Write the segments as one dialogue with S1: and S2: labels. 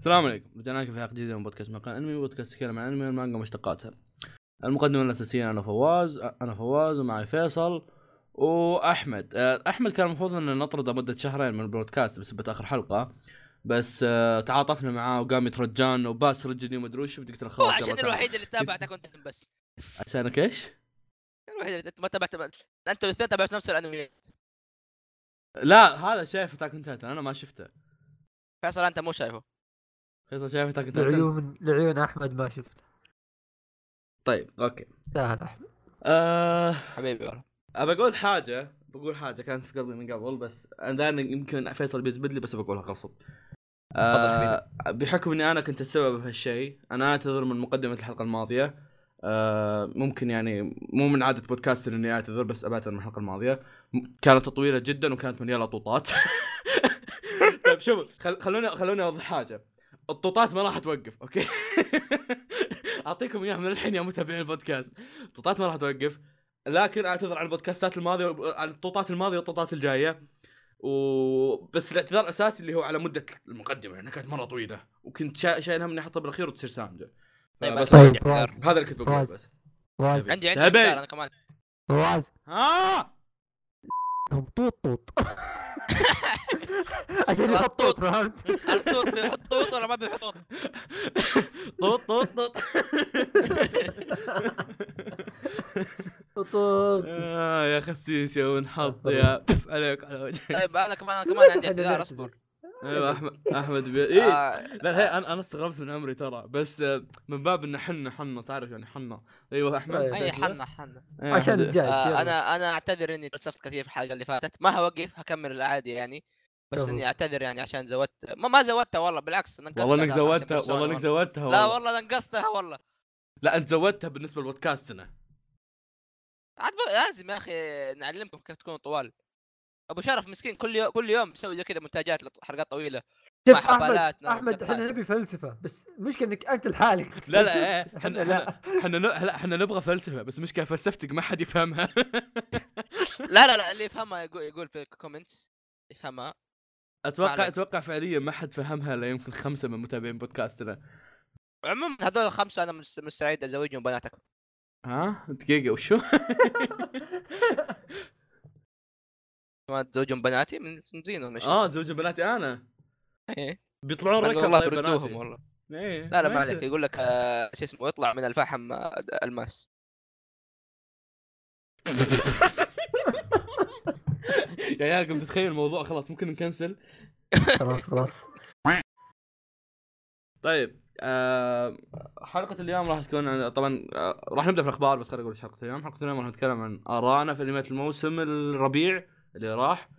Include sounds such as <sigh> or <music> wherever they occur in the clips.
S1: السلام عليكم رجعنا لكم في حلقه جديده من بودكاست مقال انمي بودكاست يتكلم عن انمي والمانجا ومشتقاتها المقدمه الاساسيه انا فواز انا فواز ومعي فيصل واحمد آه، احمد كان المفروض ان نطرده مده شهرين من البودكاست بسبب اخر حلقه بس آه، تعاطفنا معاه وقام يترجانا وباس رجلي ومدري وش بدك ترى
S2: هو
S1: خلاص يلا
S2: عشان
S1: تعال.
S2: الوحيد اللي تابعت كنت بس
S1: عشانك ايش؟
S2: الوحيد اللي انت ما تابعت انت والاثنين تابعت نفس الانمي
S1: لا هذا شايف اتاك اون تايتن انا ما شفته
S2: فيصل انت مو شايفه
S1: فيصل شايف اتاك اون
S2: أيوه.
S1: تايتن
S3: لعيون لعيون احمد ما شفت
S1: طيب اوكي
S3: سهل احمد
S1: آه
S2: حبيبي والله
S1: ابى اقول حاجه بقول حاجه كانت في قلبي من قبل بس انا يمكن فيصل بيزبد لي بس بقولها غصب آه بحكم اني انا كنت السبب في هالشيء انا اعتذر من مقدمه الحلقه الماضيه آه ممكن يعني مو من عاده بودكاستر اني اعتذر بس ابعتذر من الحلقه الماضيه م- كانت طويله جدا وكانت مليانه <laughs> طوطات طيب شوفوا خل... خلوني خلوني اوضح حاجه الطوطات ما راح توقف <laughs> اوكي اعطيكم اياها من الحين يا متابعين البودكاست الطوطات ما راح توقف لكن اعتذر عن البودكاستات الماضيه عن الطوطات الماضيه والطوطات الجايه وبس الاعتذار الاساسي اللي هو على مده المقدمه لانها كانت مره طويله وكنت شا... شايلها مني احطها بالاخير وتصير سامجه
S2: طيب،
S1: بس
S2: طيب،
S1: هذا-
S3: فواز.
S1: هذا اللي كنت بقوله
S3: فواز.
S1: بس
S3: واز
S2: عندي عندي
S1: سابع.
S2: اختيار انا كمان
S3: واز
S1: ها
S3: هم طوط
S1: <laughs>
S3: طوط عشان يحط طوط فهمت
S2: الطوط بيحط طوط ولا ما بيحط طوط
S1: طوط طوط طوط <laughs>
S3: طوط
S1: آه يا خسيس يا ونحط يا عليك على وجهك
S2: طيب انا كمان انا كمان
S3: <laughs>
S2: عندي اعتذار اصبر
S1: ايوه احمد احمد بي... إيه؟
S2: آه،
S1: لا هي انا انا استغربت من امري ترى بس آه، من باب انه حنا حنا تعرف يعني حنا ايوه احمد
S3: أيوة.
S2: اي حنا حنا
S1: إيه،
S3: عشان
S1: أحمد.
S3: الجاي
S2: آه،
S3: يلا.
S2: انا انا اعتذر اني تلسفت كثير في الحلقه اللي فاتت ما هوقف هكمل العادي يعني بس
S3: طبعا.
S2: اني اعتذر يعني عشان زودت ما ما زودتها والله بالعكس أنا نقصتها
S1: والله انك
S2: عشان
S1: زودتها
S2: بيرسونا
S1: والله انك
S2: والله.
S1: زودتها
S2: لا
S1: والله
S2: والله نقصتها والله
S1: لا انت زودتها بالنسبه لبودكاستنا
S2: عاد بقى لازم يا اخي نعلمكم كيف تكونوا طوال ابو شرف مسكين كل يوم كل يوم بيسوي زي كذا مونتاجات لحلقات طويله
S3: شوف
S2: مع
S3: احمد
S2: حفلاتنا
S3: احمد احنا
S2: وحفلات.
S3: نبي فلسفه بس المشكله انك انت لحالك
S1: لا لا إيه،
S3: احنا
S1: احنا
S3: لا
S1: لا احنا ن- لا احنا نبغى فلسفه بس مشكله فلسفتك ما حد يفهمها <laughs>
S2: لا لا لا اللي يفهمها يقول, يقول في الكومنتس يفهمها
S1: اتوقع
S2: عليك.
S1: اتوقع فعليا ما حد فهمها الا يمكن خمسه من متابعين بودكاستنا
S2: عموما هذول الخمسه انا مس- مستعد ازوجهم بناتكم
S1: ها دقيقه وشو
S2: ما تزوجهم بناتي من من زينهم ايش
S1: اه زوج بناتي انا
S2: إيه.
S1: بيطلعون
S2: بعد
S1: ركب
S2: والله
S1: طيب
S2: بردوهم
S1: بناتي
S2: والله
S1: إيه،
S2: لا لا ما
S1: يصير.
S2: عليك يقول لك آه، شو اسمه يطلع من الفحم آه، الماس
S1: يا عيالكم تتخيل الموضوع خلاص ممكن نكنسل
S3: <laughs> خلاص خلاص
S1: طيب آه حلقة اليوم راح تكون عن- طبعا آه راح نبدا في الاخبار بس خليني اقول ايش حلقة اليوم، حلقة اليوم راح نتكلم عن ارائنا في انميات الموسم الربيع اللي راح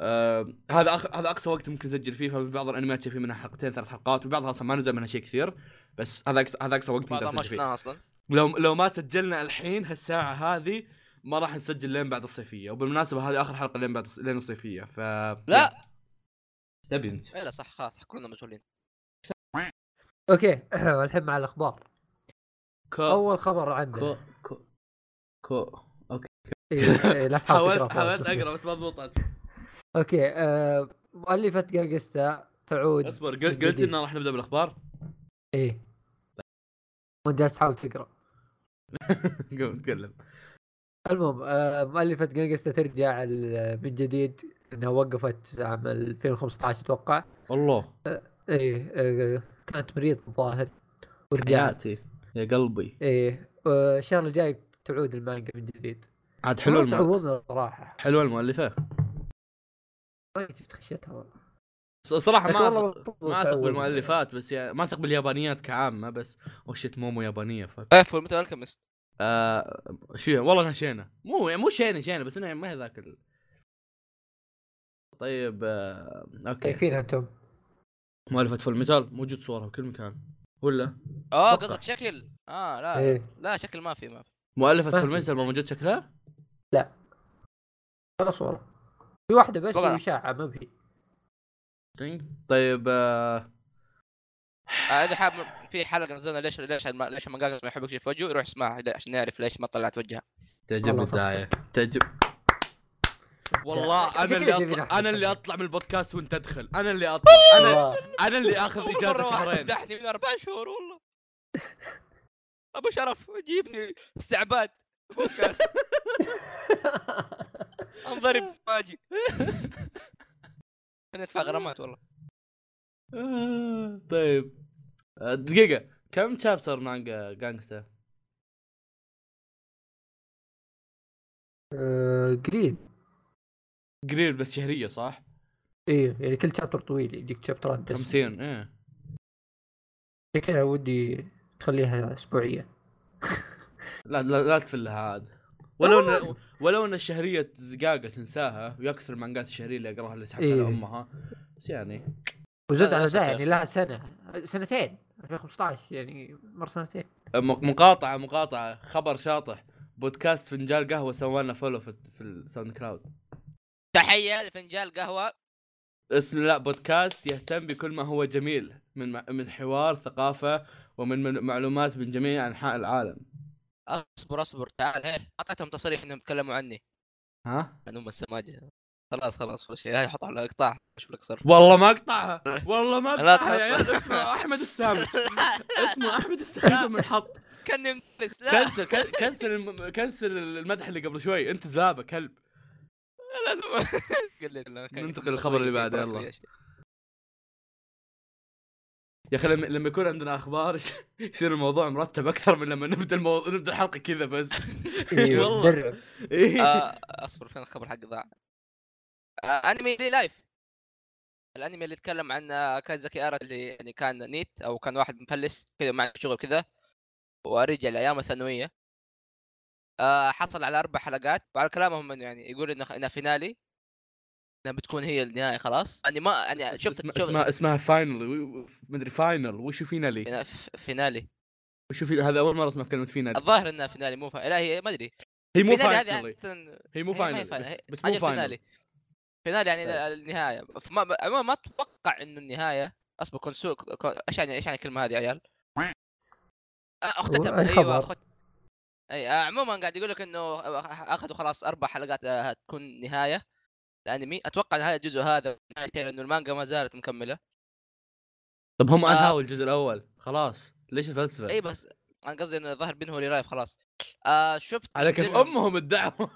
S1: آه هذا أخ... هذا اقصى وقت ممكن نسجل فيه فبعض الانميات شايفين منها حلقتين ثلاث حلقات وبعضها اصلا ما نزل منها شيء كثير بس هذا أقصى... هذا اقصى وقت ممكن
S2: بعضها ما
S1: نسجل فيه
S2: شفناها اصلا
S1: لو لو ما سجلنا الحين هالساعة هذه ما راح نسجل لين بعد الصيفية وبالمناسبة هذه اخر حلقة لين بعد الص- لين الصيفية ف
S2: لا
S1: تبي انت
S2: إيه، لا صح خلاص كلنا مشغولين
S3: <clears throat> اوكي الحين مع الاخبار
S1: كو
S3: اول خبر عندنا
S1: كو كو كو اوكي
S3: إيه،
S1: <laughs>
S3: إيه، لا تحاول تقرأ
S1: حاولت
S3: خلاص،
S1: حاولت
S3: اصبر.
S1: اقرا بس ما ضبطت
S3: اوكي آه، مؤلفة جاجستا تعود
S1: اصبر
S3: من
S1: <laughs> قلت قلت
S3: جديد.
S1: ان راح نبدا بالاخبار <laughs>
S3: ايه وانت جالس تحاول تقرا
S1: قوم نتكلم
S3: المهم آه، مؤلفة جانجستا ترجع ال- من جديد انها وقفت عام 2015 اتوقع
S1: الله
S3: ايه آه، كانت مريض الظاهر ورجعت
S1: حياتي. يا قلبي
S3: ايه آه، الشهر الجاي تعود المانجا من جديد
S1: عاد حلو
S3: حلو
S1: الم...
S3: تعوضنا صراحة
S1: حلو المؤلفه
S3: ما شفت خشيتها والله
S1: ص- صراحه ما
S3: والله
S1: أثق...
S3: المفروض
S1: ما اثق
S3: تعوضنا.
S1: بالمؤلفات بس يعني ما اثق باليابانيات كعامه بس وشت مومو يابانيه ف
S2: ايه فول مثل الكيمست
S1: آه... شو والله انها شينه مو مو شينه شينه بس انها ما هي ذاك ال... طيب آه... اوكي
S3: كيفين انتم؟
S1: مؤلفه فول ميتال موجود صورها بكل مكان ولا
S2: اه
S3: أتوقع.
S2: قصدك شكل اه
S1: آه.
S2: لا
S3: ايه
S2: لا شكل ما في ما في
S1: مؤلفه
S3: ما
S1: فول
S3: في.
S1: ميتال ما موجود شكلها؟
S3: ولا صورة في واحدة بس
S2: طبعا.
S3: وإشاعة ما بهي
S1: طيب آه،
S2: آه، اذا حاب في حلقه نزلنا ليش ليش الم- ليش المانجا ما يحبك في وجهه يروح اسمعها عشان نعرف ليش ما طلعت وجهها
S1: تعجبني
S3: والله صح.
S1: الدعايه تعجب والله انا
S3: عشان
S1: اللي
S3: كذا جايبين
S1: أطلع
S3: أحمد
S1: انا اللي
S3: فهمي.
S1: اطلع من البودكاست وانت تدخل انا اللي اطلع انا
S3: والله.
S1: انا اللي اخذ
S2: أول مرة
S1: اجازه
S2: واحد
S1: شهرين <laughs>
S2: مدحني من اربع شهور والله ابو شرف جيبني استعباد بودكاست
S1: <laughs>
S2: انضرب باجي انا ادفع غرامات والله
S1: آه، طيب آه، دقيقة كم شابتر مانجا جانجستا؟
S3: <laughs> آه، قريب
S1: قريب بس شهرية صح؟
S3: ايوه يعني كل شابتر طويل يجيك شابترات بس
S1: 50 ايه
S3: شكلها ودي تخليها اسبوعيه
S1: لا لا, لا تفلها عاد ولو ان ولو ان الشهرية زقاقة تنساها ويكسر المانجات الشهرية اللي اقراها اللي سحبت على
S3: إيه.
S1: امها بس يعني
S3: وزاد
S2: لا،
S3: على
S2: للأسف
S3: ذا
S2: يا
S3: يعني لها سنه سنتين 2015 يعني مر سنتين
S1: م- مقاطعة مقاطعة خبر شاطح بودكاست فنجان قهوة سوانا فولو في, في الساوند كلاود
S2: تحيه لفنجان قهوه
S1: اسم لا بودكاست يهتم بكل ما هو جميل من مع- من حوار ثقافة ومن من معلومات من جميع انحاء العالم
S2: اصبر اصبر تعال هيه اعطيتهم تصريح انهم تكلموا عني
S1: ها؟
S2: عن ام السماجه خلاص خلاص ولا شيء هاي حط على اقطاع شوف لك
S1: <laughs>
S2: صرف
S1: والله ما اقطعها والله ما
S2: لا
S1: اقطعها يا
S2: تحط.
S1: عيال اسمه احمد
S2: <laughs>
S1: السامي
S2: لا، لا،
S1: اسمه احمد السامي منحط
S2: كني مدرس لا
S1: كنسل كن- كنسل الم- كنسل المدح اللي قبل شوي انت زلابه كلب
S2: لازم قلت لا، كان-
S1: ننتقل للخبر اللي بعده،
S2: يبارك
S1: يلا.
S2: لي شيء.
S1: يا اخي لما لما يكون عندنا اخبار يس- يصير الموضوع مرتب اكثر من لما نبدا المو... نبدا الحلقه كذا
S2: <laughs>
S1: بس
S3: إيه،
S1: والله.
S3: درع
S1: <laughs> إيه.
S2: آه، اصبر فين الخبر حق ضاع آه، انمي لي لايف الانمي اللي يتكلم عن آه، كازاكي ارا اللي يعني كان نيت او كان واحد مفلس كذا مع شغل كذا ورجع لايام الثانويه آه، حصل على اربع حلقات وعلى كلامهم إنه يعني يقول انه انها فينالي انها بتكون هي النهايه خلاص اني ما
S1: اسمها-
S2: يعني شفت شفت-
S1: اسمها اسمها فاينل مدري فاينل وشو فينا لي
S2: فينا- فينالي
S1: وشو في هذا اول مره اسمع كلمه فينا لي
S2: الظاهر انها فينالي مو فا... لا هي ما ادري
S1: هي مو
S2: فينالي هذه
S1: فاينل
S2: عادة
S1: هي مو
S2: هي إيه، ما هي
S1: فاينل بس,
S2: هي
S1: بس مو طيب.
S2: أجل
S1: فاينل
S2: فينالي يعني
S1: بس.
S2: ال- النهايه فما ب- عموما ما اتوقع انه النهايه اصبر كونسو ك- ك- ايش يعني ايش يعني الكلمه هذه يا عيال؟ آه، اختتم
S3: أي
S2: ايوه
S3: خبر.
S2: أخت... اي آه، عموما قاعد يقول لك انه اخذوا خلاص اربع حلقات آه، تكون نهايه الانمي اتوقع نهايه الجزء هذا نهاية لانه المانجا ما زالت مكمله
S1: طب هم
S2: آه. إيه.
S1: انهوا الجزء الاول خلاص ليش الفلسفه؟
S2: اي بس انا قصدي انه الظاهر بينه لايف خلاص آه شفت
S1: على كيف
S2: نزل-
S1: امهم الدعوه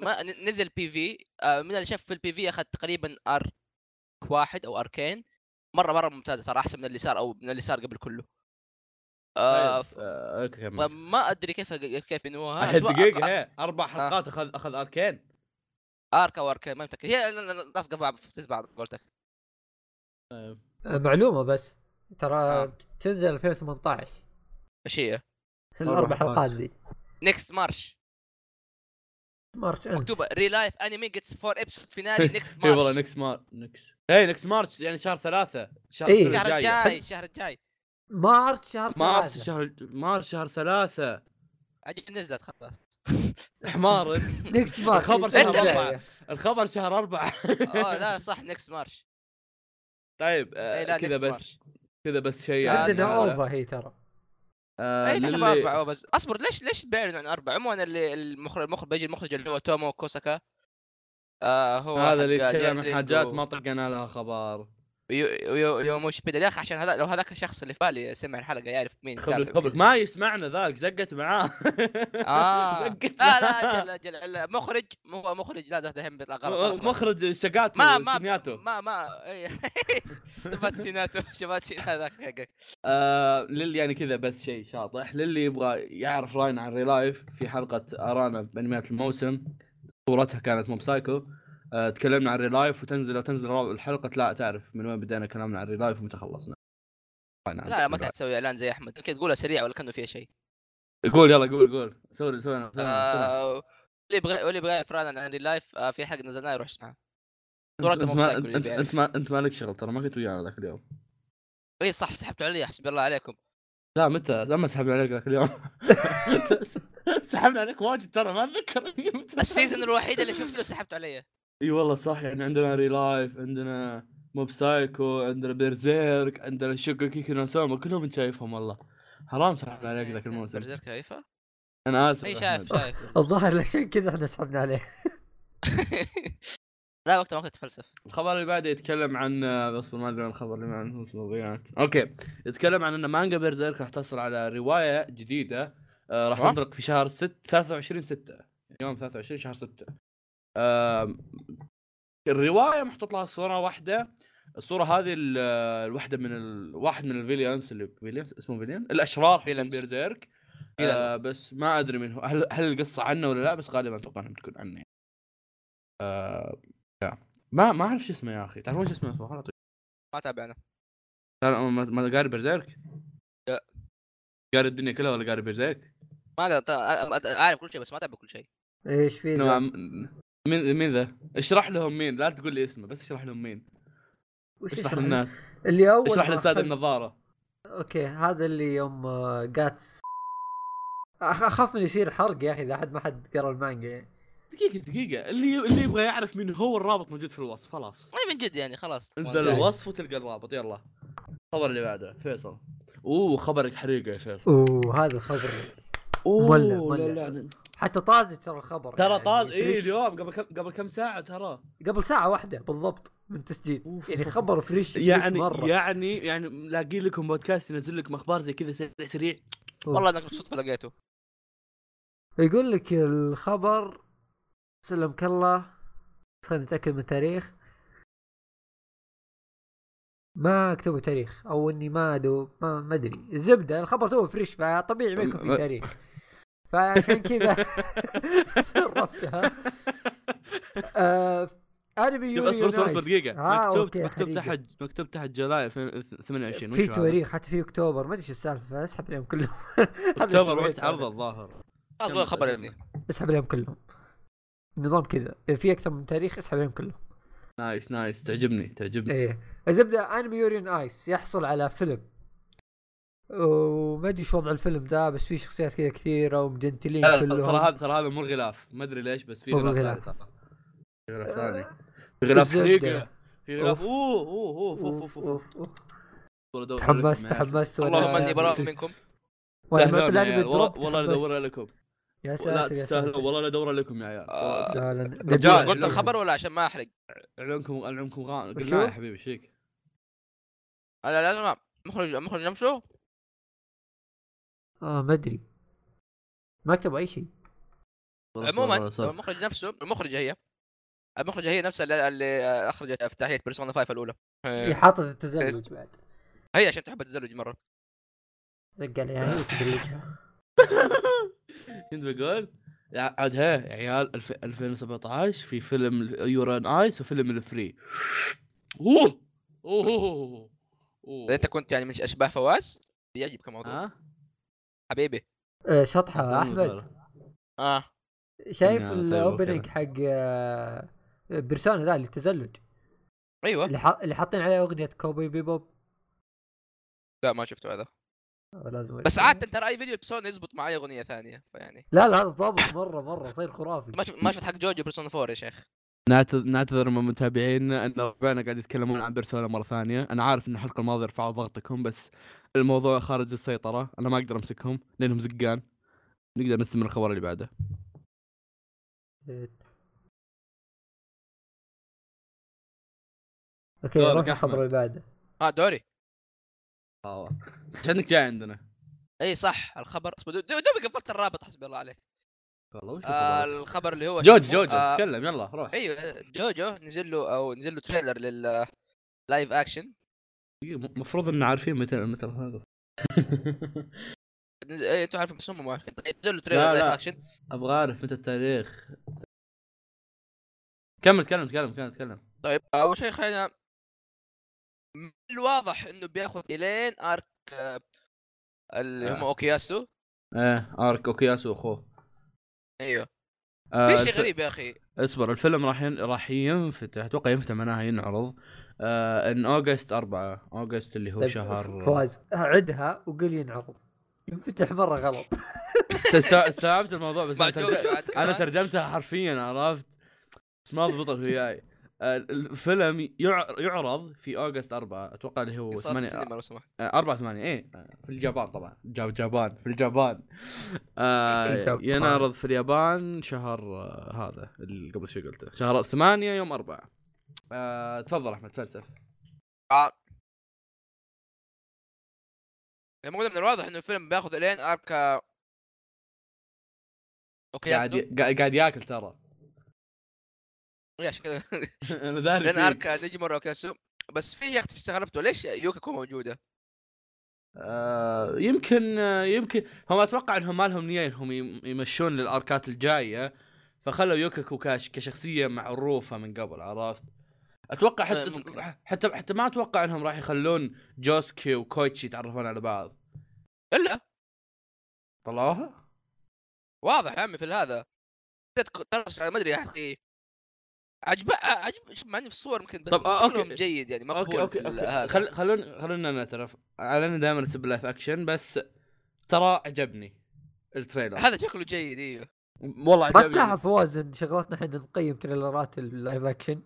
S2: ما ن- نزل بي في آه، من اللي شاف في البي في اخذ تقريبا ارك واحد او اركين مره مره ممتازه صراحه احسن من اللي صار او من اللي صار قبل كله آه
S1: طيب، آه، اوكي كمل.
S2: فما ادري كيف كيف بنوها
S1: الحين
S2: أتوقع-
S1: دقيقة يعني. هي اربع حلقات اخذ اخذ اركين
S2: ارك او اركين ما متاكد هي ل- ل- لاصقه بعض تفز بعض قولتك
S3: آه، معلومه بس ترى
S2: آه.
S3: بتنزل 2018
S2: ايش هي؟
S3: الاربع
S1: أربع
S3: حلقات ذي
S2: نكست مارش
S3: مارش انت
S2: مكتوبه ريلايف انمي جيتس فور ابسود
S1: <laughs>
S2: فينالي نكست
S1: اي
S2: مارش
S1: إيه والله نكس مار نكس اي نكس مارش يعني شهر ثلاثة شهر
S3: إيه.
S1: السنة
S2: الشهر
S1: الجاية.
S2: الجاي الشهر الجاي
S3: مارش شهر
S1: مارس
S3: <laughs> ثلاثة.
S1: شهر مارس شهر ثلاثة
S2: اجل نزلت خلاص
S1: حمار أنت.
S3: نكست مارش
S1: الخبر
S3: السنة
S2: شهر
S3: الجاية.
S1: الخبر شهر أربعة <laughs>
S2: اه لا صح نكست مارش
S1: طيب آه،
S2: اي إيه، لا
S1: كذا
S2: نكست
S1: بس
S2: مارش
S1: كذا بس شيء
S2: آه،
S1: عن
S3: <laughs> عندنا
S1: هذا.
S3: اوفا هي ترى
S1: آه،
S2: اي تقريبا
S1: للي-
S2: اربعه أه، بس اصبر ليش ليش بيعلنوا عن اربعه عموما اللي المخرج المخرج بيجي المخرج اللي هو تومو كوساكا آه هو
S1: هذا اللي
S2: حق
S1: يتكلم
S2: جيم
S1: عن حاجات
S2: لينج
S1: ما طقنا لها خبر
S2: ويو- يو- يوموشي بيدا يا اخي عشان هذا لو هذاك الشخص اللي في بالي سمع الحلقه يعرف مين
S1: خبرك <laughs>
S2: كان.
S1: خبرك ما يسمعنا ذاك زقت
S2: <laughs>
S1: معاه
S2: اه
S1: زقت
S2: لا لا
S1: معاه.
S2: اجل اجل اجل مخرج مو هو مخرج لا ده دحين بيطلع غلط غلط، غلط.
S1: مخرج شقات
S2: ما ما
S1: سينياتو.
S2: ما ما إي. <laughs> شبات سيناتو شبات سيناتو هذاك حقك
S1: آه للي يعني كذا بس شيء شاطح للي يبغى يعرف راينا عن ريلايف في حلقه ارانا بانميات الموسم صورتها كانت موب سايكو آه تكلمنا عن ريلايف وتنزل وتنزل رابع الحلقه لا تعرف من وين بدينا كلامنا عن ريلايف ومتى خلصنا راينا عن
S2: لا لا ما
S1: ريلايف.
S2: تسوي اعلان زي احمد كذا تقولها سريع ولا كانه فيها شيء
S1: قول يلا قول قول سوري سوري أنا- سوري أنا-
S2: آه، واللي يبغى واللي يبغى يعرف رأينا عن اللايف آه، في حلقه نزلناها يروح يسمعها
S1: أنت-
S2: صورته
S1: أنت
S2: مو
S1: ما-
S2: بسايكو اللي
S1: أنت-
S2: بيعرف.
S1: انت ما انت مالك شغل ترى ما كنت ويانا ذاك اليوم
S2: اي صح سحبتوا علي حسبي الله عليكم
S1: لا متى لما سحبنا عليك ذاك اليوم <laughs> سحبنا عليك واجد ترى ما اتذكر متى
S2: السيزون الوحيد اللي شفته سحبت علي
S1: اي والله صح يعني عندنا ريلايف عندنا موب سايكو عندنا بيرزيرك عندنا شوكوكيكي ناسوما كلهم انت شايفهم والله حرام سحبنا عليك ذاك الموسم
S2: برزيرك شايفه؟
S1: انا اسف
S2: اي
S1: يا
S2: إيه، شايف
S1: أحمد.
S2: شايف
S3: الظاهر عشان كذا احنا سحبنا عليه
S2: لا وقتها ما كنت اتفلسف
S1: الخبر اللي بعده يتكلم عن اصبر ما ادري عن الخبر اللي معنا وصل ضيعت اوكي يتكلم عن ان مانجا بيرزيرك راح تحصل على روايه جديده آه، راح
S2: ها؟
S1: تنطلق في شهر 6 23 6 يوم 23 شهر 6 آم، الروايه محطوط لها صوره واحده الصوره هذه ال- الواحده من ال... واحد من الفيليانس اللي فيليانس اسمه فيليان الاشرار حقين
S2: فيلنز.
S1: بيرزيرك
S2: فيلن.
S1: آه بس ما ادري منه هل هل القصه عنه ولا لا بس غالبا اتوقع انها بتكون عنه يعني. آه يا. ما ما اعرف شو اسمه يا اخي تعرفون شو اسمه سبحان الله
S2: ما تابعنا
S1: لا، لا، ما- ما قاري برزيرك؟
S2: لا.
S1: قاري الدنيا كلها ولا قاري برزيرك؟
S2: ما أقدر- أ- أ- اعرف كل شيء بس ما اتابع كل شيء
S3: ايش في
S1: نوعاً
S3: ذا؟
S1: ما- نعم. مين مين ذا؟ اشرح لهم مين لا تقول لي اسمه بس اشرح لهم مين
S3: وش
S1: اشرح
S3: اسمه؟
S1: للناس
S3: اللي اول
S1: اشرح
S3: ما
S1: للساده
S3: أخذ-
S1: النظاره
S3: اوكي هذا اللي يوم آه، جاتس أخ- اخاف من يصير حرق يا اخي اذا حد ما حد قرا المانجا يعني.
S1: دقيقه دقيقه اللي اللي يبغى يعرف مين هو الرابط موجود في الوصف خلاص
S2: ما من جد يعني خلاص
S1: انزل
S3: يعني.
S1: الوصف وتلقى الرابط يلا الخبر اللي بعده فيصل اوه خبرك حريقه يا فيصل
S3: اوه هذا الخبر
S1: اوه
S3: مولع،
S1: لا،
S3: مولع.
S1: لا.
S3: حتى طازج ترى الخبر
S1: ترى
S3: يعني
S1: طاز اي
S3: فريش.
S1: اليوم قبل كم قبل كم ساعه ترى
S3: قبل ساعه واحده بالضبط من التسجيل
S1: أوف.
S3: يعني خبر فريش فريش
S1: يعني
S3: مره
S1: يعني يعني لاقي لكم بودكاست ينزل لكم اخبار زي كذا سريع سريع
S3: أوف.
S2: والله انك بالصدفه لقيته
S3: يقول لك الخبر سلمك الله بس خلينا نتاكد من التاريخ ما كتبوا تاريخ او اني ما دو ما ما ادري الزبده الخبر تو فريش فطبيعي ما يكون في تاريخ فعشان
S1: <laughs>
S3: كذا سربتها آه انمي
S1: شوف
S3: يوري
S1: اصبر اصبر
S3: يونايتس.
S1: اصبر دقيقه
S3: آه،
S1: مكتوب
S3: أوكي،
S1: مكتوب
S3: حقيقة.
S1: تحت مكتوب تحت جولاي 2028
S3: في تواريخ حتى في اكتوبر ما ادري شو السالفه اسحب اليوم كلهم <laughs> هذا إيه؟ اللي
S1: اكتوبر
S3: سويته
S1: وقت
S3: أنا.
S1: عرضه الظاهر
S2: خلاص قول الخبر يا ابني
S3: اسحب عليهم كلهم نظام كذا إذا في اكثر من تاريخ اسحب عليهم كلهم
S1: نايس نايس تعجبني تعجبني
S3: ايه الزبده انمي يورين ايس يحصل على فيلم وما ادري ايش وضع الفيلم ذا بس في شخصيات كذا كثيره ومجنتلين
S1: لا، لا،
S3: كلهم
S1: ترى هذا ترى هذا مو غلاف ما ادري ليش بس في
S3: مو آه.
S1: غلاف ثاني
S3: غلاف.
S1: ترى. في غلاف ثاني في غلاف
S3: الزبدة.
S1: حريقه في غلاف
S3: أوف.
S1: اوه اوه اوف اوف اوف
S3: أوف، أوف.
S1: والله أدور
S3: تحمست
S1: لكم يا عيال.
S3: تحمست
S2: اللهم اني براء
S1: أنت-
S2: منكم
S3: وأنا
S1: تهلون يا
S3: ما طلعني
S1: عيال، يعني. والله-
S3: بالدروب،
S1: والله
S3: تحمست.
S1: ادور لكم
S3: يا
S1: لا
S3: ساتر يا
S1: تستاهلون
S3: ساتر
S1: والله لا ادور لكم يا عيال
S2: آه،
S3: سهلاً.
S1: رجال.
S2: قلت الخبر ولا عشان ما احرق
S1: العنكم العنكم غان
S3: وشو؟
S1: قلنا يا حبيبي ايش فيك؟
S2: لا لا لا مخرج مخرج نمشو
S3: آه، ما ادري ما كتبوا اي شيء
S2: عموما المخرج نفسه المخرجه هي المخرجه هي نفسها اللي- اللي اخرجت افتتاحيه بيرسونا 5 الاولى
S3: هي حاطه
S2: إيه.
S3: التزلج بعد
S2: آه، هي عشان تحب التزلج مره
S3: زق يعني عليها هي تدلجها.
S1: كنت بقول لا، عاد ها يا عيال الف- 2017 في فيلم يوران ايس وفيلم الفري اوه اوه اوه أوه. آه.
S2: اذا انت كنت يعني من اشباه فواز بيعجبك الموضوع
S1: ها
S2: حبيبي
S3: آه، شطحه
S1: سلموا
S3: احمد
S1: الدولة.
S2: اه
S3: شايف
S1: نعم، طيب،
S3: الاوبننج
S1: أوكي.
S3: حق آه، بيرسونا ذا اللي التزلج
S2: ايوه
S3: اللي, ح... اللي حاطين عليه اغنيه كوبي بيبوب
S2: لا ما شفته هذا
S3: آه، لازم
S2: بس عاده ترى اي فيديو بيرسونا يزبط معي اغنيه ثانيه فيعني
S3: لا لا هذا ضابط مره مره صير خرافي
S2: ما شفت ما شفت حق جوجو بيرسونا 4 يا شيخ
S1: نعتذر نعتذر من متابعينا ان ربعنا قاعد يتكلمون عن بيرسونا مره ثانيه، انا عارف ان الحلقه الماضيه رفعوا ضغطكم بس الموضوع خارج السيطره، انا ما اقدر امسكهم لانهم زقان. نقدر نستمر الخبر اللي بعده.
S3: اوكي
S1: دورك
S3: روح
S1: أحمد.
S3: الخبر اللي بعده
S2: اه دوري
S1: آه. بس عندك جاي عندنا.
S2: اي صح الخبر اصبر دو- دو- دوبي قفلت الرابط حسبي الله عليك
S1: والله وش
S2: آه
S1: الخبر؟ إيه.
S2: الخبر اللي هو
S1: جوج
S2: شو اسمه؟
S1: جوج
S2: آه
S1: تكلم يلا روح.
S2: ايوه جوجو نزل له او نزل له تريلر لل لايف اكشن
S1: المفروض ان عارفين متى متى <laughs> هذا
S2: نز- إيه، انتوا عارفين بس هم ما عارفين طيب نزل له
S1: لا،
S2: تريلر لايف
S1: لا.
S2: اكشن
S1: ابغى اعرف متى التاريخ كمل تكلم تكلم تكلم تكلم
S2: طيب اول شيء خلينا من الواضح انه بياخذ الين ارك آه، اللي هم
S1: آه.
S2: اوكياسو
S1: ايه ارك اوكياسو واخوه
S2: ايوه
S1: آه،
S2: في شيء
S1: الف-
S2: غريب يا اخي
S1: اصبر الفيلم راح ين... راح ينفتح اتوقع ينفتح معناها ينعرض آه ان اوغست أربعة اوغست اللي هو
S3: طيب،
S1: شهر <laughs>
S3: فواز عدها وقل ينعرض ينفتح مره
S2: <laughs>
S3: غلط
S1: است- استوعبت الموضوع بس
S2: مع
S1: انا, ترج...
S2: جوجو عاد
S1: أنا
S2: كمان.
S1: ترجمتها حرفيا عرفت بس ما ضبطت وياي آه، الفيلم يع- يعرض في اوغست 4 اتوقع اللي هو
S2: قصات
S1: 8
S2: السينما لو سمحت
S1: 4 8 ايه في اليابان طبعا جاب جابان في اليابان آه
S3: <laughs> اليابان.
S1: ينعرض في اليابان شهر آه، هذا اللي قبل شوي قلته شهر 8 يوم 4 آه تفضل احمد فلسف
S2: آه. المهم من يعني الواضح انه الفيلم بياخذ الين ارك آه،
S1: قاعد
S2: اوكيادو
S1: ي- قاعد قاعد ياكل ترى
S2: إيه، <laughs> عشان كذا
S1: انا داري
S2: لين
S1: فيك.
S2: ارك نجمورو اوكياسو بس في يا اختي استغربته ليش يوكاكو موجوده؟
S1: آه، يمكن آه، يمكن هم اتوقع انهم ما لهم نيه انهم يم- يمشون للاركات الجايه فخلوا يوكاكو كاش كشخصيه معروفه من قبل عرفت؟ اتوقع
S2: آه،
S1: حتى
S2: ممكن.
S1: حتى حتى ما اتوقع انهم راح يخلون جوسكي وكويتشي يتعرفون على بعض
S2: الا
S1: طلعوها؟
S2: واضح يا عمي في هذا تتك- ترس- ما ادري يا اخي عجب عجب شوف، مع اني في الصور يمكن بس
S1: طب، آه، أوكي.
S2: شكلهم جيد يعني
S1: اوكي
S2: مقبول
S1: اوكي, أوكي.
S2: هذا
S1: خل... خلونا خلونا نعترف انا دائما اسب لايف اكشن بس ترى عجبني التريلر
S2: هذا شكله جيد ايوه
S1: والله
S3: ما
S1: عجبني
S3: تلاحظ فواز ان شغلتنا احنا نقيم تريلرات اللايف اكشن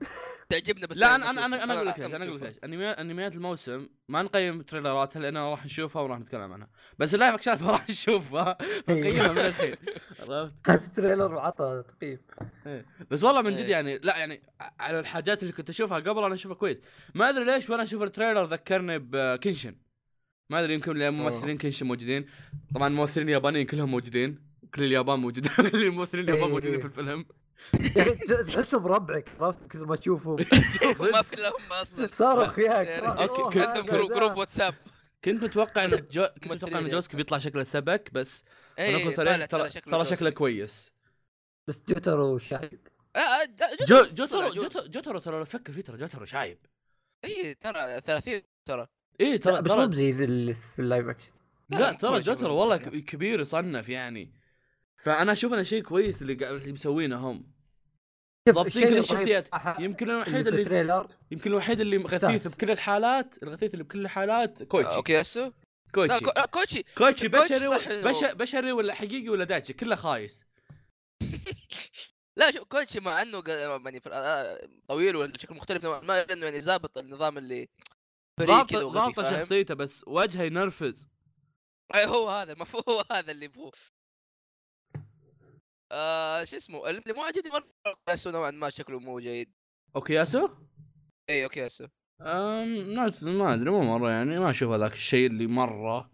S2: تعجبنا بس
S1: لا
S2: لما
S1: انا انا انا
S2: نشوفه.
S1: انا اقول
S2: لا،
S1: لك ليش انا اقول لك
S2: لما نشوفه.
S1: ليش أنمي- انميات الموسم ما نقيم تريلراتها لاننا راح نشوفها وراح نتكلم عنها بس اللايف اكشنات ما راح نشوفها
S2: <laughs>
S1: فنقيمها من الحين عرفت
S3: حط تريلر وعطى تقييم
S1: بس والله من جد
S2: إيه.
S1: يعني لا يعني ع- على الحاجات اللي كنت اشوفها قبل انا اشوفها كويس ما ادري ليش وانا اشوف التريلر ذكرني بكنشن ما ادري يمكن لان ممثلين كنشن موجودين طبعا الممثلين اليابانيين كلهم موجودين كل اليابان موجودين <laughs> كل الممثلين اليابان
S3: إيه.
S1: موجودين في الفيلم
S3: يا أخي ت- تحسهم ربعك عرفت كثر ما
S1: <laughs>
S3: تشوفهم
S2: <laughs> ما في لهم اصلا <laughs>
S3: صاروا اخوياك
S2: يعني
S3: خلاص،
S1: أوكي،
S3: أوه،
S1: كل-
S3: هذا
S2: عندهم جروب
S3: ذا.
S2: جروب واتساب
S1: كنت متوقع ان
S2: <laughs>
S1: جو... كنت
S2: ممثلين
S1: متوقع ان
S2: يعني.
S1: جوسك بيطلع شكله سبك بس
S2: اي
S1: ونكون صريح ترى ترى شكله كويس
S3: بس تويتر وشعب
S2: آه،
S1: جو جوترو جوترو جوترو ترى لو تفكر فيه ترى جوترو شايب
S2: اي إيه، ترى 30 ترى
S1: ايه ترى
S3: بس مو
S1: ترى
S3: بزي ذي اللي في اللايف اكشن
S1: لا
S2: مو
S1: ترى
S2: ولا شيء
S1: جوترو
S2: ولا
S1: والله
S2: شيء.
S1: ك- كبير يصنف يعني فانا اشوف انه شيء كويس اللي قاعد اللي مسوينه هم
S3: شوف،
S1: ضابطين كل
S3: الشيء الرهيب
S1: الشخصيات.
S3: صراحة
S1: يمكن
S3: اللي
S1: الوحيد
S3: في
S1: اللي
S3: التريلر
S1: يمكن الوحيد اللي غثيث
S3: ستارز.
S1: بكل الحالات الغثيث اللي بكل الحالات كويتشي
S2: اوكي ياسو آه، لا
S1: كويتشي
S2: كو- آه، كوتشي
S1: كويتشي
S2: كويتشي
S1: بشري
S2: صح
S1: و-
S2: إنه-
S1: بش- بشري ولا حقيقي ولا داتشي كله خايس
S2: لا شوف كوتشي مع انه ق- يعني في- آه، طويل ولا شكله مختلف نوعاً ما إلا انه يعني ظابط النظام اللي فريق كذا
S1: ضابطه
S2: وغبي،
S1: ضابطه
S2: فاهم؟
S1: شخصيته بس وجهه ينرفز
S2: اي هو هذا المفروض هو هذا اللي هو آه شو اسمه اللي مو عاجبني مره ياسو نوعا ما شكله مو جيد إيه،
S1: اوكي ياسو
S2: اي اوكي ياسو
S1: أم، نعت- ما ادري مو مره يعني ما اشوف هذاك الشيء اللي مره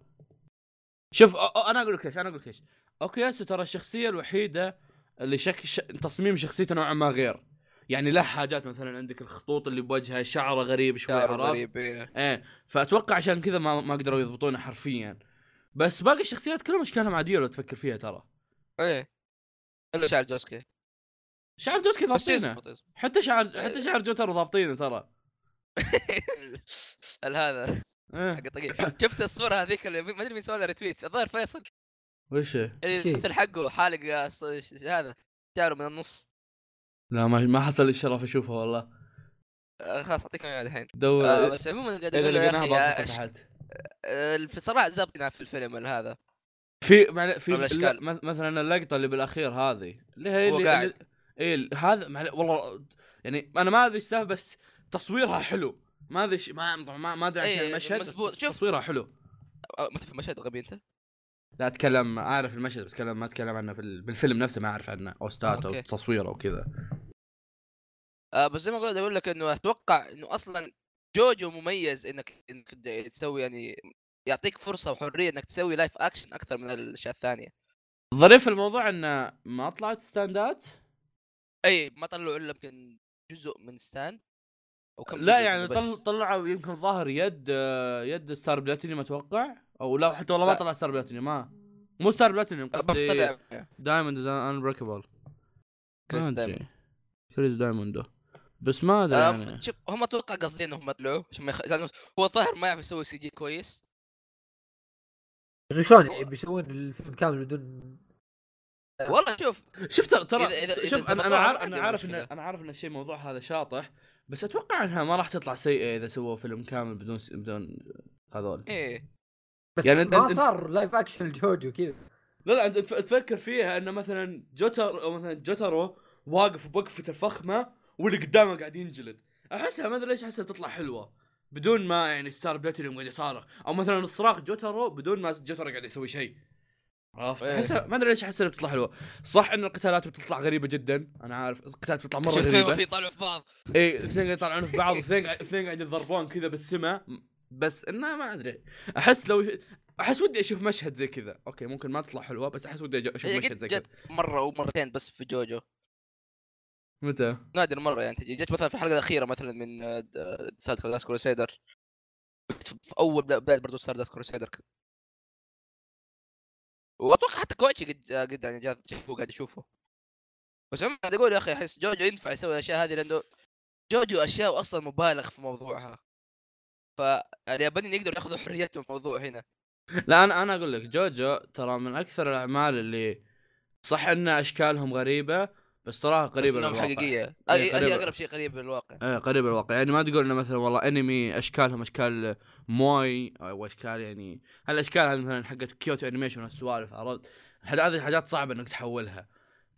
S1: شوف أ- أ- انا اقول لك ليش انا اقول لك ليش اوكياسو ترى الشخصيه الوحيده اللي شك ش... تصميم شخصيته نوعا ما غير يعني له حاجات مثلا عندك الخطوط اللي بوجهه شعره غريب شوي
S2: شعره
S1: عرفت؟
S2: غريب إيه.
S1: ايه فاتوقع عشان كذا ما ما قدروا يضبطونه حرفيا بس باقي الشخصيات كلهم اشكالهم عاديه لو تفكر فيها ترى
S2: ايه الا شعر جوسكي
S1: شعر جوسكي
S2: بس طيب.
S1: ضابطينه
S2: يزبط إيه. يزبط.
S1: حتى شعر حتى شعر جوتر ضابطينه ترى
S2: ال- هذا
S1: ايه
S2: حق الطقيق شفت الصوره هذيك اللي ما ادري مين سوى لها ريتويت الظاهر فيصل
S1: وش هي؟
S2: اللي
S3: شيء.
S2: مثل حقه حالق آه، ص- ش- هذا شعره من النص
S1: لا ما ما حصل لي الشرف اشوفها والله
S2: آه، خلاص اعطيك اياه الحين
S1: دور
S2: آه، بس عموما قاعد
S1: اذا
S2: اقول يا
S1: لقيناها
S2: اخي
S1: برضه
S2: آه، أش-
S1: فتحت
S2: آه، في صراحه زبطنا في الفيلم هذا
S1: في معل... في
S2: ولا
S1: لا،
S2: أشكال.
S1: مث- مثلا اللقطه اللي بالاخير هذه اللي هي
S2: هو
S1: اللي
S2: قاعد.
S1: اللي- ايه ال- هذا معل... والله يعني انا ما ادري السالفه بس تصويرها حلو ما ادري إيش- ما ما ما ادري عشان
S2: إيه،
S1: المشهد بس
S2: مزبوط.
S1: تص-
S2: شوف.
S1: تصويرها حلو
S2: آه، ما تفهم مشهد غبي انت
S1: لا اتكلم اعرف المشهد بس كلام ما اتكلم عنه في ال- بالفيلم نفسه ما اعرف عنه اوستات او
S2: أوكي.
S1: تصويره وكذا
S2: آه، بس زي ما قلت اقول لك انه اتوقع انه اصلا جوجو مميز انك انك تد- تسوي يعني يعطيك فرصه وحريه انك تسوي لايف اكشن اكثر من الاشياء الثانيه
S1: ظريف الموضوع انه ما طلعت ستاندات
S2: اي ما طلعوا الا يمكن جزء من ستاند او كم
S1: لا
S2: جزء
S1: يعني
S2: بس.
S1: طل... طلعوا يمكن ظاهر يد آه، يد ستار بلاتينيوم اتوقع او لا حتى والله ما
S2: لا.
S1: طلع ستار بلاتينيوم ما مو ستار بلاتينيوم
S2: آه، بس
S1: قصدي
S2: طلع
S1: دايموند از انبريكبل
S2: كريس دايموند.
S1: كريس دايموند بس ما ادري
S2: آم،
S1: يعني
S2: آه، شوف هم اتوقع قاصدين انهم يطلعوا عشان ما يخ... لأنه هو الظاهر ما يعرف يسوي سي جي كويس
S3: بس شلون يعني بيسوون الفيلم كامل بدون
S2: والله شوف
S1: شوف ترى ترى
S2: إذا- إذا-
S1: شوف
S2: إذا
S1: انا انا
S2: سبقوها
S1: عارف
S2: ما
S1: انا
S2: عندي
S1: عارف ان
S2: مشكلة.
S1: انا عارف ان الشيء موضوع هذا شاطح بس اتوقع انها ما راح تطلع سيئه اذا سووا فيلم كامل بدون س... بدون هذول
S2: ايه
S3: بس
S1: يعني
S3: يعني
S1: أنت-
S3: ما
S1: أنت-
S3: صار لايف اكشن جوجو كذا
S1: لا لا انت تف- تفكر فيها ان مثلا جوتر او مثلا جوترو واقف بوقفه الفخمه واللي قدامه قاعد ينجلد احسها ما ادري ليش احسها بتطلع حلوه بدون ما يعني ستار بلاتينيوم قاعد يصارخ او مثلا صراخ جوترو بدون ما جوترو قاعد يسوي شيء عرفت
S2: إيه.
S1: احسها ما ادري ليش احسها بتطلع حلوه صح ان القتالات بتطلع غريبه جدا انا عارف القتالات بتطلع مره غريبه
S2: شوف في طلعوا في بعض
S1: اي اثنين قاعد يطلعون في بعض اثنين قاعد- اثنين قاعد يتضربون كذا بالسما بس انه ما ادري احس لو احس ودي اشوف مشهد زي كذا اوكي ممكن ما تطلع حلوه بس احس ودي أج- اشوف
S2: هي
S1: مشهد
S2: إيه، قد
S1: زي كذا
S2: جت مره ومرتين بس في جوجو
S1: متى
S2: نادر مره يعني تجي جت مثلا في الحلقه الاخيره مثلا من آه، ستار كلاس كروسيدر في اول بدا- بدايه برضه ستار كلاس كروسيدر واتوقع حتى كوتشي قد آه، قد يعني جاء شافوه قاعد يشوفه بس عموما قاعد اقول يا اخي احس جوجو ينفع يسوي الاشياء هذه لانه جوجو اشياء اصلا مبالغ في موضوعها يعني فاليابانيين يقدروا ياخذوا حريتهم في الموضوع هنا
S1: لا انا انا اقول لك جوجو ترى من اكثر الاعمال اللي صح ان اشكالهم غريبه بس صراحه
S2: بس
S1: قريبه
S2: إنهم
S1: للواقع
S2: حقيقيه
S1: إيه،
S2: هي
S1: قريبة.
S2: هي اقرب شيء قريب للواقع
S1: ايه قريبه للواقع يعني ما تقول انه مثلا والله انمي اشكالهم اشكال موي او اشكال يعني هالاشكال هذه مثلا حقت كيوتو انيميشن والسوالف عرفت حد- هذه حاجات صعبه انك تحولها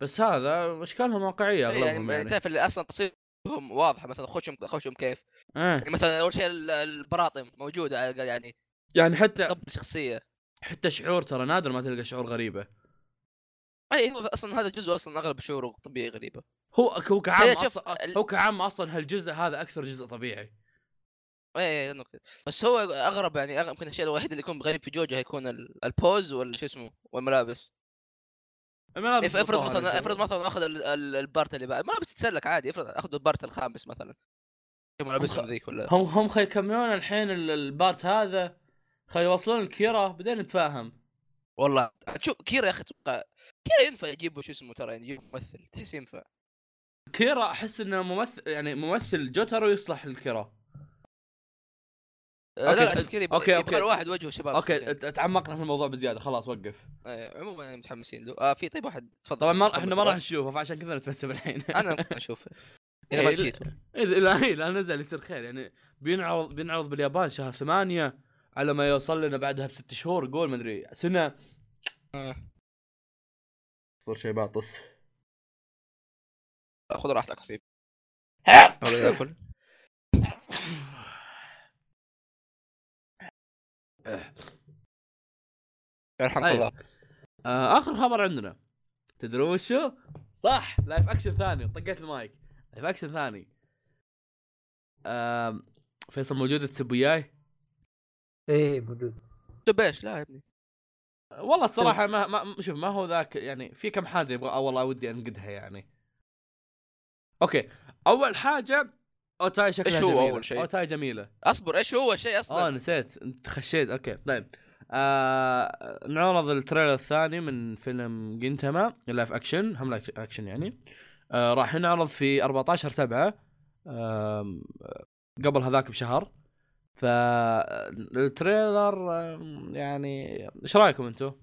S1: بس هذا اشكالهم واقعيه
S2: إيه،
S1: اغلبهم
S2: يعني, يعني
S1: يعني
S2: تعرف اللي اصلا تصيرهم واضحه مثلا خوشهم خوشهم كيف
S1: ايه
S2: يعني مثلا اول شيء ال- البراطم موجوده على الأقل يعني
S1: يعني حتى
S2: قبل شخصيه
S1: حتى شعور ترى نادر ما تلقى شعور غريبه
S2: اي هو اصلا هذا الجزء اصلا اغلب شعوره طبيعي غريبه
S1: هو هو كعام
S2: تخيل شوف
S1: أصلاً-
S2: ال-
S1: هو كعام اصلا هالجزء هذا اكثر جزء طبيعي
S2: اي اي لأنه كده. بس هو اغرب يعني أغ- يمكن الشيء الوحيد اللي يكون غريب في جوجو هيكون ال- البوز ولا شو اسمه والملابس
S1: الملابس
S2: إف- افرض
S1: مطهرة
S2: مثلا
S1: كذا.
S2: افرض مثلا اخذ ال- ال- البارت اللي بعد الملابس تتسلك عادي افرض اخذ البارت الخامس مثلا شو ملابسهم ذيك ولا
S1: هم هم خي يكملون الحين ال- البارت هذا خي يوصلون الكيرا بعدين نتفاهم
S2: والله شوف كيرا يا اخي اتوقع كيرا ينفع يجيبه شو اسمه ترى يعني يجيب ممثل تحس ينفع
S1: كيرا احس انه ممثل يعني ممثل جوترو يصلح للكيرا
S2: آه،
S1: أوكي،
S2: لا لا شوف كيرا
S1: أوكي،
S2: يبغى-
S1: أوكي.
S2: يبغى الواحد وجهه شباب يعني.
S1: اوكي
S2: شوية.
S1: ت- تعمقنا في الموضوع بزياده خلاص وقف
S2: آه، عموما يعني متحمسين له آه في طيب واحد تفضل
S1: طبعا ما
S2: كمل
S1: احنا ما راح
S2: خلاص.
S1: نشوفه فعشان كذا نتفلسف الحين <laughs>
S2: انا ممكن اشوفه اذا ما
S1: إيه،
S2: نسيته
S1: اذا لا إيه، لا نزل يصير خير يعني بينعرض بينعرض باليابان شهر ثمانية على ما يوصل لنا بعدها بست شهور قول ما ادري سنه
S2: آه.
S1: صار شيء باطس
S2: لا، خذ آه، راحتك حبيبي حاول اكل يرحمك
S1: طيب.
S2: الله
S1: آه، اخر خبر عندنا تدرون وش هو؟ صح لايف اكشن ثاني طقيت المايك لايف اكشن ثاني آم، فيصل موجودة تسبوياي
S3: ايه موجود
S2: دبيش طيب، لا يا ابني
S1: والله الصراحة ما, ما شوف ما هو ذاك يعني في كم حاجة يبغى آه والله ودي انقدها يعني اوكي اول حاجة اوتاي شكلها
S2: إيش هو
S1: جميلة.
S2: أول شيء؟
S1: اوتاي جميلة
S2: اصبر ايش هو الشيء
S1: اه
S2: اصلا
S1: نسيت انت خشيت اوكي طيب آه نعرض التريلر الثاني من فيلم جنتما لايف اكشن هم لايف اكشن يعني آه راح ينعرض في 14 7 آه قبل هذاك بشهر فالتريلر آم، يعني ايش رايكم انتم؟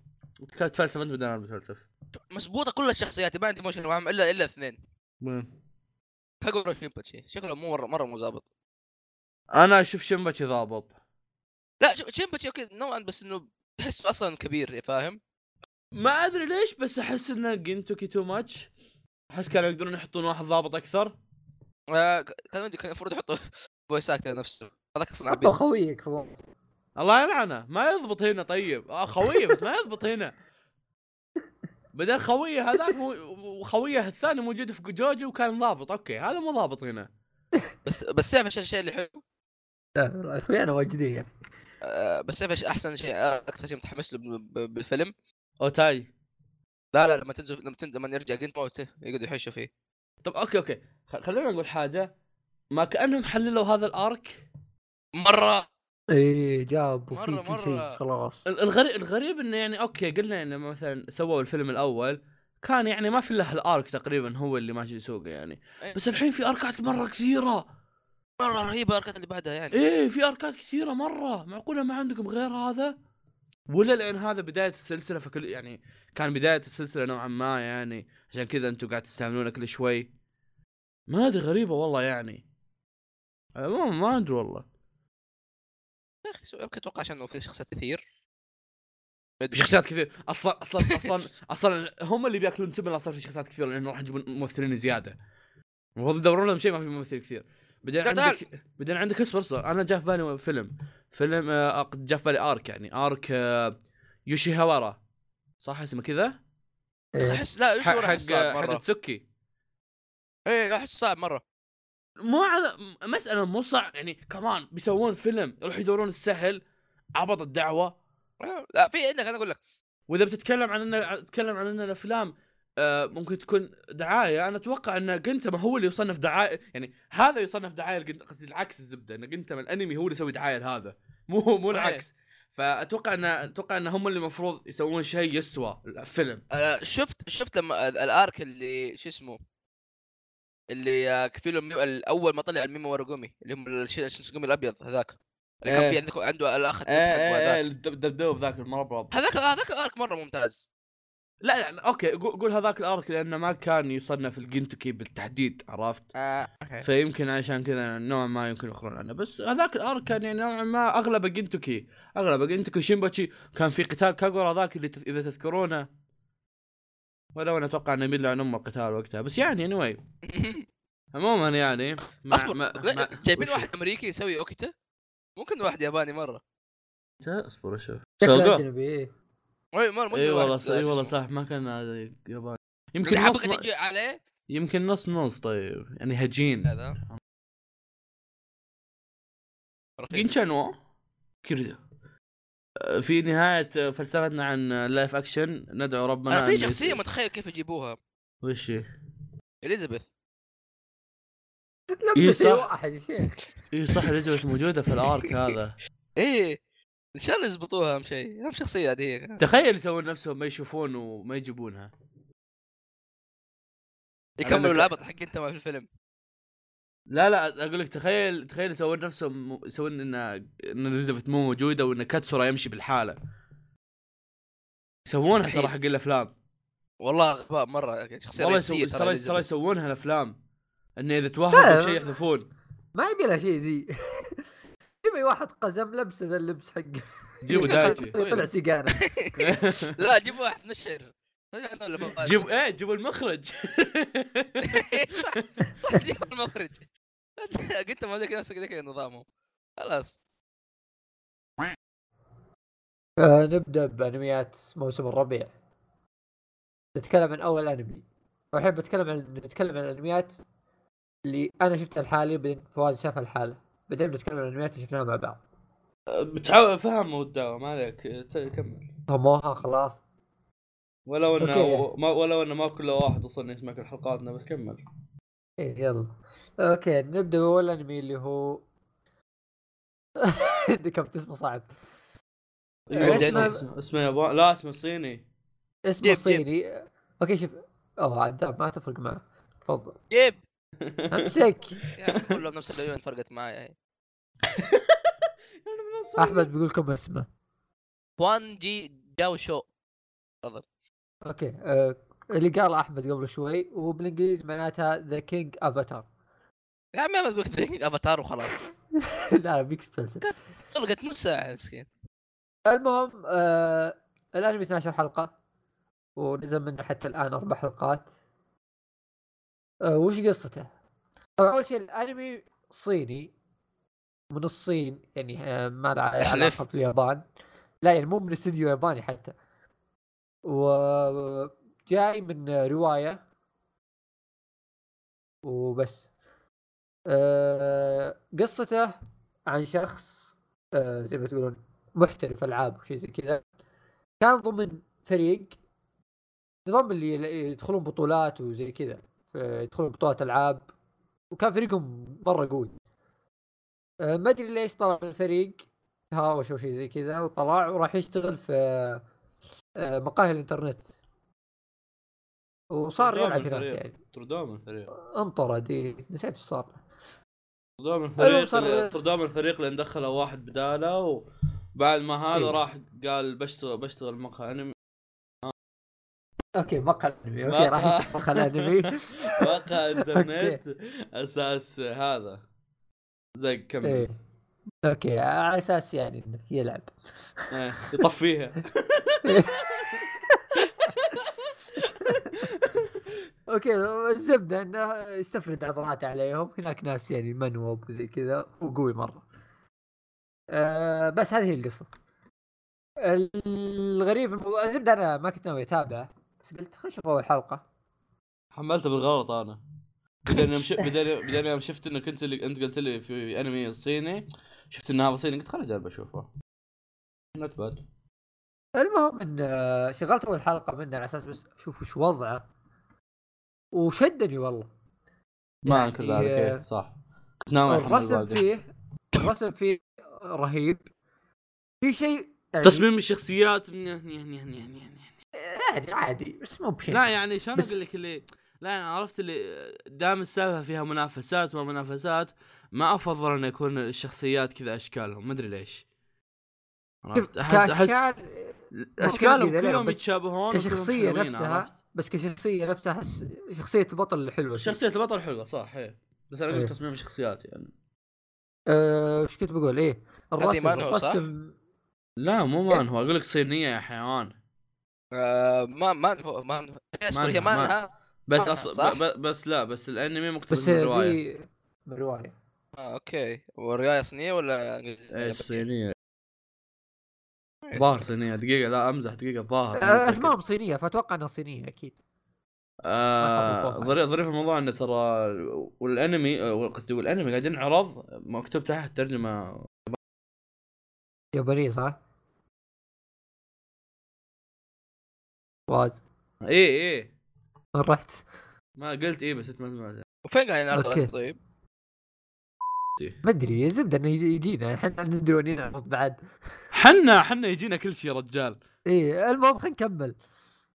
S1: تفلسف انت بدل انا بتفلسف
S2: مسبوطه كل الشخصيات ما عندي مشكله معاهم الا الا اثنين
S1: مم.
S2: كاجورا وشيمباتشي شكله مو مره مره مو ظابط
S1: انا اشوف شمبتشي ضابط
S2: لا شوف شيمباتشي اوكي نوعا بس انه تحسه اصلا كبير فاهم
S1: ما ادري ليش بس احس ان جنتوكي تو ماتش احس كانوا يقدرون يحطون واحد ضابط اكثر
S2: آه ك- كان كان المفروض يحطوا <laughs> فويس اكتر نفسه هذاك اصلا
S3: حطوا
S2: عبيط
S3: خويك فوق
S1: الله يلعنه ما يضبط هنا طيب آه خويه بس ما يضبط هنا بدل خويه هذاك مو- وخويه الثاني موجود في جوجو وكان ضابط اوكي هذا مو ضابط هنا
S2: بس بس تعرف ايش الشيء اللي حلو
S3: لا اخويانا واجدين يعني
S2: آه، بس تعرف ايش احسن شيء آه، اكثر شيء متحمس له ب- ب- بالفيلم
S1: اوتاي
S2: لا لا لما تنزل لما تنزل لما يرجع جنت موت إيه، يقعد يحشوا فيه
S1: طب اوكي اوكي خ- خلينا نقول حاجه ما كانهم حللوا هذا الارك
S2: مره
S3: ايه جابوا
S2: مرة-
S3: في كل شيء
S2: مرة.
S3: خلاص
S1: ال- الغريب الغريب انه يعني اوكي قلنا انه مثلا سووا الفيلم الاول كان يعني ما في الا الارك تقريبا هو اللي ماشي سوقه يعني
S2: إيه،
S1: بس الحين في اركات مره كثيره
S2: مره رهيبه الاركات اللي بعدها يعني
S1: ايه في اركات كثيره مره معقوله ما عندكم غير هذا ولا لان هذا بدايه السلسله فكل يعني كان بدايه السلسله نوعا ما يعني عشان كذا انتم قاعد تستعملونه كل شوي ما ادري غريبه والله يعني عموما ما ادري والله
S2: يا اخي سو- يمكن اتوقع عشان إنه في شخصيات كثير
S1: في شخصيات كثير اصلا اصلا
S2: <laughs>
S1: اصلا اصلا هم اللي بياكلون تبن اصلا في شخصيات كثيره لانه راح يجيبون ممثلين زياده المفروض يدورون لهم شيء ما في ممثل كثير بعدين
S2: لا، تعال.
S1: عندك بعدين عندك اصبر اصبر انا جاء في بالي فيلم فيلم آه، أق- جاء في بالي ارك يعني ارك آه، يوشي هوارا صح اسمه كذا؟
S3: إيه.
S2: احس لا ايش
S1: ح-
S2: راح إيه،
S1: حق
S2: صعب
S1: حق
S2: مره
S1: تسوكي
S2: اي احس صعب مره
S1: مو على مساله مو صعب يعني كمان بيسوون فيلم يروحوا يدورون السهل عبط الدعوه
S2: آه، لا في عندك انا اقول لك
S1: واذا بتتكلم عن ان تتكلم عن ان الافلام آه، ممكن تكون دعايه انا اتوقع ان جنتما هو اللي يصنف دعايه يعني هذا يصنف دعايه لجنت- قصدي العكس الزبده ان جنتما الانمي هو اللي يسوي دعايه لهذا مو مو
S2: صحيح.
S1: العكس فاتوقع ان اتوقع ان هم اللي المفروض يسوون شيء يسوى الفيلم
S2: آه، شفت شفت لما ال- الارك اللي شو اسمه اللي آه، في له الميو- الاول ما طلع الميمو وارقومي اللي هم الشنسقومي الابيض هذاك اللي كان
S1: إيه. إيه.
S2: في عندك عنده الاخ الطب حقه
S1: ايه
S2: هذاك
S1: الدبدوب ذاك المربرب
S2: هذاك هذاك الارك مره ممتاز
S1: لا يعني اوكي قو- قول هذاك الارك لانه ما كان يصنف الجنتوكي بالتحديد عرفت
S2: آه، اوكي <laughs>
S1: فيمكن عشان كذا نوعا ما يمكن يخرون عنه بس هذاك الارك كان يعني نوعا ما اغلب جنتوكي اغلب جنتوكي شيمباتشي كان في قتال كاغورا ذاك اللي تذ- اذا تذكرونه ولو انا اتوقع انه بيلا عن ام القتال وقتها بس يعني anyway عموما يعني ما
S2: اصبر
S1: ما
S2: لا،
S1: ما-
S2: جايبين
S1: وشو-
S2: واحد امريكي يسوي اوكيتا ممكن واحد ياباني مره
S1: اصبر اشوف
S3: شكله
S1: سوقو.
S3: اجنبي إيه.
S2: اي مره ممكن
S1: اي والله
S2: واحد-
S1: صح اي
S2: شو
S1: والله
S2: اسمه.
S1: صح ما كان هذا ياباني
S2: اللي
S1: يمكن نص
S2: حبك تجي عليه
S1: يمكن نص نص طيب يعني هجين
S2: هذا رخيص.
S1: جينشانو كيريدا آه، في نهاية آه، فلسفتنا عن لايف اكشن ندعو ربنا
S3: آه،
S2: انا
S1: أن
S2: في
S1: يس-
S2: شخصيه متخيل كيف يجيبوها
S1: وش هي؟
S2: اليزابيث
S1: إيه
S3: لبس
S1: صح.
S3: إيه واحد يا شيخ
S1: اي إيه، صح اليزابيث موجودة في الارك
S3: <laughs>
S1: هذا
S2: ايه ان شاء الله يزبطوها اهم شيء اهم شخصيه هذه هي
S1: تخيل يسوون نفسهم ما يشوفون وما يجيبونها
S2: يكملوا
S1: لك-
S2: العبط حق انت ما في الفيلم
S1: لا لا اقول لك تخيل تخيل يسوون نفسهم يسوون ان ان اليزابيث مو موجودة وان كاتسورا يمشي بالحالة يسوونها ترى
S2: مستحيل.
S1: حق الافلام
S2: والله غباء مره شخصيه
S1: والله
S2: رئيسيه
S1: يسو...
S2: ترى
S1: ترى ترى
S2: اليزابيث.
S1: يسوونها الافلام انه اذا توهقوا
S3: لا.
S1: شيء يحذفون
S3: <laughs> ما يبي لها شيء ذي <laughs> يبي واحد قزم لبسه ذا اللبس حقه
S1: جيبوا
S3: <laughs>
S1: دايتي
S3: طلع سيجاره
S2: <laughs>
S3: <laughs>
S2: لا جيب واحد نشر ولا <laughs>
S1: جيب ايه جيبوا المخرج
S2: إيه، صح <laughs> صح، جيب المخرج <laughs> قلت ما ذاك نفسك ذاك نظامهم خلاص
S3: آه، نبدا بانميات موسم الربيع نتكلم عن اول انمي والحين بتكلم عن بتكلم عن الانميات اللي انا شفتها لحالي بعدين فواز شافها لحاله بعدين بنتكلم عن الانميات اللي شفناها مع بعض
S1: <laughs> بتحاول فهم والدواء ما عليك ت- كمل
S3: فهموها خلاص
S1: ولو انه
S3: أوكي.
S1: ما ولو انه ما كل واحد اصلا يسمع كل حلقاتنا بس كمل
S3: ايه يلا اوكي نبدا باول انمي اللي هو <laughs> ذكرت اسمه صعب إيه،
S1: أيوة،
S2: جيب.
S1: اسمه- اسمه ياباني لا اسمه صيني
S3: اسمه
S2: جيب.
S3: صيني اوكي شوف اوه عذاب ما تفرق معه
S2: <laughs>
S3: تفضل
S2: جيب
S3: امسك
S2: يا عم، كلهم نفس العيون فرقت معايا
S3: احمد بيقول لكم اسمه
S2: فوان جي جاو شو
S3: اوكي آه، اللي قال احمد قبل شوي وبالانجليزي معناتها ذا كينج افاتار
S2: يا عمي ما تقول كذا، <laughs> افاتار وخلاص
S3: <laughs> لا بيكس تسلسل
S2: طلقت نص ساعه مسكين
S3: المهم آه الانمي 12 حلقه ونزل منه حتى الان اربع حلقات آه وش قصته؟ طبعا اول شيء الانمي صيني من الصين يعني آه ما له
S2: تحلف.
S3: علاقه في اليابان لا يعني مو من استديو ياباني حتى وجاي من روايه وبس آه قصته عن شخص آه زي ما تقولون محترف العاب وشي زي كذا كان ضمن فريق نظام اللي اللي يدخلون بطولات وزي كذا ف- يدخلون بطولات العاب وكان فريقهم مره قوي آه، ما ادري ليش طلع من الفريق تهاوش او شيء زي كذا وطلع وراح يشتغل في آه، مقاهي الانترنت وصار
S1: تردام
S3: يلعب هناك
S1: الفريق.
S3: يعني
S1: تردام الفريق
S3: انطرد إيه، نسيت ايش صار له.
S1: تردام
S3: المهم
S1: الفريق
S3: أيوة، صار- إيه.
S1: اللي- تردام الفريق لان دخله واحد بداله وبعد ما هذا
S3: إيه.
S1: راح قال بشتغل بشتغل مقهى انمي
S3: اوكي مقهى انمي اوكي راح
S1: مقهى.
S3: يفتح مقهى انمي <laughs>
S1: مقهى انترنت اساس هذا زق كمل
S3: ايه اوكي على اساس يعني انه يلعب
S1: إيه، يطفيها
S3: اوكي الزبده انه يستفرد عضلاته عليهم هناك ناس يعني منوب وزي كذا وقوي مره آه بس هذه هي القصه الغريب في الموضوع الزبده انا ما كنت ناوي اتابعه بس قلت خلينا نشوف اول حلقه
S1: حملته بالغلط انا بعدين يوم
S3: <laughs>
S1: شفت بعدين بعدين يوم شفت انك انت اللي انت قلت لي في انمي صيني شفت انه هذا صيني قلت خليني اجرب اشوفه نوت باد
S3: المهم ان آه، شغلت اول حلقه منه على اساس بس اشوف وش وضعه وشدني والله
S1: ما
S3: يعني،
S1: كذلك
S3: آه،
S1: إيه، صح كنت ناوي أحمل
S3: الرسم
S1: الباقي.
S3: فيه الرسم فيه رهيب في شيء يعني-
S1: تصميم الشخصيات نيه- نيه- نيه- نيه- نيه- نيه.
S3: يعني عادي بس مو بشيء
S1: لا يعني شلون
S3: بس-
S1: اقول لك اللي لا انا عرفت اللي دام السالفه فيها منافسات وما منافسات ما افضل ان يكون الشخصيات كذا اشكالهم ما ادري ليش عرفت؟ احس احس
S3: كاشكال
S1: اشكالهم
S3: كذا، لا،
S1: كلهم
S3: بس
S1: يتشابهون وكلهم
S3: كشخصيه
S1: حلوين،
S3: نفسها
S1: عرفت؟
S3: بس كشخصيه نفسها احس شخصيه البطل حلوه
S1: شخصيه البطل حلوه صح هي بس انا
S3: إيه.
S1: اقول تصميم الشخصيات يعني
S3: أه، وش كنت بقول ايه الرسم
S2: مانهوا، صح؟
S3: الرسم
S1: لا مو
S3: إيه.
S1: مان هو اقول لك صينيه يا حيوان
S2: آه، ما ما هو ما هو- إيش
S1: ما
S2: هي
S1: أنها- ما-
S2: ما
S1: بس
S2: آه،
S1: أص...
S2: صح.
S1: ب... ب- بس لا بس الانمي مقتبس
S3: بس
S1: من الروايه
S3: في من روايه
S2: آه، اوكي والروايه صينيه ولا يعني انجليزيه؟
S3: إيه.
S1: ايه
S2: ولا
S1: الصينيه
S2: إيه.
S1: ظاهر صينيه دقيقه لا امزح دقيقه ظاهر
S3: أه، اسمائهم صينيه فاتوقع انها صينيه اكيد ما
S1: آه
S3: حطوا فوق.
S1: ظريف ظريف الموضوع انه ترى والانمي آه، قصدي والانمي قاعد ينعرض مكتوب تحت ترجمه
S3: يابانيه صح؟ فواز
S1: اي اي
S3: وين رحت؟
S1: إيه، ما قلت اي بس أنت ما سمعت
S2: وفين قاعد
S3: أوكي.
S2: ينعرض طيب؟
S3: ما ادري الزبده انه يجي- يجينا احنا ندري وين نعرض بعد
S1: حنا حنا يجينا كل شيء رجال
S3: ايه المهم خلينا نكمل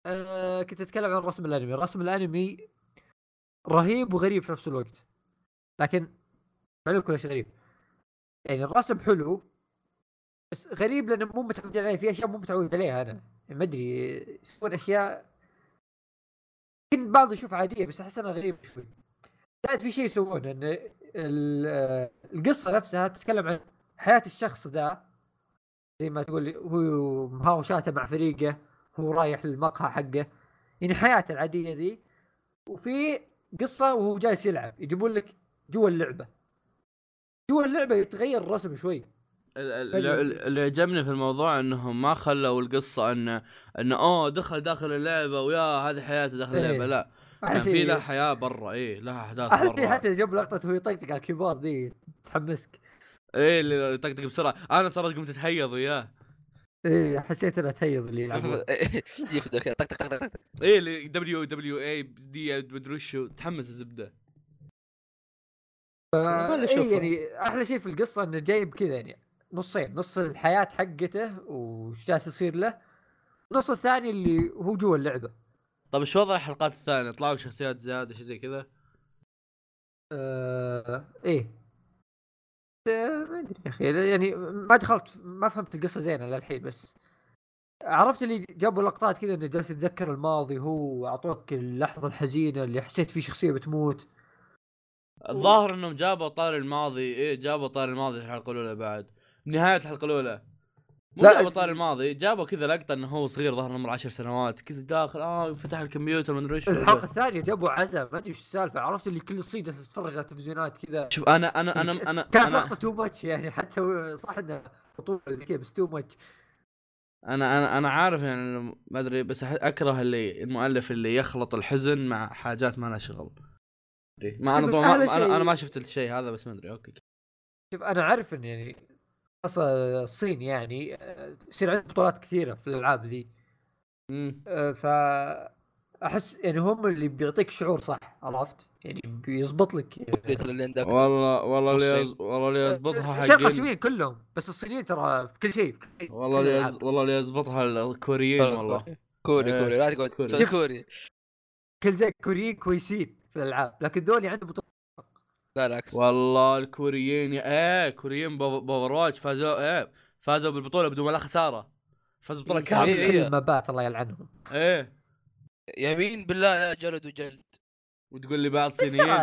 S3: آه كنت اتكلم عن رسم الانمي رسم الانمي رهيب وغريب في نفس الوقت لكن معلوم كل شيء غريب يعني الرسم حلو بس غريب لانه مو متعود عليه في اشياء مو متعود عليها انا ما ادري يسوون اشياء يمكن بعض يشوف عاديه بس احس انها غريبه شوي بعد في شيء يسوونه ان ال- آه، القصه نفسها تتكلم عن حياه الشخص ذا زي ما تقول هو مهاوشاته مع فريقه هو رايح للمقهى حقه يعني حياته العاديه ذي وفي قصه وهو جالس يلعب يجيبون لك جوا اللعبه جوا اللعبه يتغير الرسم شوي
S1: ال- ال- ال- اللي عجبني في الموضوع انهم ما خلوا القصه انه انه اوه دخل داخل اللعبه ويا هذه حياته داخل
S3: إيه.
S1: اللعبه لا كان
S3: أحلى
S1: يعني في
S3: شيء-
S1: لها حياه برا اي لها احداث
S3: احلى شيء
S1: برا
S3: حتى جاب لقطه وهو يطقطق على الكيبورد ذي تحمسك
S1: اي إيه، اللي يطقطق بسرعه انا ترى قمت اتهيض وياه
S3: ايه حسيت انها تهيض اللي
S2: <laughs>
S3: يلعبون
S2: يفدر إيه، كذا طق طق طق طق طق.
S1: اي إيه، اللي دبليو دبليو اي دي مدري وشو تحمس الزبده
S2: ما
S3: اي
S2: نشوفه.
S3: آه، يعني احلى شيء في القصه انه جايب كذا يعني نصين نص الحياه حقته وش جالس يصير له النص الثاني اللي هو جوا اللعبه
S1: طب ايش طيب، وضع الحلقات الثانيه طلعوا شخصيات زياده شيء زي كذا
S3: آه ايه آه، ما ادري يا اخي يعني ما دخلت ما فهمت القصه زينه للحين بس عرفت اللي جابوا لقطات كذا انه جالس يتذكر الماضي هو اعطوك اللحظه الحزينه اللي حسيت في شخصيه بتموت
S1: الظاهر انهم جابوا طار الماضي ايه جابوا طار الماضي في الحلقه الاولى بعد نهايه الحلقه الاولى مو
S3: لا،
S1: جابوا طار الماضي جابوا كذا لقطه انه هو صغير ظهر عمره 10 سنوات كذا داخل اه فتح الكمبيوتر ما ادري ايش
S3: الحلقه الثانيه جابوا عزا ما ادري ايش السالفه عرفت اللي كل الصين جالسه تتفرج على التلفزيونات كذا
S1: شوف انا انا انا انا
S3: كانت
S1: انا
S3: لقطه تو ماتش يعني حتى و- صح انه بطوله زي كذا بس تو ماتش
S1: انا انا انا عارف يعني إنه ما ادري بس أح- اكره اللي المؤلف اللي يخلط الحزن مع حاجات ما لها شغل أدري. ما انا
S3: بس
S1: ما
S3: أحلى
S1: أنا-
S3: شيء-
S1: انا ما شفت الشيء هذا بس ما ادري اوكي
S3: شوف انا عارف ان يعني اصلا الصين يعني آه، يصير عندهم بطولات كثيره في الالعاب ذي
S1: مم.
S3: أه، فا احس يعني هم اللي بيعطيك شعور صح عرفت؟ يعني بيزبط لك
S2: قلت للي عندك.
S1: والله والله اللي
S2: والصين.
S1: يز- والله اللي يزبطها
S3: أه، شرق
S1: حقين
S3: اسيويين كلهم بس الصينيين ترى في كل شيء في كل شيء،
S1: والله
S3: كل
S1: اللي
S3: الألعاب.
S1: يز... والله اللي يزبطها الكوريين والله
S2: كوري
S1: إيه.
S2: كوري لا تقعد
S1: كوري.
S2: تسوي كوري
S3: كل زي الكوريين كويسين في الالعاب لكن ذولي عندهم بطولة
S2: لا العكس
S1: والله الكوريين يا ايه كوريين بو- باورواتش فازوا ايه فازوا بالبطوله بدون ولا خساره فازوا بطوله
S3: كاملة
S1: كامله
S2: إيه.
S3: في كل المبات الله يلعنهم
S1: ايه
S2: يمين بالله لا جلد وجلد
S1: وتقول لي بعض
S3: بس ترى
S1: صينيين ما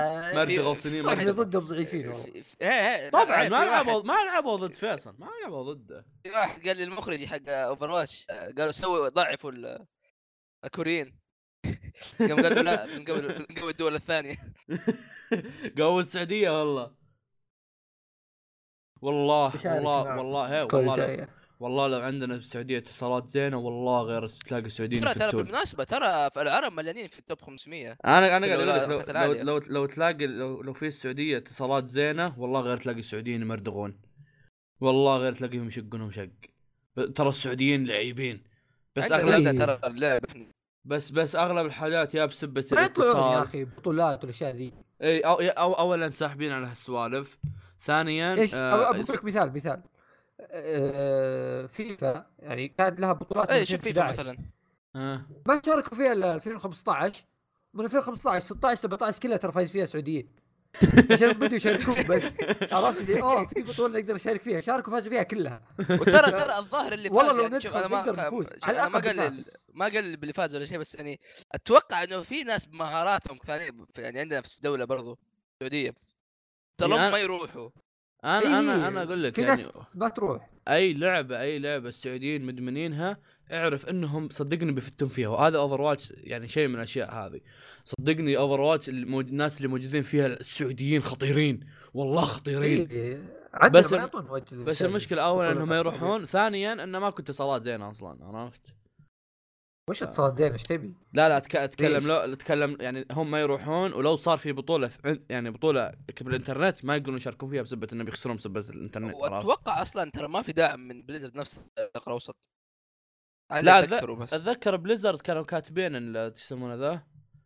S2: في-
S1: ارتغوا صينيين ما
S3: احنا
S1: ارتغوا.
S3: ضدهم ضعيفين والله
S2: في- في- إيه، إيه، لا،
S1: طبعا
S2: إيه،
S1: ما
S2: في واحد-
S1: لعبوا ما لعبوا ضد فيصل ما لعبوا ضده <laughs>
S2: في آه، واحد قال لي المخرج حق اوفر واتش قالوا سووا ضعفوا ال- آه، الكوريين <laughs> يوم قالوا لا من قبل من قبل الدول الثانيه
S1: قوي السعوديه والله والله
S3: بشارك
S1: والله
S3: معك.
S1: والله هي
S3: كل
S1: والله لو-
S3: جايه
S1: والله لو عندنا بالسعوديه اتصالات زينه والله غير تلاقي السعوديين
S2: ترى ترى
S1: يفتون
S2: بالمناسبه ترى في العرب مليانين في التوب 500
S1: انا انا قاعد اقول
S2: لو-
S1: لك
S2: لو-
S1: لو- لو,
S2: العالية.
S1: لو, لو تلاقي لو, لو في السعوديه اتصالات زينه والله غير تلاقي السعوديين يمردغون والله غير تلاقيهم يشقونهم شق ب- ترى السعوديين لعيبين بس
S2: عندنا
S1: اغلب
S3: لعيبة.
S2: عندنا ترى اللعب احنا
S1: بس بس اغلب الحاجات يا بسبه
S3: ما يطلعون يا
S1: الاتصال
S3: اخي بطولات والاشياء ذي
S1: اي أو أو اولا ساحبين على هالسوالف ثانيا
S3: ايش
S1: آه،
S3: أبو- بقول لك مثال مثال آه، فيفا يعني كانت لها بطولات من
S2: اي إيه، شوف فيفا
S3: 2011.
S2: مثلا
S1: آه.
S3: ما شاركوا فيها الا 2015 من 2015 16 17 كلها ترى فايز فيها سعوديين عشان بدوا يشاركون بس عرفت لي اوه في بطوله نقدر نشارك فيها شاركوا فازوا فيها كلها
S2: وترى
S3: <laughs>
S2: ترى الظاهر اللي فاز
S3: والله لو
S2: يعني شوف
S3: ندخل
S2: انا ما
S3: نقدر نفوز.
S2: شوف
S3: على
S2: انا ما
S3: الأقل
S2: قال ال-
S3: بننافس.
S2: ما قال اللي فاز ولا شيء بس يعني اتوقع انه في ناس بمهاراتهم ثانيه في- يعني عندنا في الدوله برضو السعوديه ترى
S1: يعني
S2: هم ما يروحوا
S1: انا انا
S3: إيه،
S1: انا اقول لك
S3: في
S1: يعني
S3: ناس ما تروح
S1: اي لعبه اي لعبه السعوديين مدمنينها اعرف انهم صدقني بيفتون فيها وهذا اوفر واتش يعني شيء من الاشياء هذه صدقني اوفر واتش الناس اللي موجودين فيها السعوديين خطيرين والله خطيرين
S3: إيه، عندنا
S1: بس
S3: ما
S1: الم-
S3: يعطون وجه
S1: بس
S3: للشيء.
S1: المشكله اولا
S3: بطولة
S1: انهم ما
S3: السعودية.
S1: يروحون ثانيا انه ماكو اتصالات زينه اصلا عرفت
S3: وش اتصالات زين ايش تبي؟
S1: لا لا أتك- اتكلم
S3: ليش؟
S1: لو اتكلم يعني هم ما يروحون ولو صار في بطوله في عن- يعني بطوله بالانترنت ما يقدرون يشاركون فيها بسبه انهم يخسرون بسبه الانترنت عرفت؟
S2: واتوقع اصلا ترى ما في داعم من بليزرد نفس الشرق الاوسط أنا
S1: لا،
S2: اللي أتذكره بس
S1: اتذكر بليزرد كانوا كاتبين ال- ايش يسمونه ذا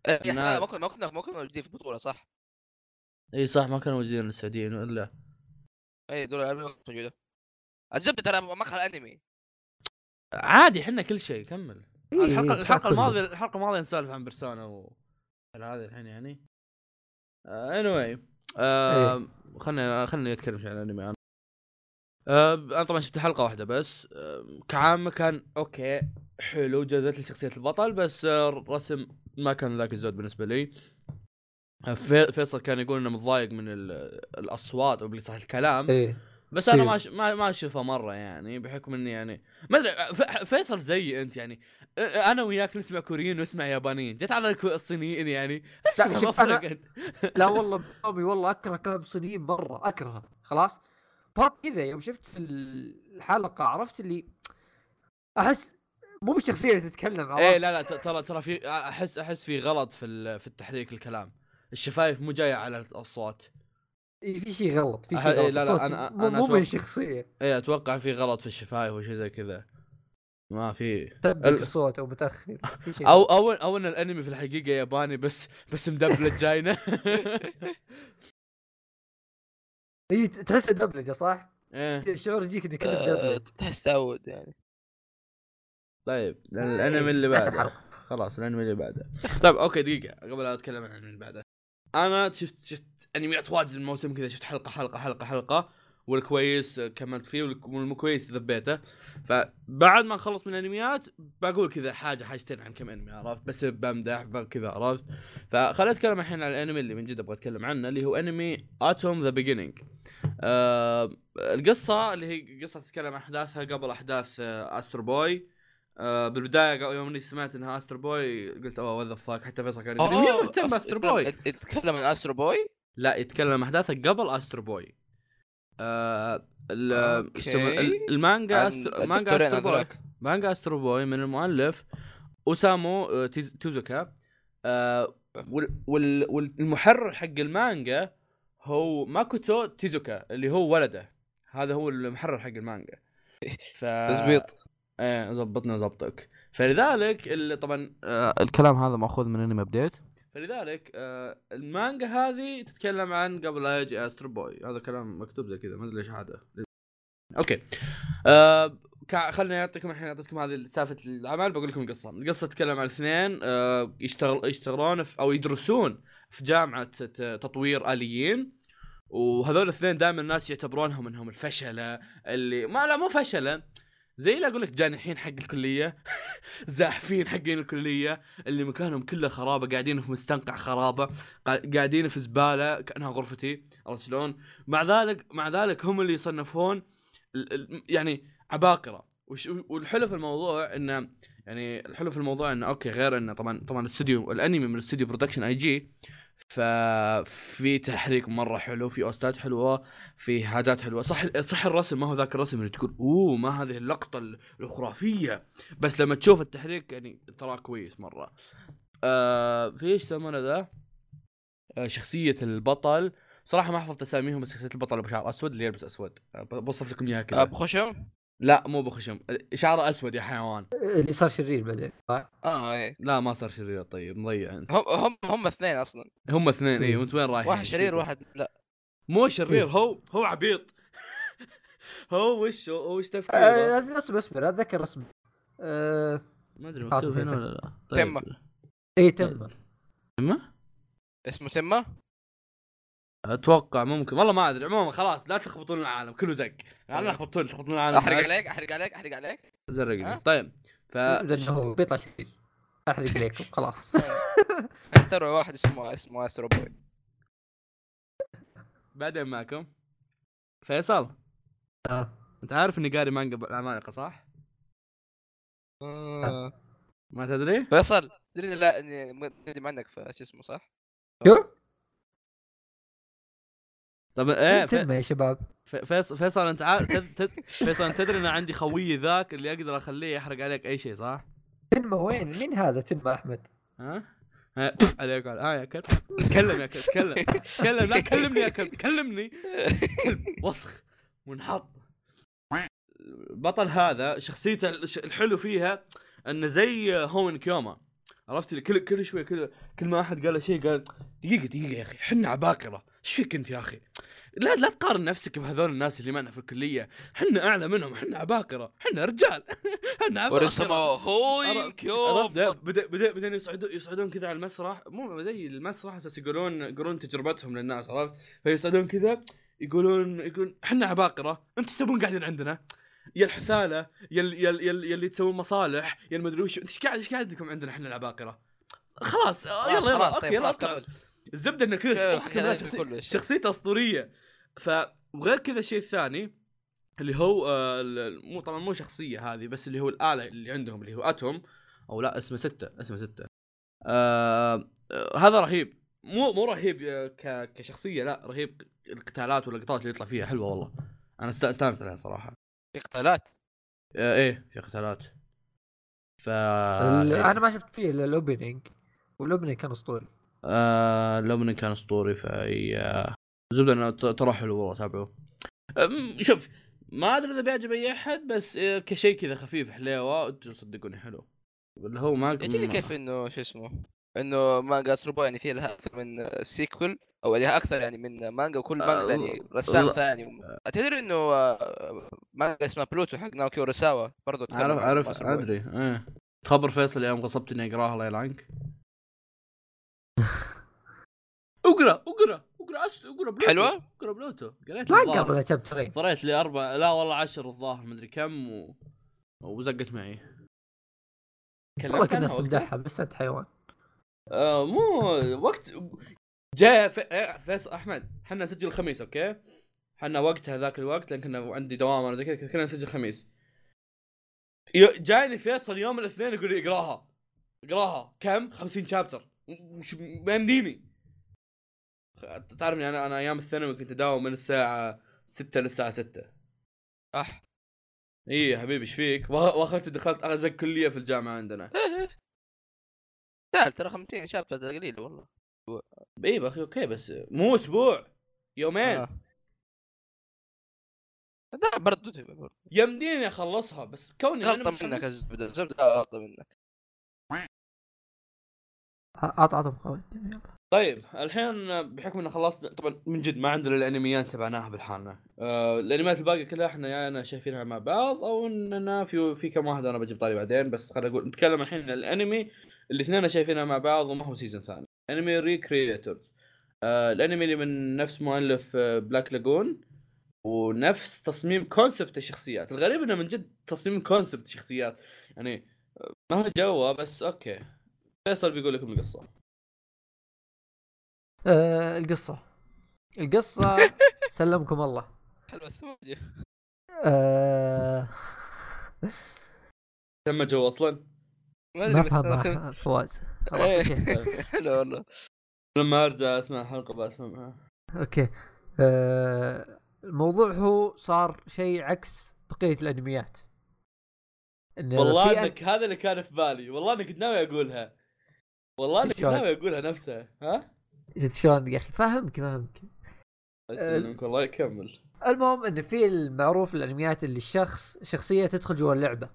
S2: إيه، احنا
S1: إنها-
S2: ما كنا ما كنا ما كنا موجودين في البطوله صح؟
S1: اي صح ما كانوا موجودين السعوديين الا
S2: اي إيه، دول العربيه ما كانت موجوده الزبده ترى مقهى الانمي
S1: عادي احنا كل شيء كمل
S3: إيه،
S1: الحلقه
S3: إيه،
S1: الحلقه
S3: كله.
S1: الماضيه الحلقه الماضيه نسولف عن برسونا و هذا الحين يعني آه، اني واي خلينا خلينا نتكلم شوي عن الانمي انا آه، انا طبعا شفت حلقه واحده بس آه، كعامه كان اوكي حلو جازت لي شخصيه البطل بس آه، الرسم ما كان ذاك الزود بالنسبه لي آه، في- فيصل كان يقول انه متضايق من ال- الاصوات او صح الكلام
S3: ايه
S1: بس انا ما
S3: ستيف.
S1: أش- ما ما اشوفه مره يعني بحكم اني يعني ما ادري ف- فيصل زي انت يعني أ- انا وياك نسمع كوريين ونسمع يابانيين جت على الكو- الصينيين يعني ايش
S3: لا،
S1: في
S3: شوف،
S1: مفرق
S3: أنا-
S1: أنت؟
S3: لا والله بابي والله اكره كلام الصينيين مره اكرهه خلاص باب كذا يوم شفت الحلقه عرفت اللي احس مو بالشخصيه اللي تتكلم عرفت
S1: ايه لا لا ت- ترى ترى في احس احس في غلط في ال- في التحريك الكلام الشفايف مو جايه على الصوت
S3: إيه، في شيء غلط في شيء
S1: أه، إيه،
S3: غلط
S1: لا، لا،
S3: الصوت
S1: أنا-
S3: مو-
S1: أنا
S3: مو
S1: أتوقع-
S3: من الشخصيه
S1: ايه اتوقع في غلط في الشفايف وشي زي كذا ما في
S3: تدق
S1: ال-
S3: الصوت او متاخر في شيء
S1: او او او ان الانمي في الحقيقه ياباني بس بس مدبلج جاينا <laughs>
S3: هي إيه، تحس دبلجه صح؟
S1: ايه
S3: الشعور يجيك انك كذا
S2: آه،
S3: مدبلج
S2: تحس تعود يعني
S1: طيب الانمي اللي
S3: نفس
S1: بعده
S3: الحلقة.
S1: خلاص الانمي اللي بعده <laughs> طيب اوكي دقيقه قبل لا اتكلم عن اللي بعده انا شفت شفت انميات واجد الموسم كذا شفت حلقه حلقه حلقه حلقه والكويس كملت فيه والك- والمكويس ذبيته فبعد ما نخلص من الانميات بقول كذا حاجه حاجتين عن كم انمي عرفت بس بمدح كذا عرفت فخليني اتكلم الحين عن الانمي اللي من جد ابغى اتكلم عنه اللي هو انمي اتوم ذا بيجينينج القصه آه، اللي هي قصه تتكلم عن احداثها قبل احداث استرو بوي آه، بالبدايه قا- يوم اني سمعت انها استرو بوي قلت اوه وذا فاك حتى فيصل كان يقول
S2: Oh,
S1: مين مهتم باسترو بوي؟
S2: تتكلم عن استرو بوي
S1: لا يتكلم عن احداثه قبل استرو بوي. آه ال-
S2: أوكي.
S1: يسمون- ال- المانجا
S2: عن
S1: أستر... مانجا
S2: الدكتورين
S1: استرو بوي
S2: هذولاك.
S1: مانجا استرو بوي من المؤلف اوسامو آه، تيز- توزوكا آه وال... وال... والمحرر حق المانجا هو ماكوتو تيزوكا اللي هو ولده هذا هو المحرر حق المانجا ف...
S2: تزبيط
S1: ايه زبطني وزبطك فلذلك اللي طبعا آه الكلام هذا ماخوذ من انمي ابديت فلذلك آه المانجا هذه تتكلم عن قبل لا يجي استرو بوي هذا كلام مكتوب زي كذا ما ادري ليش هذا اوكي آه كا- خلني اعطيكم الحين اعطيكم هذه سالفه العمل بقول لكم القصه، القصه تتكلم عن اثنين آه يشتغل يشتغلون في او يدرسون في جامعه ت- تطوير اليين وهذول الاثنين دائما الناس يعتبرونهم انهم الفشله اللي ما لا مو فشله زي اللي اقول لك جانحين حق الكليه <laughs> زاحفين حقين الكليه اللي مكانهم كله خرابه قاعدين في مستنقع خرابه قا- قاعدين في زباله كانها غرفتي عرفت شلون؟ مع ذلك مع ذلك هم اللي يصنفون ال- ال- يعني عباقره وش والحلو في الموضوع انه يعني الحلو في الموضوع انه اوكي غير انه طبعا طبعا الاستوديو الانمي من استوديو برودكشن اي جي ففي تحريك مره حلو في اوستات حلوه في حاجات حلوه صح صح الرسم ما هو ذاك الرسم اللي تقول اوه ما هذه اللقطه الخرافيه بس لما تشوف التحريك يعني تراه كويس مره آه في ايش يسمونه ذا آه شخصيه البطل صراحه ما حفظت اساميهم بس شخصيه البطل ابو شعر اسود اللي يلبس اسود آه، ب- بوصف لكم اياها كذا
S2: ابو خشم
S1: لا مو بخشم شعره اسود يا حيوان
S3: اللي صار شرير بعدين صح؟
S2: اه ايه
S1: لا ما صار شرير طيب مضيع انت
S2: هم هم هم اثنين اصلا
S1: هم اثنين اي
S3: إيه.
S1: وانت وين رايح
S2: واحد شرير واحد لا
S1: مو شرير هو هو عبيط هو وش هو وش تفكيره
S3: آه، لازم اصبر اصبر اتذكر اسمه آه،
S1: ما ادري
S3: خلاص
S1: مكتوب هنا
S3: نسيته.
S1: ولا لا طيب.
S2: تمه.
S3: اي إيه، تم
S1: أه، تمه
S2: اسمه تمه
S1: اتوقع ممكن والله ما ادري عموما خلاص لا تلخبطون العالم كله زق لا تلخبطون تلخبطون العالم
S2: احرق عليك احرق عليك احرق عليك
S1: زرقني
S2: ها؟
S1: طيب ف
S3: لانه هو بيطلع شرير احرق عليكم
S1: <laughs>
S3: خلاص
S2: استروا واحد اسمه اسمه استرو بوي
S1: بعدين معكم فيصل
S3: آه.
S1: انت عارف اني قاري مانجا العمالقه صح؟
S2: آه.
S1: ما تدري؟
S2: فيصل تدري لا اني مقدم عنك في شو اسمه صح؟
S3: شو؟
S1: إيه، طب ايه في-
S3: تم يا شباب
S1: في- فيصل فيصل انت عارف فيصل انت تدري ان عندي خويي ذاك اللي اقدر اخليه يحرق عليك اي شيء صح؟
S3: تنمى وين؟ مين هذا تنمى احمد؟
S1: ها؟ ها، عليك وعلى اه يا كلب تكلم يا كلب تكلم تكلم لا كلمني يا كلب كلمني كلب وسخ منحط البطل هذا شخصيته الش- الحلو فيها انه زي هون كيوما عرفت اللي كل كل شوي كل كل ما احد قال له شيء قال دقيقه دقيقه يا اخي حنا عباقره ايش فيك انت يا اخي لا لا تقارن نفسك بهذول الناس اللي معنا في الكليه حنا اعلى منهم حنا عباقره حنا رجال <laughs> حنا
S2: ورسمه
S1: عباقره
S2: اخوي
S1: عرفت-
S2: كيوب
S1: عرفت بدا بدا بعدين يصعدون يصعدون كذا على المسرح مو زي المسرح اساس يقولون يقولون تجربتهم للناس عرفت فيصعدون كذا يقولون يقولون احنا عباقره انتم تبون قاعدين عندنا يا الحثاله يا ال- يا ال- يا ال- يا اللي تسوون مصالح يا المدري وش انت ايش قاعد ايش قاعدكم عندنا احنا العباقره خلاص آه،
S2: خلاص
S1: يلا يلا
S2: خلاص
S1: اوكي
S2: طيب
S1: يلا
S2: خلاص
S1: اطلع.
S2: كمل
S1: الزبده انه
S2: كمل،
S1: كذا
S2: حق
S1: أقسم بالله
S2: الأنمي
S1: شخصي-
S2: كله.
S1: شخصيته اسطوريه ف وغير كذا الشيء الثاني اللي هو آه، ال- ال- مو طبعا مو شخصيه هذه بس اللي هو الاله اللي عندهم اللي هو اتوم او لا اسمه سته اسمه سته آه آه، هذا رهيب مو مو رهيب آه، ك- كشخصيه لا رهيب القتالات واللقطات اللي يطلع فيها حلوه والله انا است- استانس عليها صراحه
S2: في قتالات
S1: آه، ايه في قتالات ف آه، إيه.
S3: ال- انا ما شفت فيه الا الاوبننج والاوبننج كان اسطوري
S1: آه لو من كان اسطوري فاي زبده انه ت- ترى حلو والله تابعوه أم، شوف ما ادري اذا بيعجب اي احد بس آه، كشيء كذا خفيف حليوه انتم صدقوني حلو اللي هو ما
S2: يعجبني كيف انه شو اسمه انه مانجا سروبو يعني فيها لها اكثر من سيكول او لها اكثر يعني من مانجا وكل مانجا
S3: آه،
S2: يعني رسام
S1: لا.
S2: ثاني تدري انه آه، مانجا اسمها بلوتو حق ناوكي ورساوا برضه تكلم
S1: عارف
S2: عن
S1: عارف
S2: ماسروبو.
S1: ادري ايه تخبر فيصل يوم غصبت اني اقراها الله <laughs> يلعنك اقرا اقرا اقرا أس- اقرا بلوتو
S2: حلوة؟
S1: اقرا بلوتو قريت
S3: ما
S1: الظاهر.
S3: قبل شابترين
S1: قريت لي اربع لا والله عشر الظاهر مدري كم و... وزقت معي
S3: والله
S1: كلمت
S3: كل الناس
S1: عنها وقتها؟
S3: تمدحها بس انت حيوان
S1: آه مو وقت جاء ف... آه، فيصل احمد حنا نسجل الخميس اوكي حنا وقتها ذاك الوقت لان كنا عندي دوام ولا زي كذا كنا نسجل الخميس ي- جاني فيصل يوم الاثنين يقول لي اقراها اقراها كم 50 شابتر وش ما يمديني خ- تعرفني انا انا ايام الثانوي كنت اداوم من الساعه 6 للساعه 6
S2: اح
S1: اي إيه يا حبيبي ايش فيك؟ <laughs> وا- واخرت دخلت ازق كليه في الجامعه
S2: <laughs>
S1: عندنا.
S2: تعال ترى 50 شابتر ده قليل والله
S1: اي اخي اوكي إيه، بس مو اسبوع يومين
S2: آه. لا برضه تبقى برضه.
S1: يعني يمديني اخلصها بس كوني أنا
S2: غلطه
S1: متحمس-
S2: منك يا زبده زبده غلطه منك
S3: اعط اعطهم قوي
S1: طيب الحين بحكم ان خلصنا طبعا من جد ما عندنا الانميات تبعناها بالحالنا آه الانميات الباقي كلها احنا يا انا شايفينها مع بعض او اننا في في كم واحد انا بجيب طاري بعدين بس خليني اقول نتكلم الحين عن الانمي الاثنين شايفينها مع بعض وما هو سيزون ثاني انمي ريكريتورز آه الانمي اللي من نفس مؤلف بلاك لاجون ونفس تصميم كونسبت الشخصيات الغريب انه من جد تصميم كونسبت الشخصيات يعني آه، ما هو جوا بس اوكي فيصل بيقول لكم القصه
S3: آه القصه القصه <laughs> سلمكم الله
S2: حلو بس ما أدري.
S3: آه
S1: تم جو اصلا
S2: ما
S3: ما
S2: ادري بس <laughs> أنا-
S3: فهمها فواز خلاص اوكي
S2: حلو والله
S1: لما ارجع اسمع الحلقه بسمعها
S3: اوكي آه، الموضوع هو صار شيء عكس بقيه الانميات إنه
S1: والله
S3: في أن-
S1: انك هذا اللي كان في بالي والله اني كنت ناوي اقولها والله اني كنت
S3: شلون؟
S1: ناوي اقولها نفسها ها
S3: شفت شلون يا اخي فهمك فهمك
S1: بس انك والله
S3: <laughs>
S1: كمل
S3: المهم ان في المعروف الانميات اللي الشخص شخصيه تدخل جوا اللعبه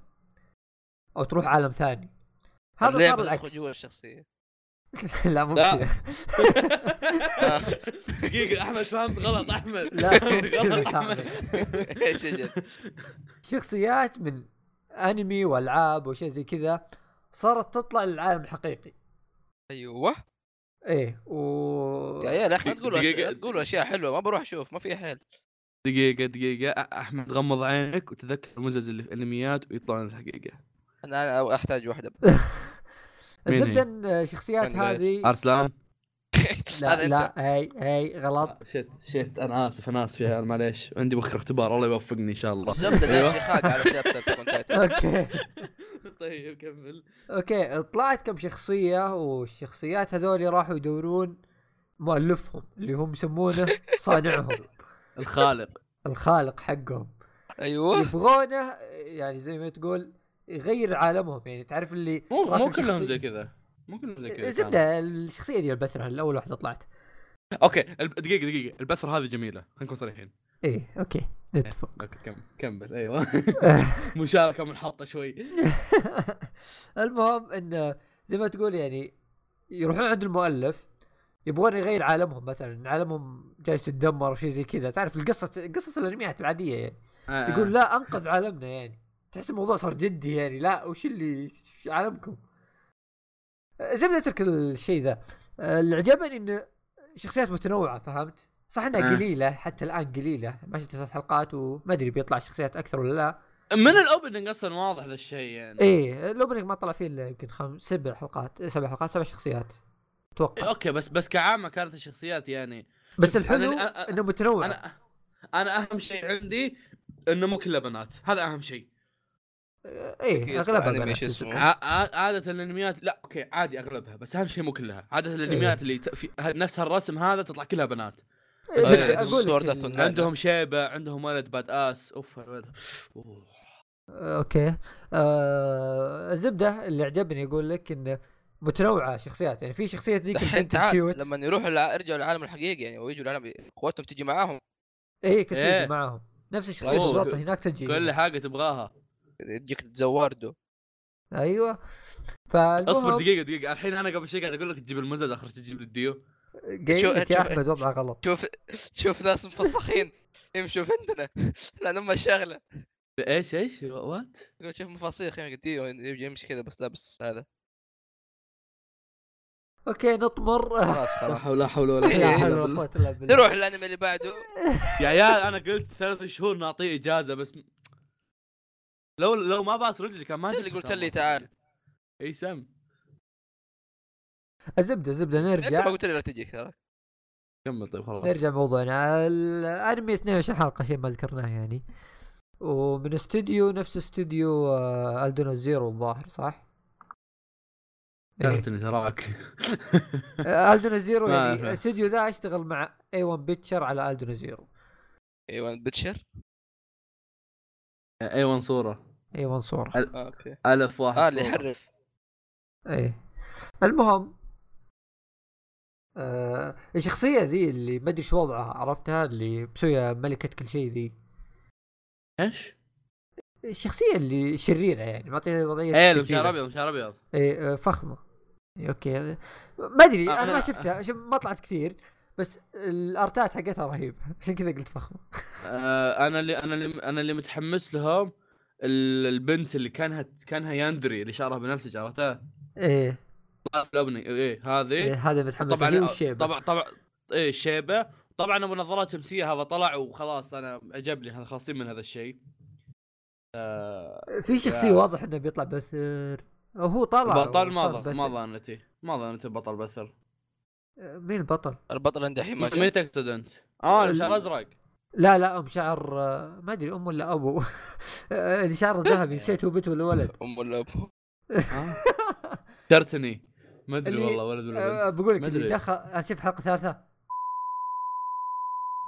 S3: او تروح عالم ثاني هذا صار
S2: اللعبة
S3: العكس
S2: تدخل جوا <laughs> الشخصيه
S3: <laughs> لا مو
S1: لا.
S3: كذا
S1: دقيقه احمد فهمت غلط احمد
S3: لا،
S1: <laughs> غلط احمد
S2: ايش اجل
S3: شخصيات من انمي والعاب وشيء زي كذا صارت تطلع للعالم الحقيقي
S2: ايوه
S3: ايه و
S2: يا عيال يا اخي لا تقولوا أش-
S1: دقيقة.
S2: لا تقولوا اشياء حلوه ما بروح اشوف ما في حيل
S1: <laughs> دقيقة دقيقة أ- أحمد غمض عينك وتذكر مزز اللي في الأنميات ويطلعون الحقيقة
S2: انا انا احتاج واحده
S1: مين هي؟
S3: الزبده ان الشخصيات
S2: من غير؟
S3: هذه
S1: أرسلان
S2: <laughs>
S3: لا
S2: هذا انت
S3: لا هي هي
S2: <laughs>
S3: غلط
S1: شت شت أنا آسف أنا آسف يا عيال معليش عندي بكرة اختبار الله يوفقني إن شاء الله أيوة.
S2: زبده داشي خاق على شابتر تكون تايتل
S3: اوكي
S1: <laughs> طيب كمل
S3: اوكي طلعت كم شخصيه والشخصيات هذول راحوا يدورون مؤلفهم اللي هم يسمونه صانعهم
S1: الخالق
S3: الخالق حقهم إيه،
S2: ايوه
S3: يبغونه يعني زي ما تقول يغير عالمهم يعني تعرف اللي
S1: مو مو
S3: راسم
S1: كلهم
S3: شخصي-
S1: زي كذا مو كلهم زي كذا كانوا.
S3: زبده الشخصيه دي البثره الاول واحده طلعت
S1: أوكي الب- دقيقة دقيقة البثرة هذه جميلة خلينا نكون صريحين
S3: ايه
S1: إيه.
S3: اوكي نتفق
S1: أوكي كمل كمل أيوه <laughs> مشاركة منحطة شوي
S3: <laughs> المهم انه زي ما تقول يعني يروحون عند المؤلف يبغون يغير عالمهم مثلا إن عالمهم جالس يتدمر وشي زي كذا تعرف القصه قصص الانميات العاديه يعني
S1: آه.
S3: يقول لا انقذ عالمنا يعني تحس الموضوع صار جدي يعني لا وش اللي ش- عالمكم زبده ترك الشيء ذا آه، اللي عجبني انه شخصيات متنوعه فهمت صح انها
S1: آه.
S3: قليله حتى الان قليله ما شفت ثلاث حلقات وما ادري بيطلع شخصيات اكثر ولا لا
S1: آه. من الأوبننج أصلا واضح ذا الشيء يعني
S3: ايه الاوبننج ما طلع فيه الا يمكن خمس سبع حلقات سبع حلقات سبع شخصيات اتوقع
S1: إيه، أوكي بس بس كعامة كانت الشخصيات يعني
S3: بس
S1: شوف،
S3: الحلو
S1: أنا- أنا-
S3: انه متنوع
S1: انا انا اهم شيء عندي انه مو كله بنات هذا اهم شيء
S3: ايه اغلبها
S2: أنمي
S3: بنات
S2: شو اسمه؟
S1: ع- ع- عاده الانميات لا اوكي عادي اغلبها بس اهم شيء مو كلها عاده الانميات اللي ت- في ه- نفس هالرسم هذا تطلع كلها بنات
S3: بس
S1: آه،
S3: اقول
S2: Sword
S3: لك
S2: Art
S3: إن-
S2: Online. لا، لا.
S1: عندهم شيبه عندهم ولد باد اس اوف الولد أوه.
S3: اوكي آه، الزبده اللي عجبني يقول لك انه متنوعه شخصيات يعني في شخصيه ذيك
S2: الحين
S3: البنت
S2: تعال
S3: الكيوت
S2: لما يروحوا لع- يرجعوا للعالم الحقيقي يعني ويجوا العالم اخواتهم تجي معاهم
S3: اي كل شيء
S1: إيه.
S3: يجي معاهم نفس الشخصيه
S2: أيوة.
S3: بالضبط هناك تجي
S1: كل حاجه تبغاها
S2: تجيك تزوردوا
S3: ايوه فالمهم
S1: اصبر دقيقه دقيقه الحين انا قبل شوي قاعد اقول لك تجيب المزز اخر شي تجيب الديو
S3: قايل لك يا
S2: شوف-
S3: احمد وضعه غلط
S2: شوف شوف ناس مفسخين <laughs> يمشوا في عندنا لان هم الشغله
S1: ايش ايش وات
S2: يقول شوف مفاصيخ يعني ديو يجي يمشي كذا بس لابس هذا <laughs>
S3: اوكي نطمر
S2: خلاص
S1: لا
S2: خلاص
S1: حول <laughs> لا حول ولا
S3: لا
S1: قوه
S3: حول
S1: إلا
S3: ولا
S1: بالله.
S3: قوه الا بالله
S2: نروح للانمي اللي بعده
S1: يا عيال انا قلت ثلاث شهور نعطيه اجازه بس م- لو لو ما باس رجلي كان ما
S2: أنت اللي
S1: جبته
S2: قلت لي
S1: والله.
S2: تعال.
S1: اي سم
S3: الزبده الزبده
S2: انت ما
S3: نرجع
S2: قلت لي لا تجيك ترى
S1: كمل طيب خلاص
S3: نرجع موضوعنا الانمي 22 حلقه شيء ما ذكرناه يعني ومن استوديو نفس استوديو آه، الدونو زيرو الظاهر صح؟ إيه.
S1: كانت <laughs> تراك
S3: آه، الدونو زيرو
S1: ما
S3: يعني
S1: أعرفه.
S3: الاستوديو ذا اشتغل مع اي 1 بيتشر على الدونو زيرو
S2: ايوه بتشر
S1: اي ون صوره
S3: اي 1 صوره
S2: اوكي
S1: الف إيه، واحد
S2: اه
S1: آه،
S2: اللي
S1: صورة.
S2: يحرف
S3: ايه المهم آه الشخصيه ذي اللي ما ادري شو وضعها عرفتها اللي مسويه ملكه كل شيء ذي
S1: ايش؟
S3: الشخصيه اللي شريره يعني معطيها وضعيه
S1: ايه اللي
S3: شريرة.
S1: بشعر ابيض بشعر ابيض
S3: اي آه، فخمه إي، اوكي ما ادري
S1: آه،
S3: انا ما
S1: أنا-
S3: شفتها شوف ما طلعت كثير بس الارتات حقتها رهيب عشان كذا قلت فخمه
S1: آه انا اللي انا اللي انا اللي متحمس لهم ال- البنت اللي كانها كانها ياندري اللي شعرها بنفسج عرفتها؟
S3: ايه
S1: طلعت في الأبني. ايه هذه
S3: إيه، هذا متحمس
S1: طبعا
S3: لي والشيبه
S1: طبعا طبعا ايه الشيبه طبعا ابو نظارات شمسيه هذا طلع وخلاص انا عجبني هذا خاصين من هذا الشيء
S3: في شخصيه
S1: يا.
S3: واضح انه بيطلع بثر أو هو طلع
S1: البطل ما
S3: وصار
S1: ظ-
S3: بثر.
S1: ما ظنتي ما ظنتي بطل بسر
S3: <laughs> آه، مين البطل؟
S2: البطل عنده حين ما
S1: مين
S2: جاء
S1: تقصد انت؟ اه
S3: ال- <laughs>
S1: الشعر ازرق
S3: لا لا ام شعر آه، ما ادري ام ولا ابو آه، <laughs> اللي شعره
S1: <laughs>
S3: ذهبي نسيت هو بنت ولا ولد
S2: ام ولا ابو
S1: ها؟ آه. شرتني ما ادري
S3: اللي-
S1: والله ولد ولا
S3: آه، بقول لك
S1: ما
S3: اللي
S1: أدري.
S3: دخل أنا شفت حلقه ثالثه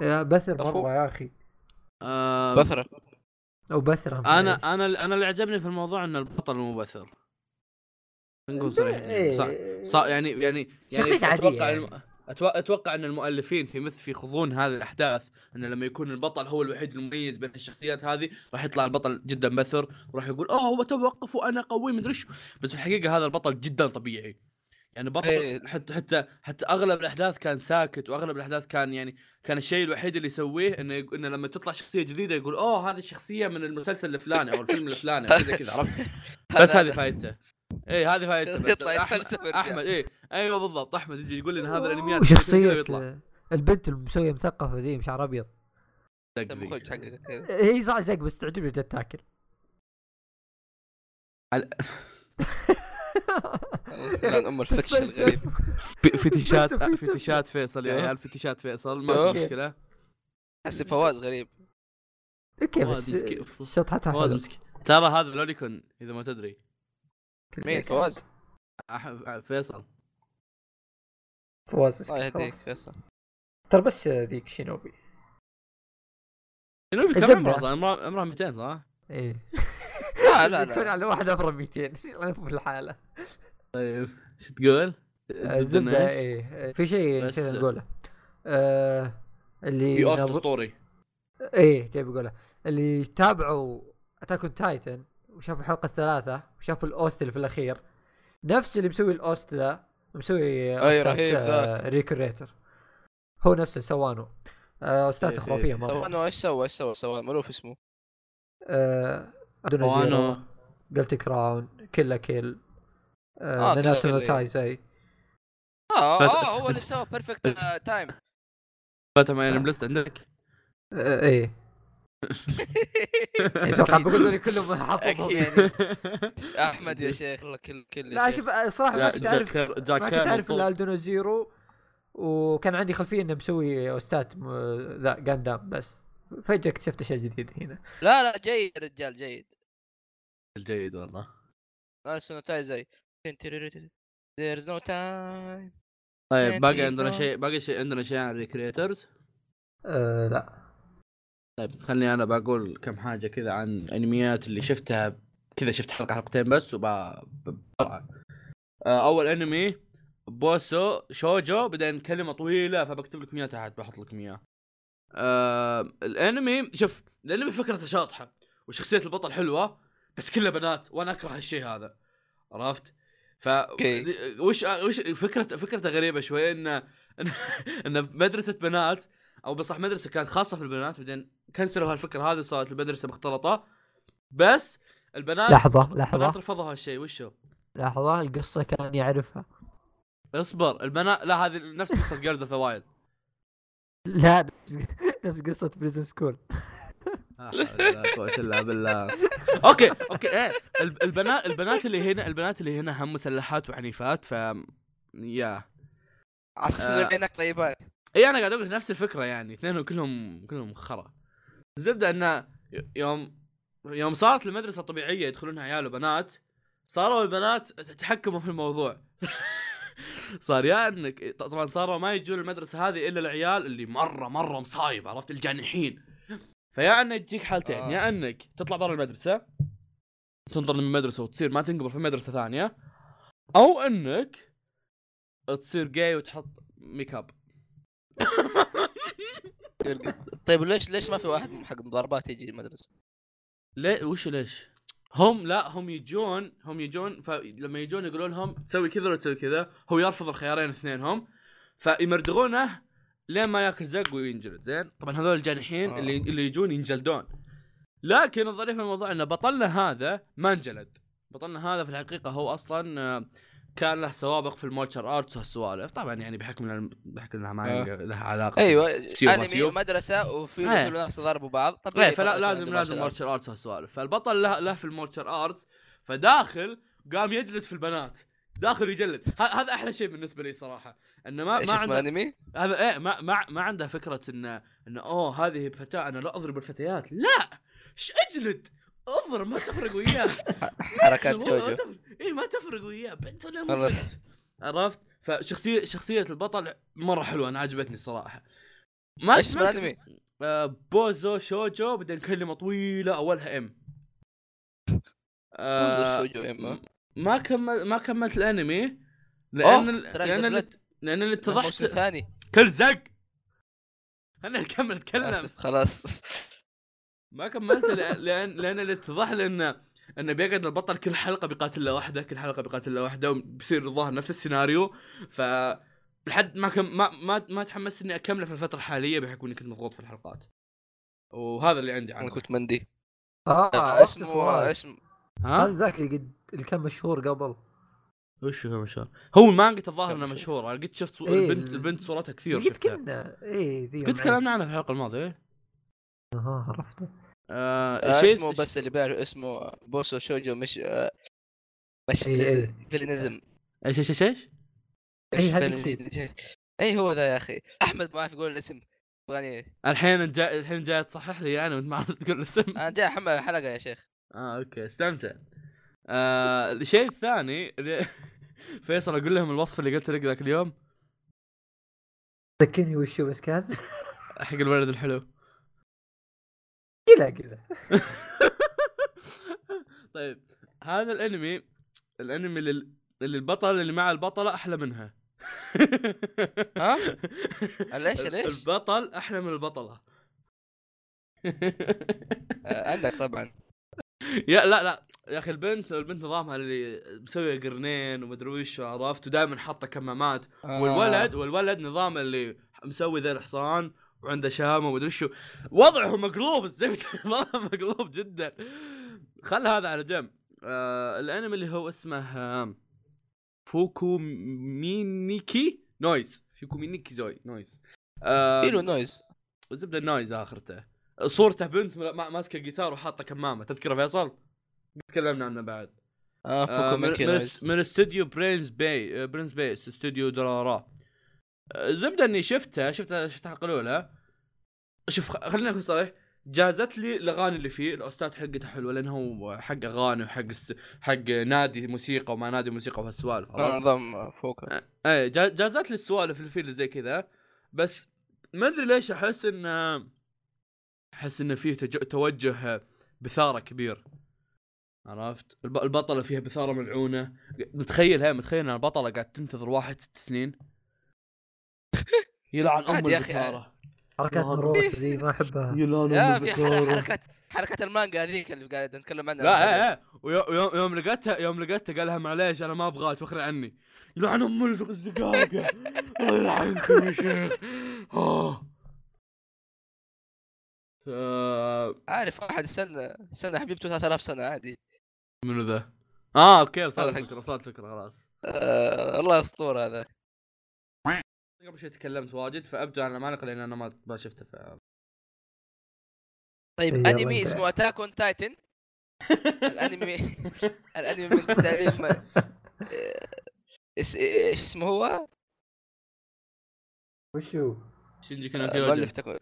S3: يا أه، بثر
S2: أخوك.
S3: مره يا اخي
S1: بنت
S2: بثره
S3: او بثره
S1: انا
S3: معليش.
S1: انا انا اللي عجبني في الموضوع ان البطل مو بثر نقول
S3: إيه.
S1: صريحين صح صح يعني يعني يعني
S3: شخصية عادية
S1: اتوقع
S3: يعني.
S1: الم... أتو- اتوقع ان المؤلفين في مثل في يخوضون هذه الاحداث ان لما يكون البطل هو الوحيد المميز بين الشخصيات هذه راح يطلع البطل جدا بثر وراح يقول اه هو توقف وانا قوي مدري ايش بس في الحقيقه هذا البطل جدا طبيعي يعني
S2: إيه.
S1: بطل حتى حتى حتى اغلب الاحداث كان ساكت واغلب الاحداث كان يعني كان الشيء الوحيد اللي يسويه انه يق- انه لما تطلع شخصيه جديده يقول اوه هذه الشخصيه من المسلسل الفلاني او الفيلم الفلاني أو شيء زي كذا عرفت بس هذه فائدته اي هذه فائدته بس
S2: يطلع يتفلسف
S1: احمد,
S2: ويرجع.
S1: أحمد اي ايوه بالضبط احمد يجي يقول لنا هذا الانميات كذا
S3: وشخصيه
S1: ويطلع
S3: آه، البنت المسويه مثقفه ذي بشعر ابيض
S2: المخرج حقك كذا.
S3: إيه، هي صح زق بس تعجبني جد تاكل <laughs>
S1: على-
S2: الان ام الفتش الغريب
S1: فتشات
S3: بس في-
S1: فتشات فيصل يا
S2: أيوه.
S1: عيال فتشات فيصل ما
S2: أيوه.
S1: في
S3: <laughs>
S1: مشكله
S2: احس فواز غريب
S3: اوكي
S1: فواز
S3: بس
S1: مسكين.
S3: شطحتها
S1: فواز
S3: حلوة.
S1: مسكين ترى هذا لوليكون اذا ما تدري
S2: مين فواز؟
S1: أح- فيصل
S3: فواز اسكت
S2: الله يهديك
S3: خلاص.
S2: فيصل.
S3: ترى بس ذيك شينوبي
S1: شنو بكم
S3: زبدة.
S1: عمره صار؟ عمره عمره 200 صح؟
S3: ايه
S2: لا لا
S3: يكون
S2: لا
S3: على واحد عمره <laughs> 200 الله يكون في الحاله
S1: طيب شو تقول؟
S3: آه، الزبده ايه في شيء
S1: بس-
S3: نسينا نقوله آه، اللي
S1: في
S3: نظ-
S1: ارت اسطوري
S3: ايه جاي بقوله اللي تابعوا اتاك تايتن وشافوا الحلقه الثلاثه وشافوا الاوست اللي في الاخير نفس اللي مسوي الاوست ذا مسوي
S2: أي رهيب ذاك.
S3: ريكريتر هو نفسه سوانو آه، اوستاته
S1: إيه،
S3: خرافيه
S2: طب
S3: مره
S2: انا ايش سوى ايش سوى سوى مالوف اسمه
S3: آه، أدنى زيرو،
S1: وانا
S3: قلت كراون كلا كيل
S2: آه، كلا
S3: ناناتو نو
S2: كيل،
S3: تايزاي
S2: اه اه
S1: <laughs>
S2: هو اللي سوى آه، بيرفكت <laughs> تايم
S1: فاتح معي بلست
S3: <laughs>
S1: عندك
S3: آه، ايه
S2: <laughs>
S3: اتوقع إيه، بقول لي
S2: <laughs>
S3: كلهم حافظهم
S1: <laughs>
S3: <laughs>
S2: يعني احمد يا شيخ والله كل كل <laughs>
S3: لا شوف آه، صراحه ما
S1: لا،
S3: كنت
S1: جاك
S3: اعرف
S1: كير- جاك
S3: ما كنت
S1: كير
S3: اعرف
S1: مفروض.
S3: الا الدونو زيرو وكان عندي خلفيه انه مسوي اوستات م- ذا جاندام بس فجاه اكتشفت اشياء جديده هنا
S2: لا لا جيد رجال جيد
S1: الجيد والله
S2: انا سنو تاي زي There's no time
S1: طيب باقي عندنا
S2: Creator.
S1: شيء باقي شيء عندنا شيء عن الريكريترز
S3: أه لا
S1: طيب خلني انا بقول كم حاجه كذا عن انميات اللي شفتها كذا شفت حلقه حلقتين بس وب ب- بسرعة. آه، اول انمي بوسو شوجو بعدين كلمه طويله فبكتب لكم اياها تحت بحط لكم اياها آه، الانمي شوف الانمي فكرته شاطحه وشخصيه البطل حلوه بس كلها بنات وانا اكره الشيء هذا عرفت ف
S2: أوكي.
S1: وش وش فكرة فكرته غريبه شوي انه <laughs> انه مدرسه بنات او بصح مدرسه كانت خاصه في البنات بعدين كنسلوا هالفكره هذه وصارت المدرسه مختلطه بس البنات
S3: لحظه
S1: البنات
S3: لحظه
S1: رفضوا هالشيء وشو؟
S3: لحظه القصه كان يعرفها <laughs>
S1: اصبر البنات لا هذه نفس قصه جيرلز اوف ذا وايلد
S3: لا نفس- <laughs> نفس قصه بريزن سكول
S1: لا حول ولا قوة الا <laughs> بالله اوكي اوكي ايه الب- البنات البنات اللي هنا البنات اللي هنا هم مسلحات وعنيفات ف يا آه.
S2: عصر بينك
S1: <laughs>
S2: طيبات
S1: اي انا قاعد اقول نفس الفكره يعني اثنينهم كلهم كلهم خرا الزبده انه ي- يوم يوم صارت المدرسه طبيعيه يدخلونها عيال وبنات صاروا البنات تحكموا في الموضوع <laughs> صار يا انك طبعا صاروا ما يجون المدرسه هذه الا العيال اللي مره مره مصايب عرفت الجانحين فيا انك تجيك حالتين
S2: آه.
S1: يا انك تطلع برا المدرسه تنطر من المدرسه وتصير ما تنقبل في مدرسه ثانيه او انك تصير جاي وتحط ميك اب
S2: طيب ليش ليش ما في واحد حق مضاربات يجي المدرسه؟
S1: ليه وش ليش؟ هم لا هم يجون هم يجون فلما يجون يقولون لهم تسوي كذا ولا تسوي كذا هو يرفض الخيارين اثنينهم فيمردغونه لين ما ياكل زق وينجلد زين طبعا هذول الجانحين
S2: آه.
S1: اللي اللي يجون ينجلدون لكن الظريف في الموضوع ان بطلنا هذا ما انجلد بطلنا هذا في الحقيقه هو اصلا آه، كان له سوابق في الموتشر ارتس وهالسوالف طبعا يعني بحكم إن- بحكم انها ما
S2: آه.
S1: لها علاقه
S2: ايوه
S1: سيو ما سيو.
S2: انمي مدرسه وفي
S1: إيه.
S2: في ناس ضربوا بعض إيه، طبيعي
S1: ايه فلا
S2: طبعاً يكون
S1: لازم
S2: عنده
S1: لازم
S2: martial
S1: مارشال
S2: arts.
S1: ارتس هالسوالف فالبطل له له في المارشال ارتس فداخل قام يجلد في البنات داخل يجلد ه- هذا احلى شيء بالنسبه لي صراحه انه ما
S2: ايش
S1: ما
S2: اسمه
S1: عنده
S2: الانمي؟
S1: هذا ايه ما ما ما عنده فكره انه انه اوه هذه فتاه انا لا اضرب الفتيات لا ش اجلد اضرب ما تفرق
S2: <laughs>
S1: وياه
S2: حركات
S1: والله ما
S2: جوجو
S1: تفرق- ايه ما تفرق وياه بنت ولا مو بنت
S2: خلاص.
S1: عرفت فشخصيه شخصيه البطل مره حلوه انا عجبتني صراحه ما
S2: ايش اسمه
S1: ما-
S2: الانمي؟
S1: آه، بوزو شوجو بدنا كلمه طويله اولها
S2: <laughs>
S1: ام آه،
S2: بوزو شوجو إما.
S1: ما كمل ما كملت الانمي
S2: أوه،
S1: لان ال-
S2: Strike
S1: لان
S2: the
S1: اللي-
S2: Blood.
S1: لان اللي اتضحت
S2: الموسم الثاني
S1: كل زق <laughs> خلنا نكمل نتكلم
S2: اسف خلاص
S1: ما كملت لأ- لان لان اللي اتضح لي انه انه بيقعد البطل كل حلقه بيقاتل له واحده كل حلقه بيقاتل له واحده وبيصير الظاهر نفس السيناريو ف لحد ما كم ما ما, ما تحمست اني اكمله في الفتره الحاليه بحكم اني كنت مضغوط في الحلقات وهذا اللي عندي
S2: انا
S1: عنه
S2: كنت مندي
S1: آه،
S2: آه،
S3: اه
S2: اسمه
S3: اسمه
S2: اسم
S1: ها
S3: هذا ذاك اللي قد اللي كان مشهور قبل
S1: وش هو مشهور هو مانجا الظاهر
S2: كم
S1: انه
S2: مشهور؟
S1: مشهور انا قد شفت صو...
S3: إيه،
S1: البنت
S3: ال-
S1: البنت صورتها كثير
S3: قد
S1: شفتها
S3: كنا اي زي
S1: قد تكلمنا عنها في الحلقه الماضيه
S3: ها عرفته
S1: آه
S2: آه،
S1: شيء-
S2: اسمه بس اللي بيعرف اسمه بوسو شوجو مش آه، مش
S3: إيه، إيه.
S2: فيلينزم
S1: ايش ايش ايش ايش؟
S2: مش
S3: إيه، هذيك
S2: فيلينزم. اي هو ذا يا اخي احمد ما عارف يقول الاسم يعني
S1: الحين انت جاي الحين جاي تصحح لي يعني وانت ما عرفت تقول الاسم
S2: انا جاي احمل الحلقه يا شيخ
S1: اه اوكي استمتع آه الشيء الثاني اللي- <laughs> فيصل اقول لهم الوصف اللي قلت لك ذاك اليوم
S3: ذكرني وش هو بس كان <laughs>
S1: حق الولد الحلو <laughs>
S3: كذا كذا
S1: طيب هذا الانمي الانمي اللي, اللي البطل اللي مع البطله احلى منها <laughs>
S2: ها؟ ليش- ليش؟
S1: البطل احلى من
S2: <laughs>
S1: البطله
S2: آه، عندك طبعا
S1: يا لا لا يا اخي البنت البنت نظامها اللي مسويه قرنين ومدري وش عرفت ودائما حاطه كمامات
S2: آه،
S1: والولد والولد نظام اللي مسوي ذا الحصان وعنده شامه ومدري شو وضعه مقلوب الزبده وضعه مقلوب جدا خل هذا على جنب آه الانمي اللي هو اسمه آه، فوكو مينيكي نويز فوكو مينيكي زوي نويز آه
S2: في له نويز
S1: الزبده النويز اخرته صورته بنت ما- ماسكه جيتار وحاطه كمامه تذكره فيصل؟ تكلمنا عنه بعد
S2: اه
S1: آه،
S2: فوكو
S1: من
S2: ميكي
S1: من است-
S2: نويز
S1: من استوديو برينز باي آه، برينز بيس استوديو درارا آه، الزبده اني شفتها شفتها شفت الحلقه الاولى شوف خ- خلينا نكون صريح جازت لي الاغاني اللي فيه الاستاذ حقته حلوه لانه هو حق اغاني وحق است... حق نادي موسيقى وما نادي موسيقى وهالسوالف
S2: آه،
S1: عرفت؟
S2: نظام فوكو
S1: اي إيه، جا- جازت لي السوالف اللي فيه اللي زي كذا بس ما ادري ليش احس انه احس انه فيه تج... توجه بثاره كبير عرفت الب... البطله فيها بثاره ملعونه متخيل هاي متخيل ان البطله قاعد تنتظر واحد ست
S2: <laughs>
S1: سنين يلعن ام
S2: عادي يا أخي.
S1: البثاره
S3: حركات
S1: والله.
S3: مروه ذي ما
S1: <laughs>
S3: احبها
S1: يلعن
S2: يا في حر- حركات حركات المانجا هذيك اللي قاعد نتكلم عنها
S1: لا ايه ايه ويو- ويوم يوم لقيتها يوم لقيتها قالها معليش انا ما ابغاك واخري عني يلعن ام الزقاقه <laughs> الله يلعنكم يا شيخ آه. آه،
S2: عارف واحد استنى استنى حبيبته 3000 سنه عادي
S1: منو ذا؟ اه اوكي وصلت
S2: هذا حق-
S1: الفكره وصلت الفكره خلاص
S2: آه، الله اسطوره هذا
S1: قبل شوي تكلمت واجد فابدو عن العمالقه لان انا ما ما شفته ف...
S2: طيب
S3: يلا
S2: انمي
S3: انت.
S2: اسمه اتاك اون تايتن الانمي الانمي من تاليف ما- آه، اس- ايش اسمه هو؟
S3: وش هو؟
S1: <laughs> شنجي كان
S2: مؤلف
S1: كيوجن
S2: تكو...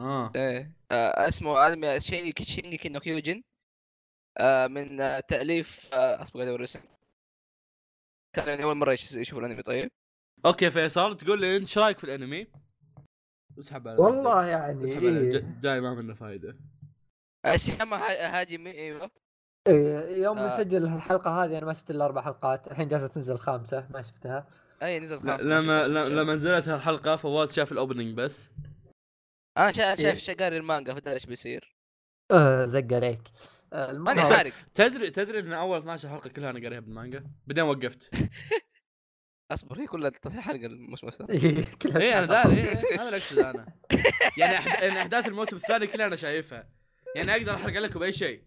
S1: اه
S2: ايه آه، اسمه انمي شينجي شينجي نو كيوجن آه، من آه، تاليف آه، اصبر قاعد اوري اسم كان يعني اول مره يش- يشوف الانمي طيب
S1: اوكي فيصل تقول لي انت ايش رايك في الانمي؟ اسحب على نفسك.
S3: والله يعني
S1: اسحب على
S3: إيه.
S1: ج- جاي ما منه فايده
S2: اسامه هاجي ايوه
S3: إيه، يوم
S2: آه.
S3: نسجل الحلقه هذه انا ما شفت الا اربع حلقات الحين جالسه تنزل خامسه ما شفتها
S2: اي نزلت
S1: لا-
S2: خلاص
S1: لما لما نزلت هالحلقه فواز شاف الاوبننج بس
S2: انا شا- شايف
S3: إيه.
S2: شا- قاري المانجا فدري ايش بيصير
S3: آه، زق عليك آه،
S2: ماني
S3: المهم-
S2: فارق
S1: تدري تدري ان اول 12 حلقه كلها انا قاريها بالمانجا بعدين وقفت
S2: اصبر هي كلها 13 حلقه الموسم الثاني
S3: <laughs> إيه، كلها
S1: اي انا
S3: تنزل.
S1: داري إيه، إيه، هذا اللي اقصده انا يعني أحد... يعني احداث الموسم الثاني كلها انا شايفها يعني اقدر احرق لكم اي شيء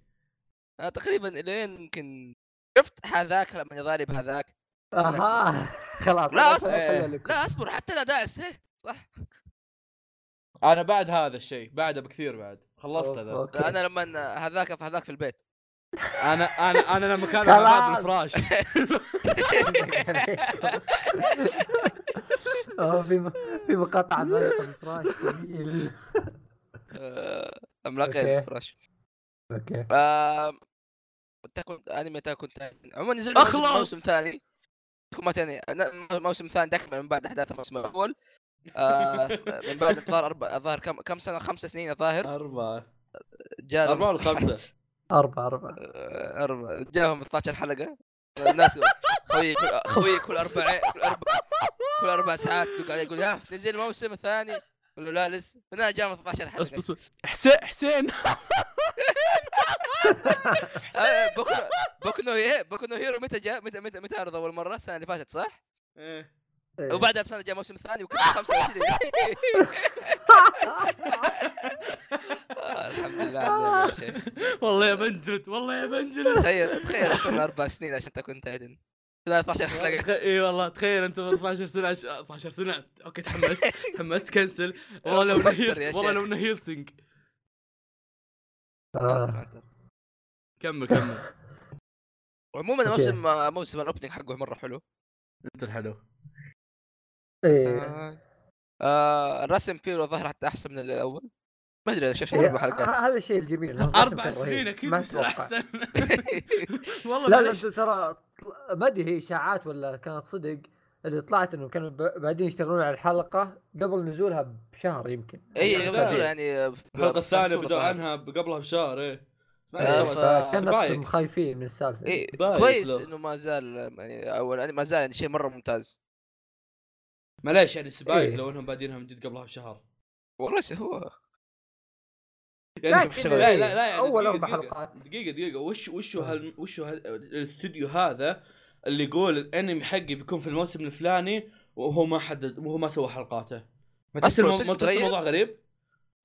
S2: انا تقريبا لين يمكن شفت هذاك لما يضارب بهذاك
S3: اها خلاص
S2: لا،
S3: خلاص،
S2: أصبر.
S3: خليها لكم.
S2: لا اصبر حتى انا داعس إيه، صح
S1: انا بعد هذا الشيء بعده بكثير بعد خلصت
S3: أوف،
S1: هذا
S2: <laughs>
S3: أوكي. <laughs>
S2: انا لما هذاك في هذاك في البيت
S1: انا انا انا لما كان
S3: خلاص.
S1: على باب الفراش
S3: آه، في م- في مقاطعه مالت الفراش جميل.
S2: آه، املاكية
S3: أوكي.
S2: فراش
S3: اوكي
S2: آم، تكون انمي تكون تايتن عموما نزل
S1: أخلص!
S2: موسم- موسم ثاني تكون ثاني موسم ثاني تكمل من بعد احداث الموسم الاول آه، من بعد الظاهر اربع الظاهر كم كم سنه خمس سنين الظاهر
S1: أربعة
S2: جاء
S1: أربعة ولا خمسة
S3: اربعه اربعه
S2: آه، <laughs> أربعة. جاهم 12 حلقه الناس خوي كل- خوي كل اربع كل اربع كل اربع ساعات قاعد يقول يا نزل الموسم الثاني يقول له لا لسه هنا جاهم 12
S1: بس
S2: حلقه
S1: بس حسين حسين
S2: آه، بوكو بوكو نو هي- بوكو نو هيرو متى جاء متى متى متى عرض اول مره السنه اللي فاتت صح؟
S1: إيه.
S2: وبعدها بسنه جاء موسم ثاني وكل 25 آه، الحمد لله على النعمة يا شيخ
S1: والله يا بنجلد والله يا بنجلد
S2: تخيل تخيل صرنا اربع سنين عشان تكون تايدن 13 حلقه
S1: تخ- اي والله تخيل انت 12 سنه عش- 12 سنه اوكي تحمست تحمست كنسل والله لو انه
S2: توتر يا
S1: هيل- والله
S2: شيخ.
S1: لو انه هيلسنج
S3: آه.
S1: كمل كمل
S2: عموما
S3: أوكي.
S2: موسم موسم الاوبننج حقه مره حلو
S1: انت الحلو
S3: إيه.
S2: آه، الرسم فيه الظاهر حتى احسن من الاول ما ادري شوف شوف
S3: إيه،
S2: اربع حلقات
S3: <laughs> ه- هذا الشيء الجميل هذا الرسم
S1: اربع
S3: كان رهيب.
S1: سنين اكيد
S3: ما
S1: بيصير
S3: أتوقع.
S1: احسن <laughs> والله
S3: لا لا
S1: معليش.
S3: ترى طل- ما ادري هي اشاعات ولا كانت صدق اللي طلعت انهم كانوا ب- بعدين يشتغلون على الحلقه قبل نزولها بشهر يمكن
S2: اي
S1: لا.
S2: يقولوا يعني آه،
S1: الحلقه الثانية
S2: بطولة
S1: بدأوا
S2: الظاهر.
S1: عنها قبلها بشهر ايه
S2: آه،
S1: معليش،
S2: ف-
S1: والله.
S3: كان
S1: سبايك.
S3: نفسهم خايفين من السالفه
S2: إيه،
S1: بايخ
S2: كويس
S1: لو.
S2: انه ما زال آه، يعني اول يعني ما زال يعني شيء مره ممتاز
S1: معليش يعني سبايك
S3: إيه.
S1: لو انهم بادينها من جد قبلها بشهر
S2: والله شيء هو
S1: يعني
S3: لكن-
S1: شوف شغل- لا لا
S3: إيه،
S1: لا يعني
S3: أول
S1: دقيقة-
S3: أربع
S1: دقيقة-
S3: حلقات. آه.
S1: دقيقة دقيقة وش وش هال وش هال الاستوديو هذا اللي يقول الانمي حقي بيكون في الموسم الفلاني وهو ما حدد وهو ما سوى حلقاته ما تحس
S2: أصلاً
S1: المو-
S2: صدق
S1: ما تحس
S2: تغير؟
S1: الموضوع غريب؟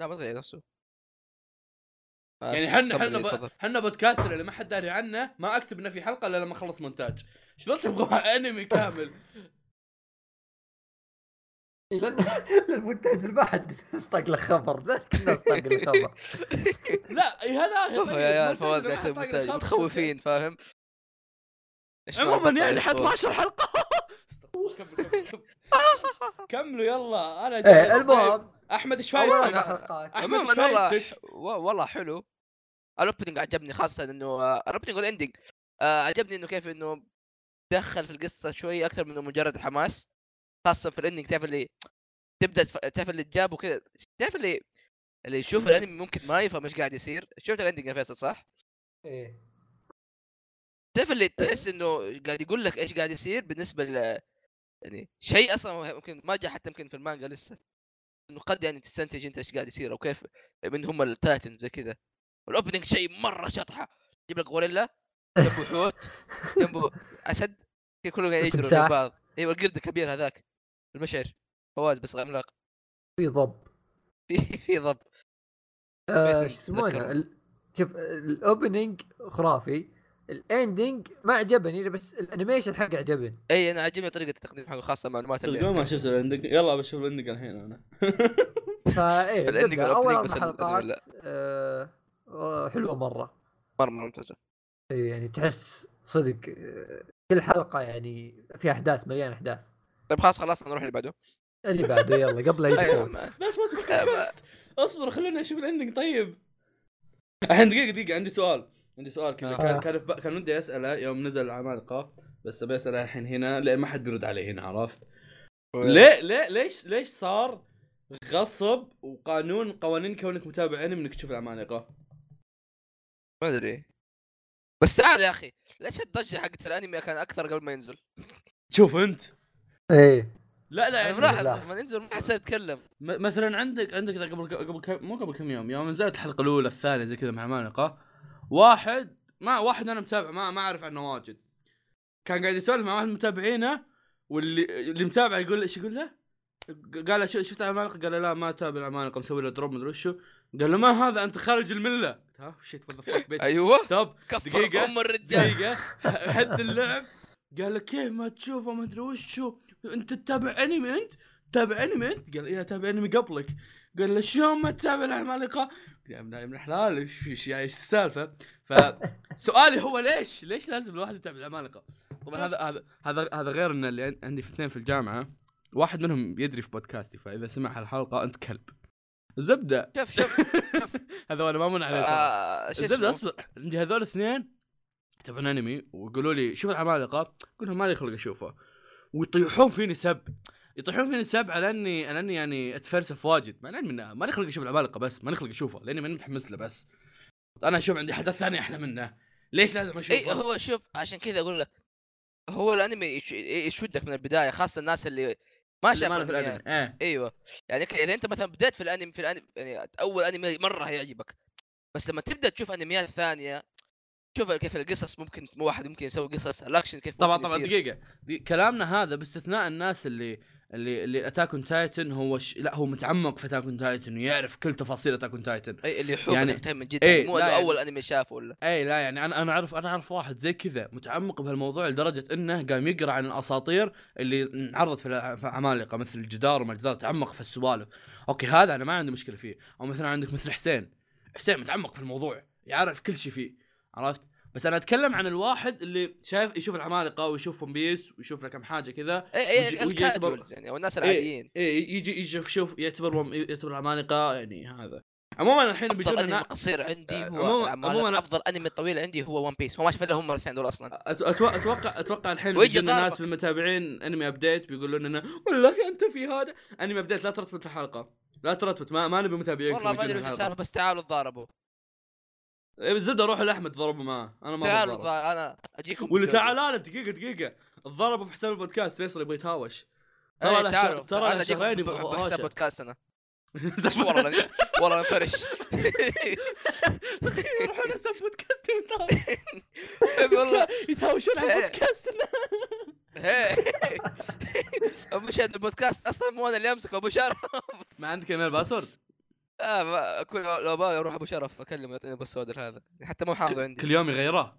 S2: لا ما تغير نفسه
S1: يعني
S2: بس
S1: حنا
S2: كمل
S1: حنا
S2: اللي
S1: ب- <laughs>
S2: تفضل.
S1: حنا بودكاستر اللي ما حد داري عنه ما اكتب انه في حلقه الا لما اخلص مونتاج شلون تبغى انمي
S2: <laughs>
S1: كامل؟
S3: <laughs> لان المونتاج ما حد طاق له خبر <laughs> ذاك الناس طاق
S2: <laughs>
S3: له خبر
S1: لا إيه هذا هي
S2: أوه
S1: طيب،
S2: يا عيال
S1: مونتاج
S2: فواز
S1: اللي ما
S2: قاعد يسوي
S1: حد طاق
S2: مونتاج
S1: الخبر.
S2: متخوفين فاهم إيش ما
S1: عموما
S2: بطل
S1: إيه؟ يعني حط
S2: يصور.
S1: 12 حلقه
S2: <laughs>
S1: كمل، كمل، كمل. كملوا يلا انا
S3: إيه،
S1: جاي.
S3: المهم
S1: احمد ايش
S3: اول
S1: فايدتك؟
S3: اربع حلقات
S1: أحمد
S2: عموما
S1: إيش
S2: والله
S1: فايدتك؟
S2: و- والله حلو الاوبننج عجبني خاصه انه آه، الاوبننج والاندنج آه، عجبني انه كيف انه دخل في القصه شوي اكثر من مجرد حماس خاصه في الاندنج تعرف اللي تبدا تف- تعرف اللي جاب وكذا تعرف اللي اللي يشوف الانمي ممكن ما يفهم ايش قاعد يصير شفت الاندنج يا فيصل صح؟
S3: إيه.
S2: تعرف
S3: <laughs>
S2: اللي تحس انه قاعد يقول لك ايش قاعد يصير بالنسبه ل يعني شيء اصلا ممكن ما جاء حتى يمكن في المانجا لسه انه قد يعني تستنتج انت ايش قاعد يصير او كيف من هم التايتنز زي كذا والاوبننج شيء مره شطحه يجيب لك غوريلا جنبه حوت جنبه اسد كي كلهم قاعد يجروا
S3: وتمساح.
S2: جنب بعض ايوه القرد الكبير هذاك المشعر فواز بس عملاق
S3: في ضب
S2: <laughs> في في ضب
S3: آه،
S2: كويس
S3: شو
S2: إنك
S3: يسمونه
S2: تذكره.
S3: ال- شوف الاوبننج خرافي الاندنج ما عجبني بس الانيميشن حقه عجبني
S2: اي انا إيه، عجبني طريقه التقديم حقه خاصه معلومات اللي-
S1: صدقوني ما شفت الاندق يلا بشوف الاندق الحين انا
S3: فايه
S2: الأندنج
S3: زبدة.
S2: والأوبننج
S3: اول اربع
S2: بس ال-
S3: حلقات
S2: لا.
S3: آه، آه، حلوه مره
S2: مره ممتازه
S3: إيه، يعني تحس صدق آه، كل حلقه يعني في احداث مليان احداث
S2: طيب خلاص خلاص نروح اللي بعده
S3: اللي بعده يلا
S2: <laughs>
S3: قبل لا
S2: أيوة،
S3: يدخل
S2: ما-
S1: بس بس بس اصبر خلونا نشوف الاندق طيب الحين دقيقه دقيقه عندي سؤال عندي سؤال كذا
S2: آه.
S1: كان كان في بق- كان ودي اساله يوم نزل العمالقه بس ابي اساله الحين هنا لان ما حد بيرد علي هنا عرفت
S2: طيب.
S1: ليه ليه ليش ليش صار غصب وقانون قوانين كونك متابع انمي انك تشوف العمالقه
S2: ما ادري بس تعال يا اخي ليش الضجه حقت الانمي كان اكثر قبل ما ينزل؟
S1: شوف انت
S3: ايه
S1: لا لا يعني
S2: انا ملاحظ
S3: لا.
S2: لما ينزل ما حد يتكلم
S1: م- مثلا عندك عندك ذا قبل قبل كم مو قبل كم يوم يوم نزلت الحلقه الاولى الثانيه زي كذا مع العمالقه واحد ما واحد انا متابع ما ما اعرف عنه واجد كان قاعد يسولف مع واحد من متابعينه واللي اللي متابعه يقول ايش يقول له؟ ق- قال له "شو- شفت العمالقه؟ قال له لا ما اتابع العمالقه مسوي له دروب مدري وشو قال له ما هذا انت خارج المله ها شيت بيت
S2: ايوه
S1: ستوب
S2: كفر
S1: دقيقة.
S2: ام الرجال
S1: دقيقه <laughs> حد اللعب قال لك كيف ما تشوفه ما ادري وشو انت تتابع انمي انت تتابع انمي انت قال يا تابع انمي قبلك قال له شلون ما تتابع العمالقه يا ابن يا ابن الحلال ايش ايش ايش السالفه فسؤالي هو ليش؟ ليش لازم الواحد يتعب العمالقه؟ طبعا هذا هذا هذا هذا غير ان اللي عن- عندي في اثنين في الجامعه واحد منهم يدري في بودكاستي فاذا سمع الحلقه انت كلب. الزبده
S2: شوف شوف
S1: هذا وانا ما من عليه ترى.
S2: آه، شو
S1: الزبده
S2: اسمه
S1: اصبر عندي هذول الاثنين يتابعون انمي ويقولوا لي شوف العمالقه اقول لهم مالي خلق اشوفه ويطيحون فيني سب يطيحون فيني سب على اني على اني يعني اتفلسف واجد مع اني من ماني خلق اشوف العمالقه بس ماني خلق اشوفه لاني ماني متحمس له بس انا اشوف عندي حدث ثاني احلى منه ليش لازم
S2: اي
S1: اشوفه؟
S2: إيه، هو شوف عشان كذا اقول لك هو الانمي يش- يشدك من البدايه خاصه الناس اللي ما
S1: اللي
S2: شافوا
S1: ماله في
S2: الأنميات.
S1: الانمي ايه
S2: ايوه يعني ك- اذا انت مثلا بديت في الانمي في الانمي يعني اول انمي مره هيعجبك بس لما تبدا تشوف انميات ثانيه تشوف كيف القصص ممكن واحد ممكن يسوي قصص الاكشن كيف
S1: طبعا
S2: ممكن
S1: طبعا
S2: يصير.
S1: دقيقة دي- كلامنا هذا باستثناء الناس اللي اللي اللي اتاك اون تايتن هو ش... لا هو متعمق في اتاك اون تايتن ويعرف كل تفاصيل اتاك اون تايتن
S2: اي اللي يحب
S1: يعني-
S2: يعني من جدا
S1: إيه،
S2: يعني مو
S1: لا
S2: إنه
S1: يعني-
S2: اول انمي شافه ولا
S1: اي لا يعني انا انا اعرف انا اعرف واحد زي كذا متعمق بهالموضوع لدرجه انه قام يقرا عن الاساطير اللي انعرضت في الع- في العمالقه مثل الجدار وما الجدار تعمق في السوالف اوكي هذا انا ما عندي مشكله فيه او مثلا عندك مثل حسين حسين متعمق في الموضوع يعرف كل شيء فيه عرفت بس انا اتكلم عن الواحد اللي شايف يشوف العمالقه ويشوف ون بيس ويشوف له كم حاجه كذا
S2: اي اي
S1: ويجي- ويجي يعتبر-
S2: الكاجوالز إيه، يعني او الناس
S1: إيه.
S2: العاديين
S1: ايه يجي يجي شوف يعتبر وم- يعتبر العمالقه يعني هذا عموما الحين
S2: افضل
S1: بيجونا
S2: انمي
S1: نا-
S2: قصير عندي هو
S1: عموما- عموما-
S2: عموما افضل انمي طويل عندي هو ون بيس هو ما شاف الا هم الاثنين دول اصلا
S1: أت- أتوقع اتوقع اتوقع الحين
S2: ويجي
S1: بيجونا ناس
S2: ضربك.
S1: من متابعين انمي ابديت بيقولون لنا والله انت في هذا انمي ابديت لا ترتبط الحلقه لا ترتبط ما, ما نبي متابعينكم
S2: والله ما ادري
S1: يجون
S2: وش
S1: الحلقة.
S2: صار بس تعالوا تضاربوا
S1: إيه، الزبده روحوا لاحمد ضربوا معاه انا ما
S2: تعالوا
S1: تعال
S2: تضا- انا اجيكم
S1: واللي
S2: بجوجو.
S1: تعال لا دقيقه دقيقه ضربوا في حساب البودكاست فيصل يبغى يتهاوش ترى
S2: إيه،
S1: له
S2: تعالوا.
S1: شهر- ترى
S2: أنا
S1: له
S2: أجيكم
S1: شهرين
S2: ب-
S1: يبغى
S2: بحساب
S1: هوشة. <laughs>
S2: بودكاست انا والله والله انفرش
S1: يروحون حساب بودكاست
S2: <laughs> <laughs> والله
S1: يتهاوشون على
S2: إيه. <laughs>
S1: بودكاستنا
S2: هي. <laughs> ابو شهد البودكاست اصلا مو انا اللي امسكه ابو شرف
S1: ما عندك ايميل باسورد
S2: آه، ما- كل لو باي اروح ابو شرف اكلم يعطيني بالسودر هذا حتى مو حافظ عندي
S1: كل يوم يغيره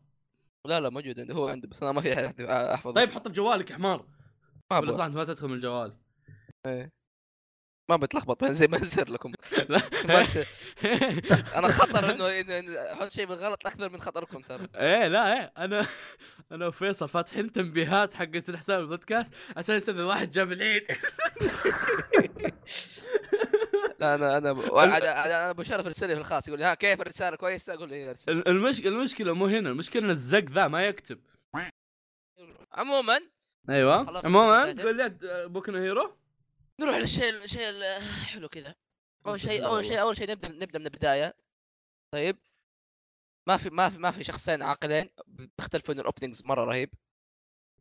S2: لا لا موجود عندي هو عنده بس انا ما في أحد احفظه
S1: طيب حطه بجوالك يا حمار ولا
S2: ما أبغى.
S1: صح انت ما تدخل من الجوال
S2: <laughs> ما بتلخبط بين زي ما يصير لكم انا خطر انه إنه- إنه احط شيء بالغلط اكثر من خطركم ترى
S1: ايه لا ايه <laughs> انا انا وفيصل فاتحين تنبيهات حقت الحساب البودكاست عشان يصير واحد جاب العيد
S2: لا انا انا ب- وأنا- أنا- انا ابو شرف ارسل لي في الخاص يقول لي ها كيف الرساله كويسه اقول له إيه، ارسل
S1: ال- المشكله المشكله مو هنا المشكله ان الزق ذا ما يكتب
S2: عموما
S1: ايوه
S2: خلاص
S1: عموما
S2: البودكاست.
S1: تقول لي عاد بوكو نو هيرو
S2: نروح للشيء الشيء ال- حلو كذا اول
S1: بسم الله
S2: شيء اول شيء اول شيء نبدا نبدا من البدايه طيب ما في ما في ما في شخصين عاقلين بيختلفوا ان الاوبننجز مره رهيب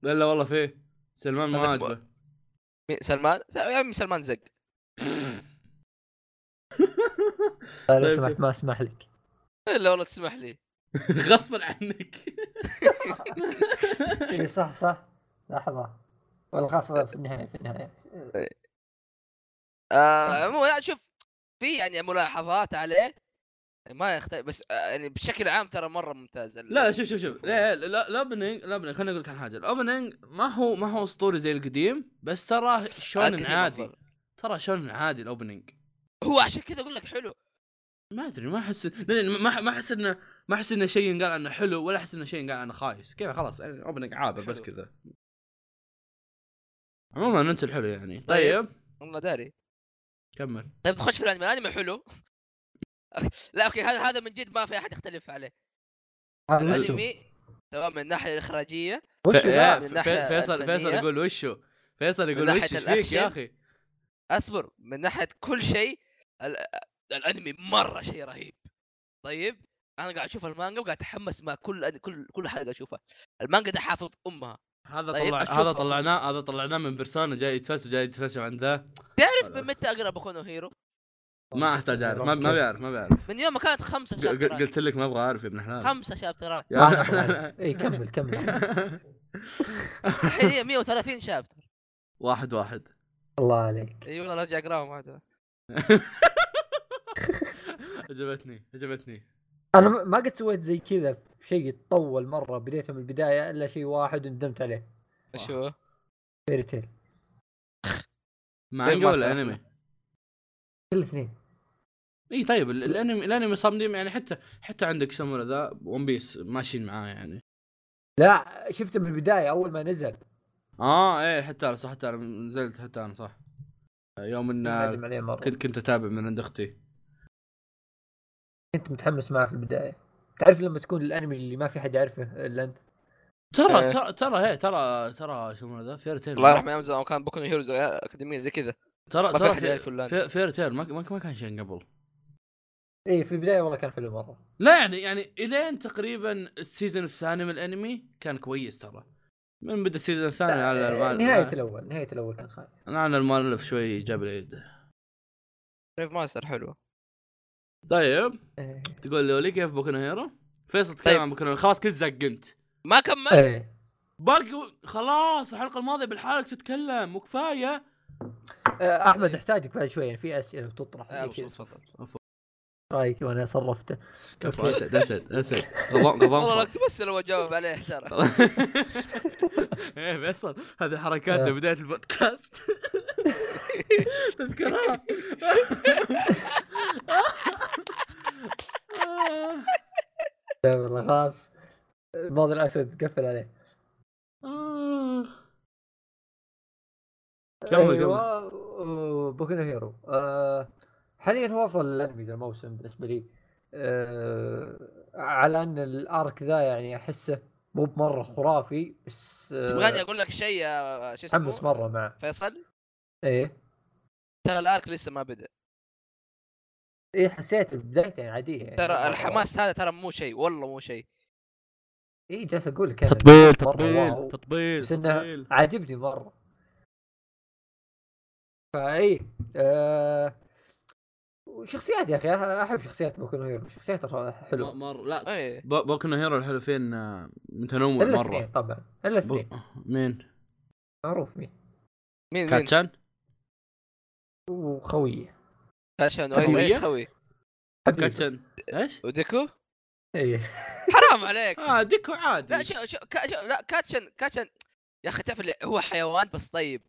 S1: لا والله فيه سلمان ما
S2: عندك
S1: عاجبه <laughs>
S2: مين- سلمان س- يا عمي سلمان زق <laughs>
S3: لا، لو سمحت ما اسمح لك
S2: الا والله تسمح لي
S1: غصبا عنك
S3: اي إيه، صح صح لحظه والخاصة في النهايه في النهايه
S2: آه مو لا شوف في يعني ملاحظات عليه ما يختلف بس آه يعني بشكل عام ترى مره ممتاز ال-
S1: لا لا شوف شوف شوف لا لا لا الاوبننج الاوبننج خليني اقول لك عن حاجه الاوبننج ما هو ما هو اسطوري زي القديم بس تراه شونن
S2: القديم
S1: عادي
S2: أفضل.
S1: ترى شونن عادي الاوبننج
S2: هو عشان كذا اقول لك حلو
S1: ما ادري ما احس لأن ما ما احس انه ما احس انه شيء ينقال عنه حلو ولا احس انه شيء ينقال عنه خايس كذا خلاص يعني اوبننج عابر بس
S2: حلو.
S1: كذا عموما انت الحلو يعني طيب
S2: والله داري
S1: كمل
S2: طيب نخش في الانمي الانمي حلو <laughs> لا اوكي هذا هذا من جد ما في احد يختلف عليه الانمي سواء من الناحيه الاخراجيه
S3: وش
S1: ف-
S2: <laughs>
S1: يا،
S2: من
S1: ف-
S2: الناحية
S1: فيصل
S2: الفنية.
S1: فيصل يقول وشو فيصل يقول
S2: ناحية
S1: وش إيش فيك يا
S2: الأكشن.
S1: اخي
S2: اصبر من ناحيه كل شيء ال- الانمي مره شيء رهيب طيب انا قاعد اشوف المانجا وقاعد اتحمس مع كل كل كل حلقه اشوفها المانجا ده حافظ امها
S1: هذا
S2: طيب،
S1: طلع
S2: أشوفها.
S1: هذا طلعناه هذا طلعناه من بيرسونا جاي يتفلسف جاي يتفلسف عن ذا
S2: تعرف
S1: خلاص.
S2: من متى اقرا بكونو هيرو
S1: ما احتاج اعرف ما ما بيعرف ما بيعرف
S2: من يوم ما كانت خمسه
S1: ق- ق-
S2: شابترات
S1: قلت آه. لك ما ابغى اعرف يا ابن حلال
S2: خمسه شابترات
S1: يا
S3: آه،
S1: ابن <laughs> حلال.
S3: اي إيه، كمل كمل <laughs>
S2: الحين هي 130 شابتر
S1: واحد واحد
S3: الله عليك
S2: اي والله ارجع اقراهم هذا
S1: عجبتني عجبتني
S3: انا ما- ما قد سويت زي كذا في شيء يتطول مره بديته من البدايه الا شيء واحد وندمت عليه
S2: شو
S3: فيري تيل
S1: مانجا
S2: ما
S1: ولا
S2: صار.
S1: انمي؟
S3: كل اثنين
S1: اي طيب ال- الانمي الانمي صامدين يعني حتى حتى عندك سامورا ذا ون بيس ماشيين معاه يعني
S3: لا شفته من البدايه اول ما نزل
S1: اه ايه حتى انا صح حتى انا نزلت حتى انا صح يوم ان
S3: ندم عليه مره
S1: كنت كنت اتابع من عند اختي
S3: كنت متحمس معه في البدايه تعرف لما تكون الانمي اللي ما في حد يعرفه الا انت
S1: ترى
S2: إيه.
S1: ترى ترى هي ترى ترى سامورا ذا فير تيل
S2: الله يرحمه ايام زمان كان بوكو هيروز اكاديميه زي كذا
S1: آه، ترى
S2: ما في أحد
S1: ترى
S2: يعرف ولا
S1: في- فير تيل ما ما ما كان شيء قبل
S3: اي إيه، في البدايه والله كان حلو مره
S1: لا يعني يعني الين تقريبا السيزون الثاني من الانمي كان كويس ترى من بدا السيزون الثاني على على-
S3: نهايه الاول نهايه الاول كان خايف
S1: انا المؤلف شوي جاب العيد
S2: ريف ماستر حلوه
S1: طيب
S3: إيه.
S1: تقول لي كيف بوكو نو هيرو فيصل تكلم
S2: طيب.
S1: عن بوكو نو هيرو. خلاص كنت زقنت
S2: ما كمل
S3: ايه
S1: باقي خلاص الحلقه الماضيه بالحالك تتكلم وكفايه
S3: آه، احمد احتاجك بعد شوي يعني في اسئله بتطرح
S2: آه،
S3: زي
S2: مبسوط،
S3: كذا.
S2: تفضل
S3: رايك وانا صرفته
S1: كفو
S3: أوكي.
S1: <laughs> اسد اسد اسد <laughs> قضام
S2: والله لو
S1: قضام
S2: كنت بس لو اجاوب عليه
S1: آه.
S2: ترى
S1: ايه فيصل هذه حركاتنا
S3: آه.
S1: بدايه البودكاست <laughs> تذكرها <laughs> آه،
S3: لا والله خلاص الماضي الاسود قفل عليه
S1: آه. كمل كمل
S3: بوكو إيه، هيرو آه، حاليا هو افضل انمي ذا الموسم بالنسبه لي آه، على ان الارك ذا يعني احسه مو بمره خرافي بس آه،
S2: تبغاني اقول لك شيء يا شو اسمه
S3: متحمس مره معه
S2: فيصل
S3: ايه
S2: ترى الارك لسه ما بدا
S3: ايه حسيت بدايته يعني عاديه يعني
S2: ترى الحماس هذا ترى مو شيء والله مو شيء
S3: اي إيه، جالس اقول لك أنا
S1: تطبيل
S3: مرة واو.
S1: تطبيل تطبيل
S3: بس انه
S1: تطبيل
S3: عاجبني مره فاي آه وشخصيات يا اخي أح- احب شخصيات بوكو نو هيرو شخصيات حلوه
S1: مر لا
S2: ايه
S1: بو- بوكو نو هيرو الحلو آه، فيه انه متنوع
S3: الا
S1: مره
S3: اثنين طبعا الا
S1: بو...
S3: اثنين
S1: مين؟
S3: معروف مين
S2: مين مين
S1: كاتشان؟
S3: وخويه
S2: كاتشان
S1: خوية؟
S2: وايد خوي
S3: حبيبي
S1: كاتشان ايش؟
S2: وديكو
S3: ايه
S2: حرام
S1: <laughs>
S2: عليك
S1: اه ديكو عادي
S2: لا شو شو كا- شو- لا كاتشن كاتشن يا اخي تعرف اللي هو حيوان بس طيب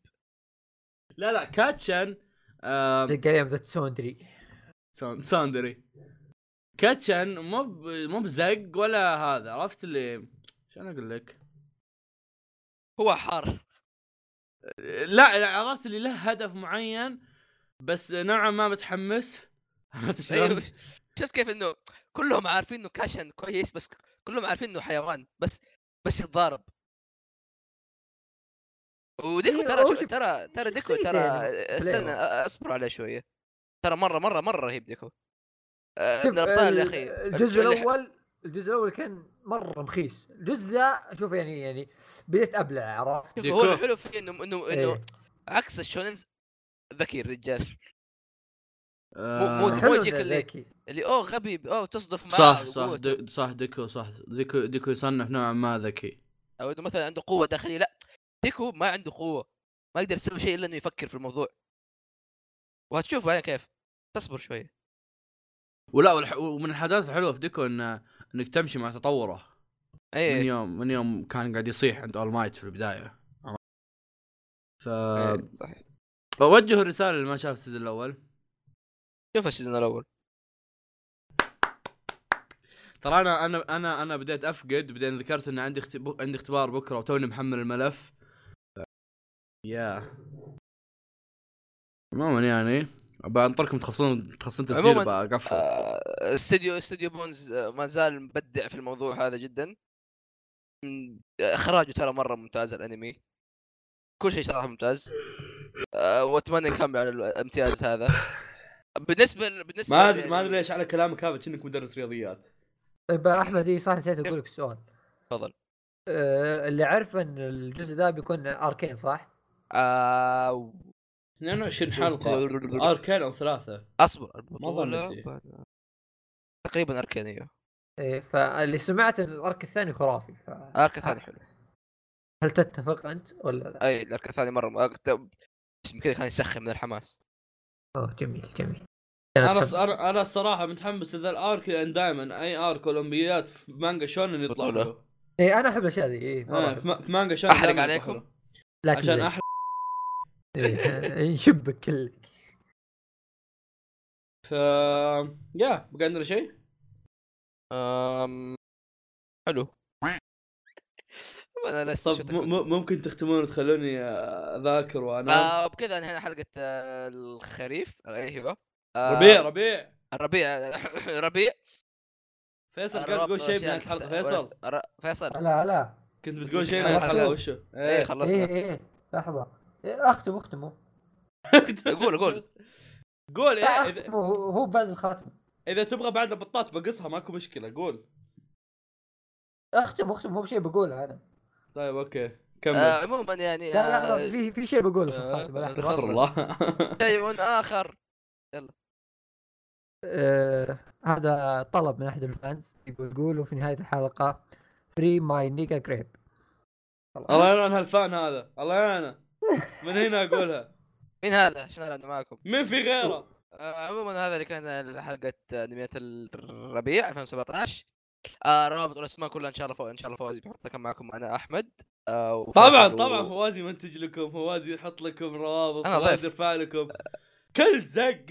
S1: لا لا كاتشان آم،
S3: دق عليهم ذا تسوندري
S1: سان- ساندري كاتشن مو ب... مو بزق ولا هذا عرفت اللي شلون اقول لك؟
S2: هو
S3: <laughs>
S2: حار أيوه.
S1: لا لا، عرفت اللي له هدف معين بس نوعا ما متحمس <laughs> عرفت شلون؟
S2: أيوه. شفت كيف انه كلهم عارفين انه كاشن كويس بس كلهم عارفين انه حيوان بس بس يتضارب وديكو
S3: أيوه،
S2: ترى
S3: هو
S2: شو-
S3: شخ-
S2: ترى ترى ديكو
S3: شخصيته
S2: ترى
S3: يعني
S2: استنى
S3: بلاير.
S2: اصبر عليه شويه ترى مره مره مره رهيب ديكو آه،
S3: شوف،
S2: من الابطال يا
S3: ال-
S2: اخي
S3: الجزء
S2: اللي-
S3: الاول الجزء الاول كان مره مخيس الجزء ذا شوف يعني يعني بديت ابلع عرفت
S2: شوف، هو
S1: ديكو.
S2: الحلو فيه انه انه انه
S3: إيه.
S2: عكس الشونن ذكي الرجال
S1: آه،
S2: مو- مو-
S3: حلو
S2: يجيك
S3: إنه
S2: اللي-
S3: ذكي.
S2: اللي اوه غبي اوه تصدف معاه
S1: صح صح
S2: قوته.
S1: دي صح ديكو صح ديكو ديكو يصنف نوعا ما ذكي
S2: او انه مثلا عنده قوه داخليه لا ديكو ما عنده قوه ما يقدر يسوي شيء الا انه يفكر في الموضوع وهتشوف بعدين كيف تصبر شويه
S1: ولا والح... ومن الحاجات الحلوه في ديكو انه انك تمشي مع تطوره من
S2: ايه
S1: يوم من يوم كان قاعد يصيح عند اول مايت في البدايه ف
S2: إيه، صحيح
S1: بوجه الرساله اللي ما شاف السيزون الاول
S2: شوف السيزون الاول
S1: ترى انا انا انا انا بديت افقد بعدين ذكرت ان عندي اختب... عندي اختبار بكره وتوني محمل الملف ف- يا عموما يعني بنطركم تخلصون تخلصون تسجيل
S2: عموماً،
S1: بقفل
S2: آه، استوديو استوديو بونز آه، ما زال مبدع في الموضوع هذا جدا م، اخراجه ترى مره ممتاز الانمي كل شيء صراحه ممتاز آه، واتمنى يكمل على الامتياز هذا بالنسبه بالنسبه
S1: ما ادري
S2: لل-
S1: ما ادري ليش على كلامك هذا كأنك مدرس رياضيات
S3: طيب احمد اي صح نسيت اقول لك السؤال
S2: تفضل
S3: أه اللي عارف ان الجزء ذا بيكون اركين صح؟
S2: آه،
S1: 22 حلقه اركان او ثلاثه
S2: اصبر
S1: ظنيت
S2: البطولة
S1: إيه.
S2: بعد- تقريبا اركان ايوه
S3: إيه فاللي سمعت ان الارك الثاني خرافي فهل
S2: الارك الثاني حلو
S3: تتفق انت ولا لا؟
S2: اي الارك الثاني مره م- أرك- تب- اسمي كذا كان يسخن من الحماس
S3: اوه جميل جميل
S1: انا الص- انا انا الصراحه متحمس لذا يعني الارك لان دائما اي ارك اولمبيات في مانجا شونن يطلع
S2: بطولة.
S1: حلو.
S3: اي انا احب الاشياء ذي اي
S1: آه، في ما- في مانجا شونن
S2: أحرق
S1: دايماً يطلع
S2: عليكم؟
S1: حلو.
S3: لكن
S1: عشان
S3: زي-
S1: احرق
S3: إيه، إيه، نشبك كلك
S1: ف يا بقى عندنا شيء
S2: أم... حلو انا نسيت شو
S1: طب م-
S2: تكون.
S1: م- ممكن تختمون وتخلوني آه، اذاكر وانا
S2: آه وبكذا انهينا حلقه آه، الخريف ايوه آه،
S1: ربيع ربيع
S2: الربيع ربيع <laughs>
S1: فيصل قال بقول شيء بنهايه الحلقه فيصل
S2: فيصل
S3: لا لا
S1: كنت بتقول شيء بنهايه
S3: خلاص.
S1: الحلقه وشو؟
S2: ايه
S1: ايه
S3: ايه
S1: <laughs>
S2: خلصنا
S3: ايه لحظه إيه، اختم اختموا
S1: <laughs>
S2: قول- قول.
S1: قول إيه،
S2: طيب.
S3: لا
S1: اذا
S3: اختموا هو- هو بعد الخاتم
S1: اذا تبغى بعد البطاط بقصها ماكو مشكله قول
S3: اختم اختم مو بشيء بقوله انا
S1: طيب اوكي كمل
S2: آه، عموما يعني
S3: لا
S2: آه،
S3: لحظه في في شيء بقوله في
S2: آه،
S3: الخاتم لحظة.
S1: استغفر الله <laughs>
S2: شيء اخر
S3: آه، هذا طلب من احد الفانز يقول قولوا في نهايه الحلقه فري ماي نيجا كريب
S1: الله يعين هالفان هذا الله يعينه من هنا اقولها
S2: مين هذا عشان انا معكم
S1: مين في غيره
S2: آه، عموما هذا اللي كان حلقه انميات الربيع 2017 آه، روابط الاسماء كلها ان شاء الله فوق ان شاء الله
S1: طيب.
S2: فوزي بيحطها كان معكم انا احمد آه، وفيصل
S1: طبعا
S2: و-
S1: طبعا فوازي منتج لكم فوازي يحط لكم روابط
S2: أنا ضيف.
S1: فوازي يرفع لكم كل زق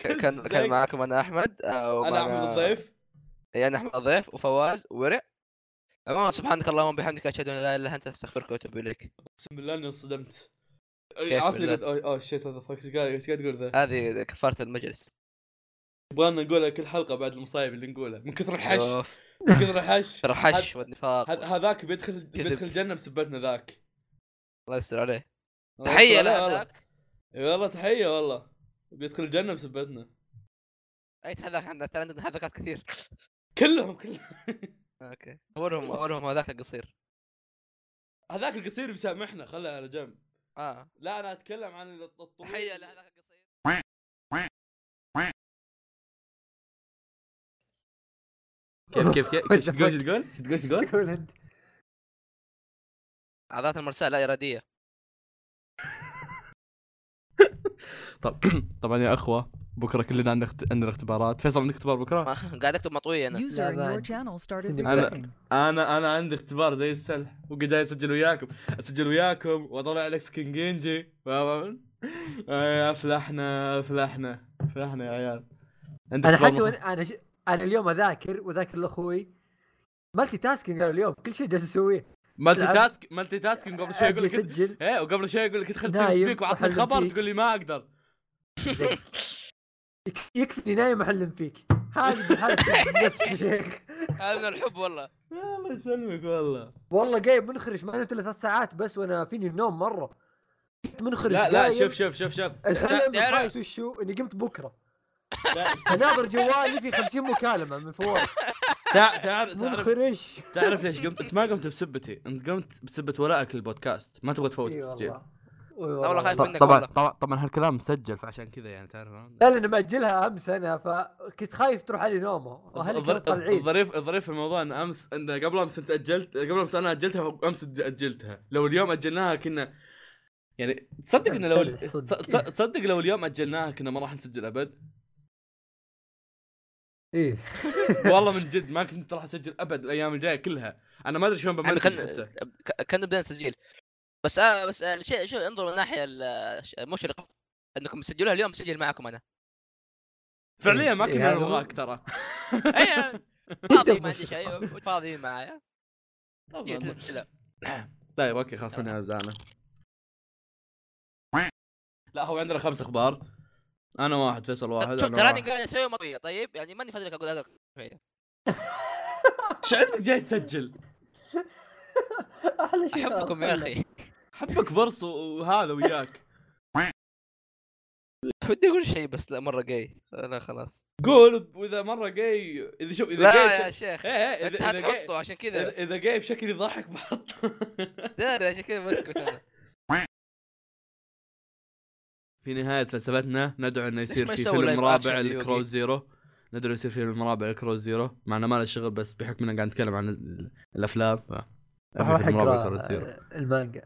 S1: كل
S2: كان
S1: <laughs> زق.
S2: كان معكم انا احمد آه،
S1: انا
S2: ومعنا-
S1: احمد الضيف
S2: اي انا احمد الضيف وفواز وورع عموما سبحانك اللهم وبحمدك اشهد ان لا اله الا انت استغفرك واتوب
S1: <laughs>
S2: اليك
S1: اقسم بالله اني انصدمت
S2: كيف
S1: عرفت
S2: بالله؟
S1: اوه اوه شيت هذا فاك ايش قاعد ايش قاعد تقول ذا
S2: هذه كفاره المجلس
S1: يبغالنا نقولها كل حلقه بعد المصايب اللي نقولها من كثر الحش
S2: أوف،
S1: من كثر الحش
S2: <laughs> ترى حش والنفاق
S1: هذ- هذاك بيدخل
S2: كذب.
S1: بيدخل الجنه بسبتنا ذاك
S2: الله يستر عليه تحيه لهذاك
S1: اي والله تحيه والله بيدخل الجنه بسبتنا
S2: اي هذاك عندنا ترى عندنا هذاكات
S1: <laughs>
S2: كثير
S1: كلهم كلهم
S2: اوكي اولهم اولهم هذاك القصير
S1: هذاك القصير بيسامحنا خله على جنب
S2: اه
S1: لا انا اتكلم عن الطويل
S2: تحيه لهذاك القصير
S1: كيف كيف كيف
S3: إيش تقول- إيش
S1: تقول؟ ايش تقول ايش
S3: تقول انت
S2: عضلات المرساه لا اراديه
S1: طب طبعا يا اخوه بكره كلنا عندنا اخت- عندنا اختبارات فيصل عندك اختبار بكره؟
S2: <laughs> ما- قاعد اكتب مطوي انا
S4: User in your
S3: Laban.
S4: channel started
S3: Cindy
S1: Laban.
S4: recording.
S1: انا انا عندي اختبار زي السلح وقاعد جاي اسجل وياكم اسجل وياكم واطلع لك سكين جينجي فاهم؟ آه، افلحنا افلحنا افلحنا يا عيال عندي
S3: انا
S1: اختبار
S3: حتى
S1: مخ-
S3: وأنا- انا ش- انا اليوم اذاكر واذاكر لاخوي مالتي تاسكينج انا اليوم كل شيء جالس اسويه
S1: مالتي
S3: العب.
S1: تاسك مالتي تاسكينج قبل شوي
S3: اجي
S1: اقول لك
S3: اسجل
S1: ايه وقبل شوي اقول لك ادخل تيم
S3: نايم
S1: وعطني
S3: وأحلم
S1: خبر
S3: فيك.
S1: تقول لي ما اقدر
S3: يك- يكفي نايم احلم فيك هذه بحالة نفس الشيخ
S2: هذا من الحب والله
S1: الله يسلمك والله
S3: والله قايم منخرش ما نمت الا ثلاث ساعات بس وانا فيني النوم مره كنت منخرش
S1: لا لا
S3: قايم.
S1: شوف شوف شوف شوف
S3: الحلم
S2: لا، لا.
S3: الخايس وشو اني قمت بكره
S1: تع-
S3: اناظر جوالي في 50 مكالمه من فواز
S1: تع- تعرف تعرف
S3: منخرش
S1: تعرف ليش قمت انت ما قمت بسبتي انت قمت بسبة ولائك للبودكاست ما تبغى تفوت
S3: إي
S1: التسجيل
S3: والله. إي والله.
S2: والله خايف منك
S1: طبعا
S2: والله
S1: طبعا طبعا هالكلام مسجل فعشان كذا يعني تعرف
S3: لا لان ماجلها امس انا فكنت خايف تروح علي نومه واهلي كانوا
S1: الظ-
S3: طالعين
S1: الظريف الظريف في الموضوع ان امس ان قبل امس انت اجلت قبل امس انا اجلتها وامس أج- اجلتها لو اليوم اجلناها كنا يعني تصدق ان لو
S3: صدق-
S1: تص-
S3: صدق.
S1: تص- تصدق لو اليوم اجلناها كنا ما راح نسجل ابد
S3: ايه
S1: والله من جد ما كنت راح اسجل ابد الايام الجايه كلها انا ما ادري شلون
S2: عمي
S1: بمنتج
S2: يعني كان
S1: حتى
S2: ك- كان بدينا تسجيل بس آه بس آه شيء شو انظر من الناحيه المشرقه انكم تسجلوها اليوم مسجل معكم <laughs> انا
S1: فعليا ما
S3: إيه،
S1: كنا
S3: هذا هو.
S1: نبغاك ترى
S2: <laughs> اي أيوة. فاضي ما عندي شيء أيوة، فاضي <laughs> معايا جيت لا
S1: طيب اوكي خلاص هنا ابدا انا لا هو عندنا خمس اخبار انا واحد فيصل واحد
S2: شوف
S1: أنا
S2: تراني
S1: واحد.
S2: قاعد اسوي مطويه طيب يعني ماني فاضي لك اقول <laughs> هذا
S1: ايش عندك جاي تسجل؟
S3: احلى شيء
S2: احبكم يا اخي
S1: حبك برص وهذا وياك
S2: <laughs>
S1: <laughs>
S2: ودي اقول شيء بس لا مره جاي لا خلاص
S1: قول واذا مره جاي اذا شوف اذا جاي
S2: لا يا
S1: بش-
S2: شيخ
S1: إيه، إيه،
S2: انت
S1: اذا اذا جاي
S2: حتحطه عشان كذا
S1: إذا- اذا جاي بشكل يضحك بحط
S2: داري عشان كذا بسكت انا
S1: <laughs> في نهايه فلسفتنا ندعو انه يصير
S2: ما
S1: في
S2: يسوي
S1: فيلم
S2: live action
S1: رابع
S2: ليوغي؟
S1: لكروز زيرو ندعو يصير فيلم رابع لكروز زيرو مع انه ما له شغل بس بحكم اننا قاعد نتكلم عن ال- الافلام ف
S3: اروح
S1: فيلم رابع لكروز
S3: اقرا
S1: زيرو
S3: آه، المانجا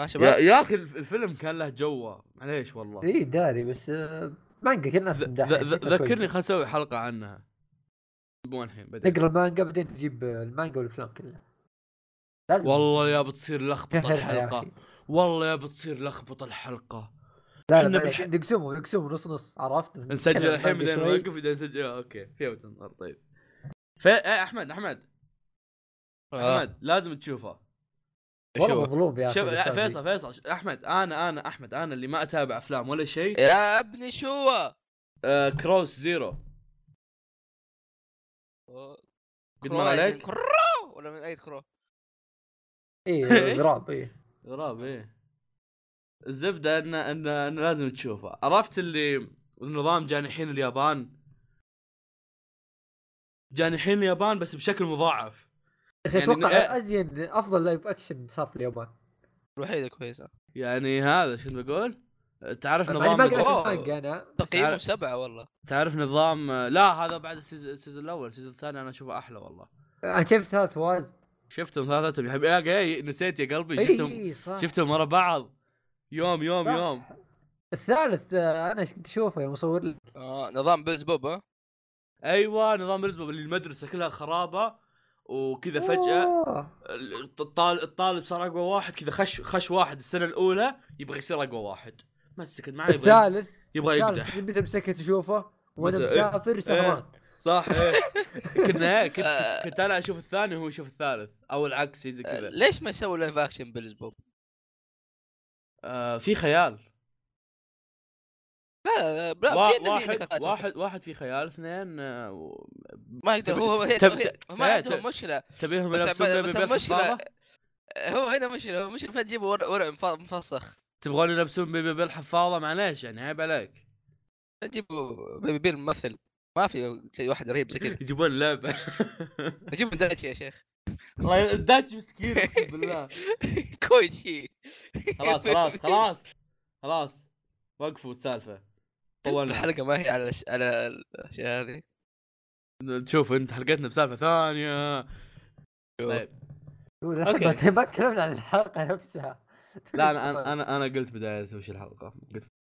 S2: ها
S1: يا,
S2: شباب
S1: يا اخي الف- الفيلم كان له جوه معليش والله
S3: اي إيه، داري بس آه، مانجا كل الناس
S1: ذ-
S3: تمدحها
S1: ذ- ذ-
S3: شكلها
S1: ذكرني
S3: كويسة.
S1: خل اسوي حلقه عنها مو الحين بعدين
S3: نقرا المانجا بعدين نجيب آه، المانجا والافلام كلها لازم
S1: والله يا بتصير لخبطه
S3: شهرها يا
S1: الحلقه
S3: اخي
S1: والله يا بتصير لخبطه الحلقه
S3: لا
S1: إحنا
S3: لا
S1: بالح-
S3: بالح... نقسمه نقسمه نص نص عرفت
S1: نسجل
S3: نتكلم
S1: الحين
S3: عنه
S1: بعدين
S3: شوي.
S1: نوقف بعدين نسجل آه، اوكي فهمت النهار طيب فا إيه، احمد احمد
S2: آه.
S1: احمد لازم تشوفه
S3: والله
S2: شوف.
S3: مظلوم يا اخي
S1: شوف إيه،
S3: الأستاذ ذي.
S1: فيصل فيصل ش- احمد انا انا احمد انا اللي ما اتابع افلام ولا شيء
S2: يا ابني شو هو؟
S1: آه كروس زيرو قد ما
S2: كرو- يعني
S1: عليك
S2: كرو ولا من اي كرو؟
S1: <laughs>
S3: ايه غراب ايه
S1: غراب ايه الزبده ان ان ان لازم تشوفه عرفت اللي النظام جانحين اليابان جانحين اليابان بس بشكل مضاعف
S3: يا اخي
S1: يعني
S3: اتوقع
S1: إيه؟
S3: ازين افضل لايف اكشن صار في اليابان
S2: الوحيده كويسه
S1: يعني هذا شو كنت بقول تعرف
S3: مع
S1: نظام
S3: إني ما قريت
S2: أوه.
S3: المانجا انا
S2: تقييمه
S1: عارف.
S2: سبعه والله
S1: تعرف نظام لا هذا بعد السيز- السيزون الاول السيزون الثاني انا اشوفه احلى والله
S3: انا شفت ثلاث فواز
S1: شفتهم ثلاثتهم يا حبيبي يا جاي نسيت يا قلبي شفتهم
S3: اي إيه، صح
S1: شفتهم ورا بعض يوم يوم
S3: صح.
S1: يوم
S3: الثالث آه، انا كنت اشوفه يوم اصور لك
S2: آه نظام بيز بوب ها؟
S1: ايوه نظام الاسبوع اللي المدرسه كلها خرابه وكذا فجاه
S3: أوه.
S1: الطالب الطالب صار اقوى واحد كذا خش خش واحد السنه الاولى يبغى يصير اقوى واحد مسكت معاه يبغى
S3: الثالث
S1: يبغى
S3: الثالث
S1: يقدح
S3: متى مسكت اشوفه وانا
S1: متى- إيه.
S3: مسافر سهران
S1: صح إيه.
S3: <laughs>
S1: كنا كنت كنت انا اشوف الثاني وهو يشوف الثالث او العكس زي
S2: آه،
S1: كذا
S2: ليش ما يسوي لايف اكشن بيز بوب؟
S1: آه في خيال
S2: لا لا لا
S1: وا-
S2: في دليل
S1: واحد
S2: لكاتب.
S1: واحد واحد في خيال اثنين آه، و-
S2: ما يقدر هو
S1: تب- تب-
S2: هو- ما
S1: تب-
S2: عندهم مشكله
S1: تبيهم
S2: بس-
S1: يلبسون
S2: بس-
S1: بيبي
S2: بس
S1: بيل
S2: المشكلة-
S1: حفاضة؟
S2: هو هنا مشكله هو مشكله ما تجيبوا ورق ورق مف- مفسخ
S1: تبغون يلبسون بيبي بيل حفاضه معليش يعني عيب عليك
S2: تجيبوا بيبي بيل ممثل ما في شيء واحد رهيب زي
S1: <laughs>
S2: كذا
S1: يجيبون
S2: <laughs>
S1: لعبه
S2: نجيب دايتشي يا شيخ <laughs>
S1: والله داتش مسكين اقسم بالله
S2: كويتشي <laughs>
S1: خلاص خلاص خلاص خلاص وقفوا السالفه طولنا
S2: الحلقه ما هي على الش- على الاشياء هذه
S1: تشوف انت حلقتنا بسالفه ثانيه طيب أوكي.
S3: <laughs> ما تكلمنا عن الحلقه نفسها
S1: لا انا انا انا, أنا قلت بدايه وش الحلقه قلت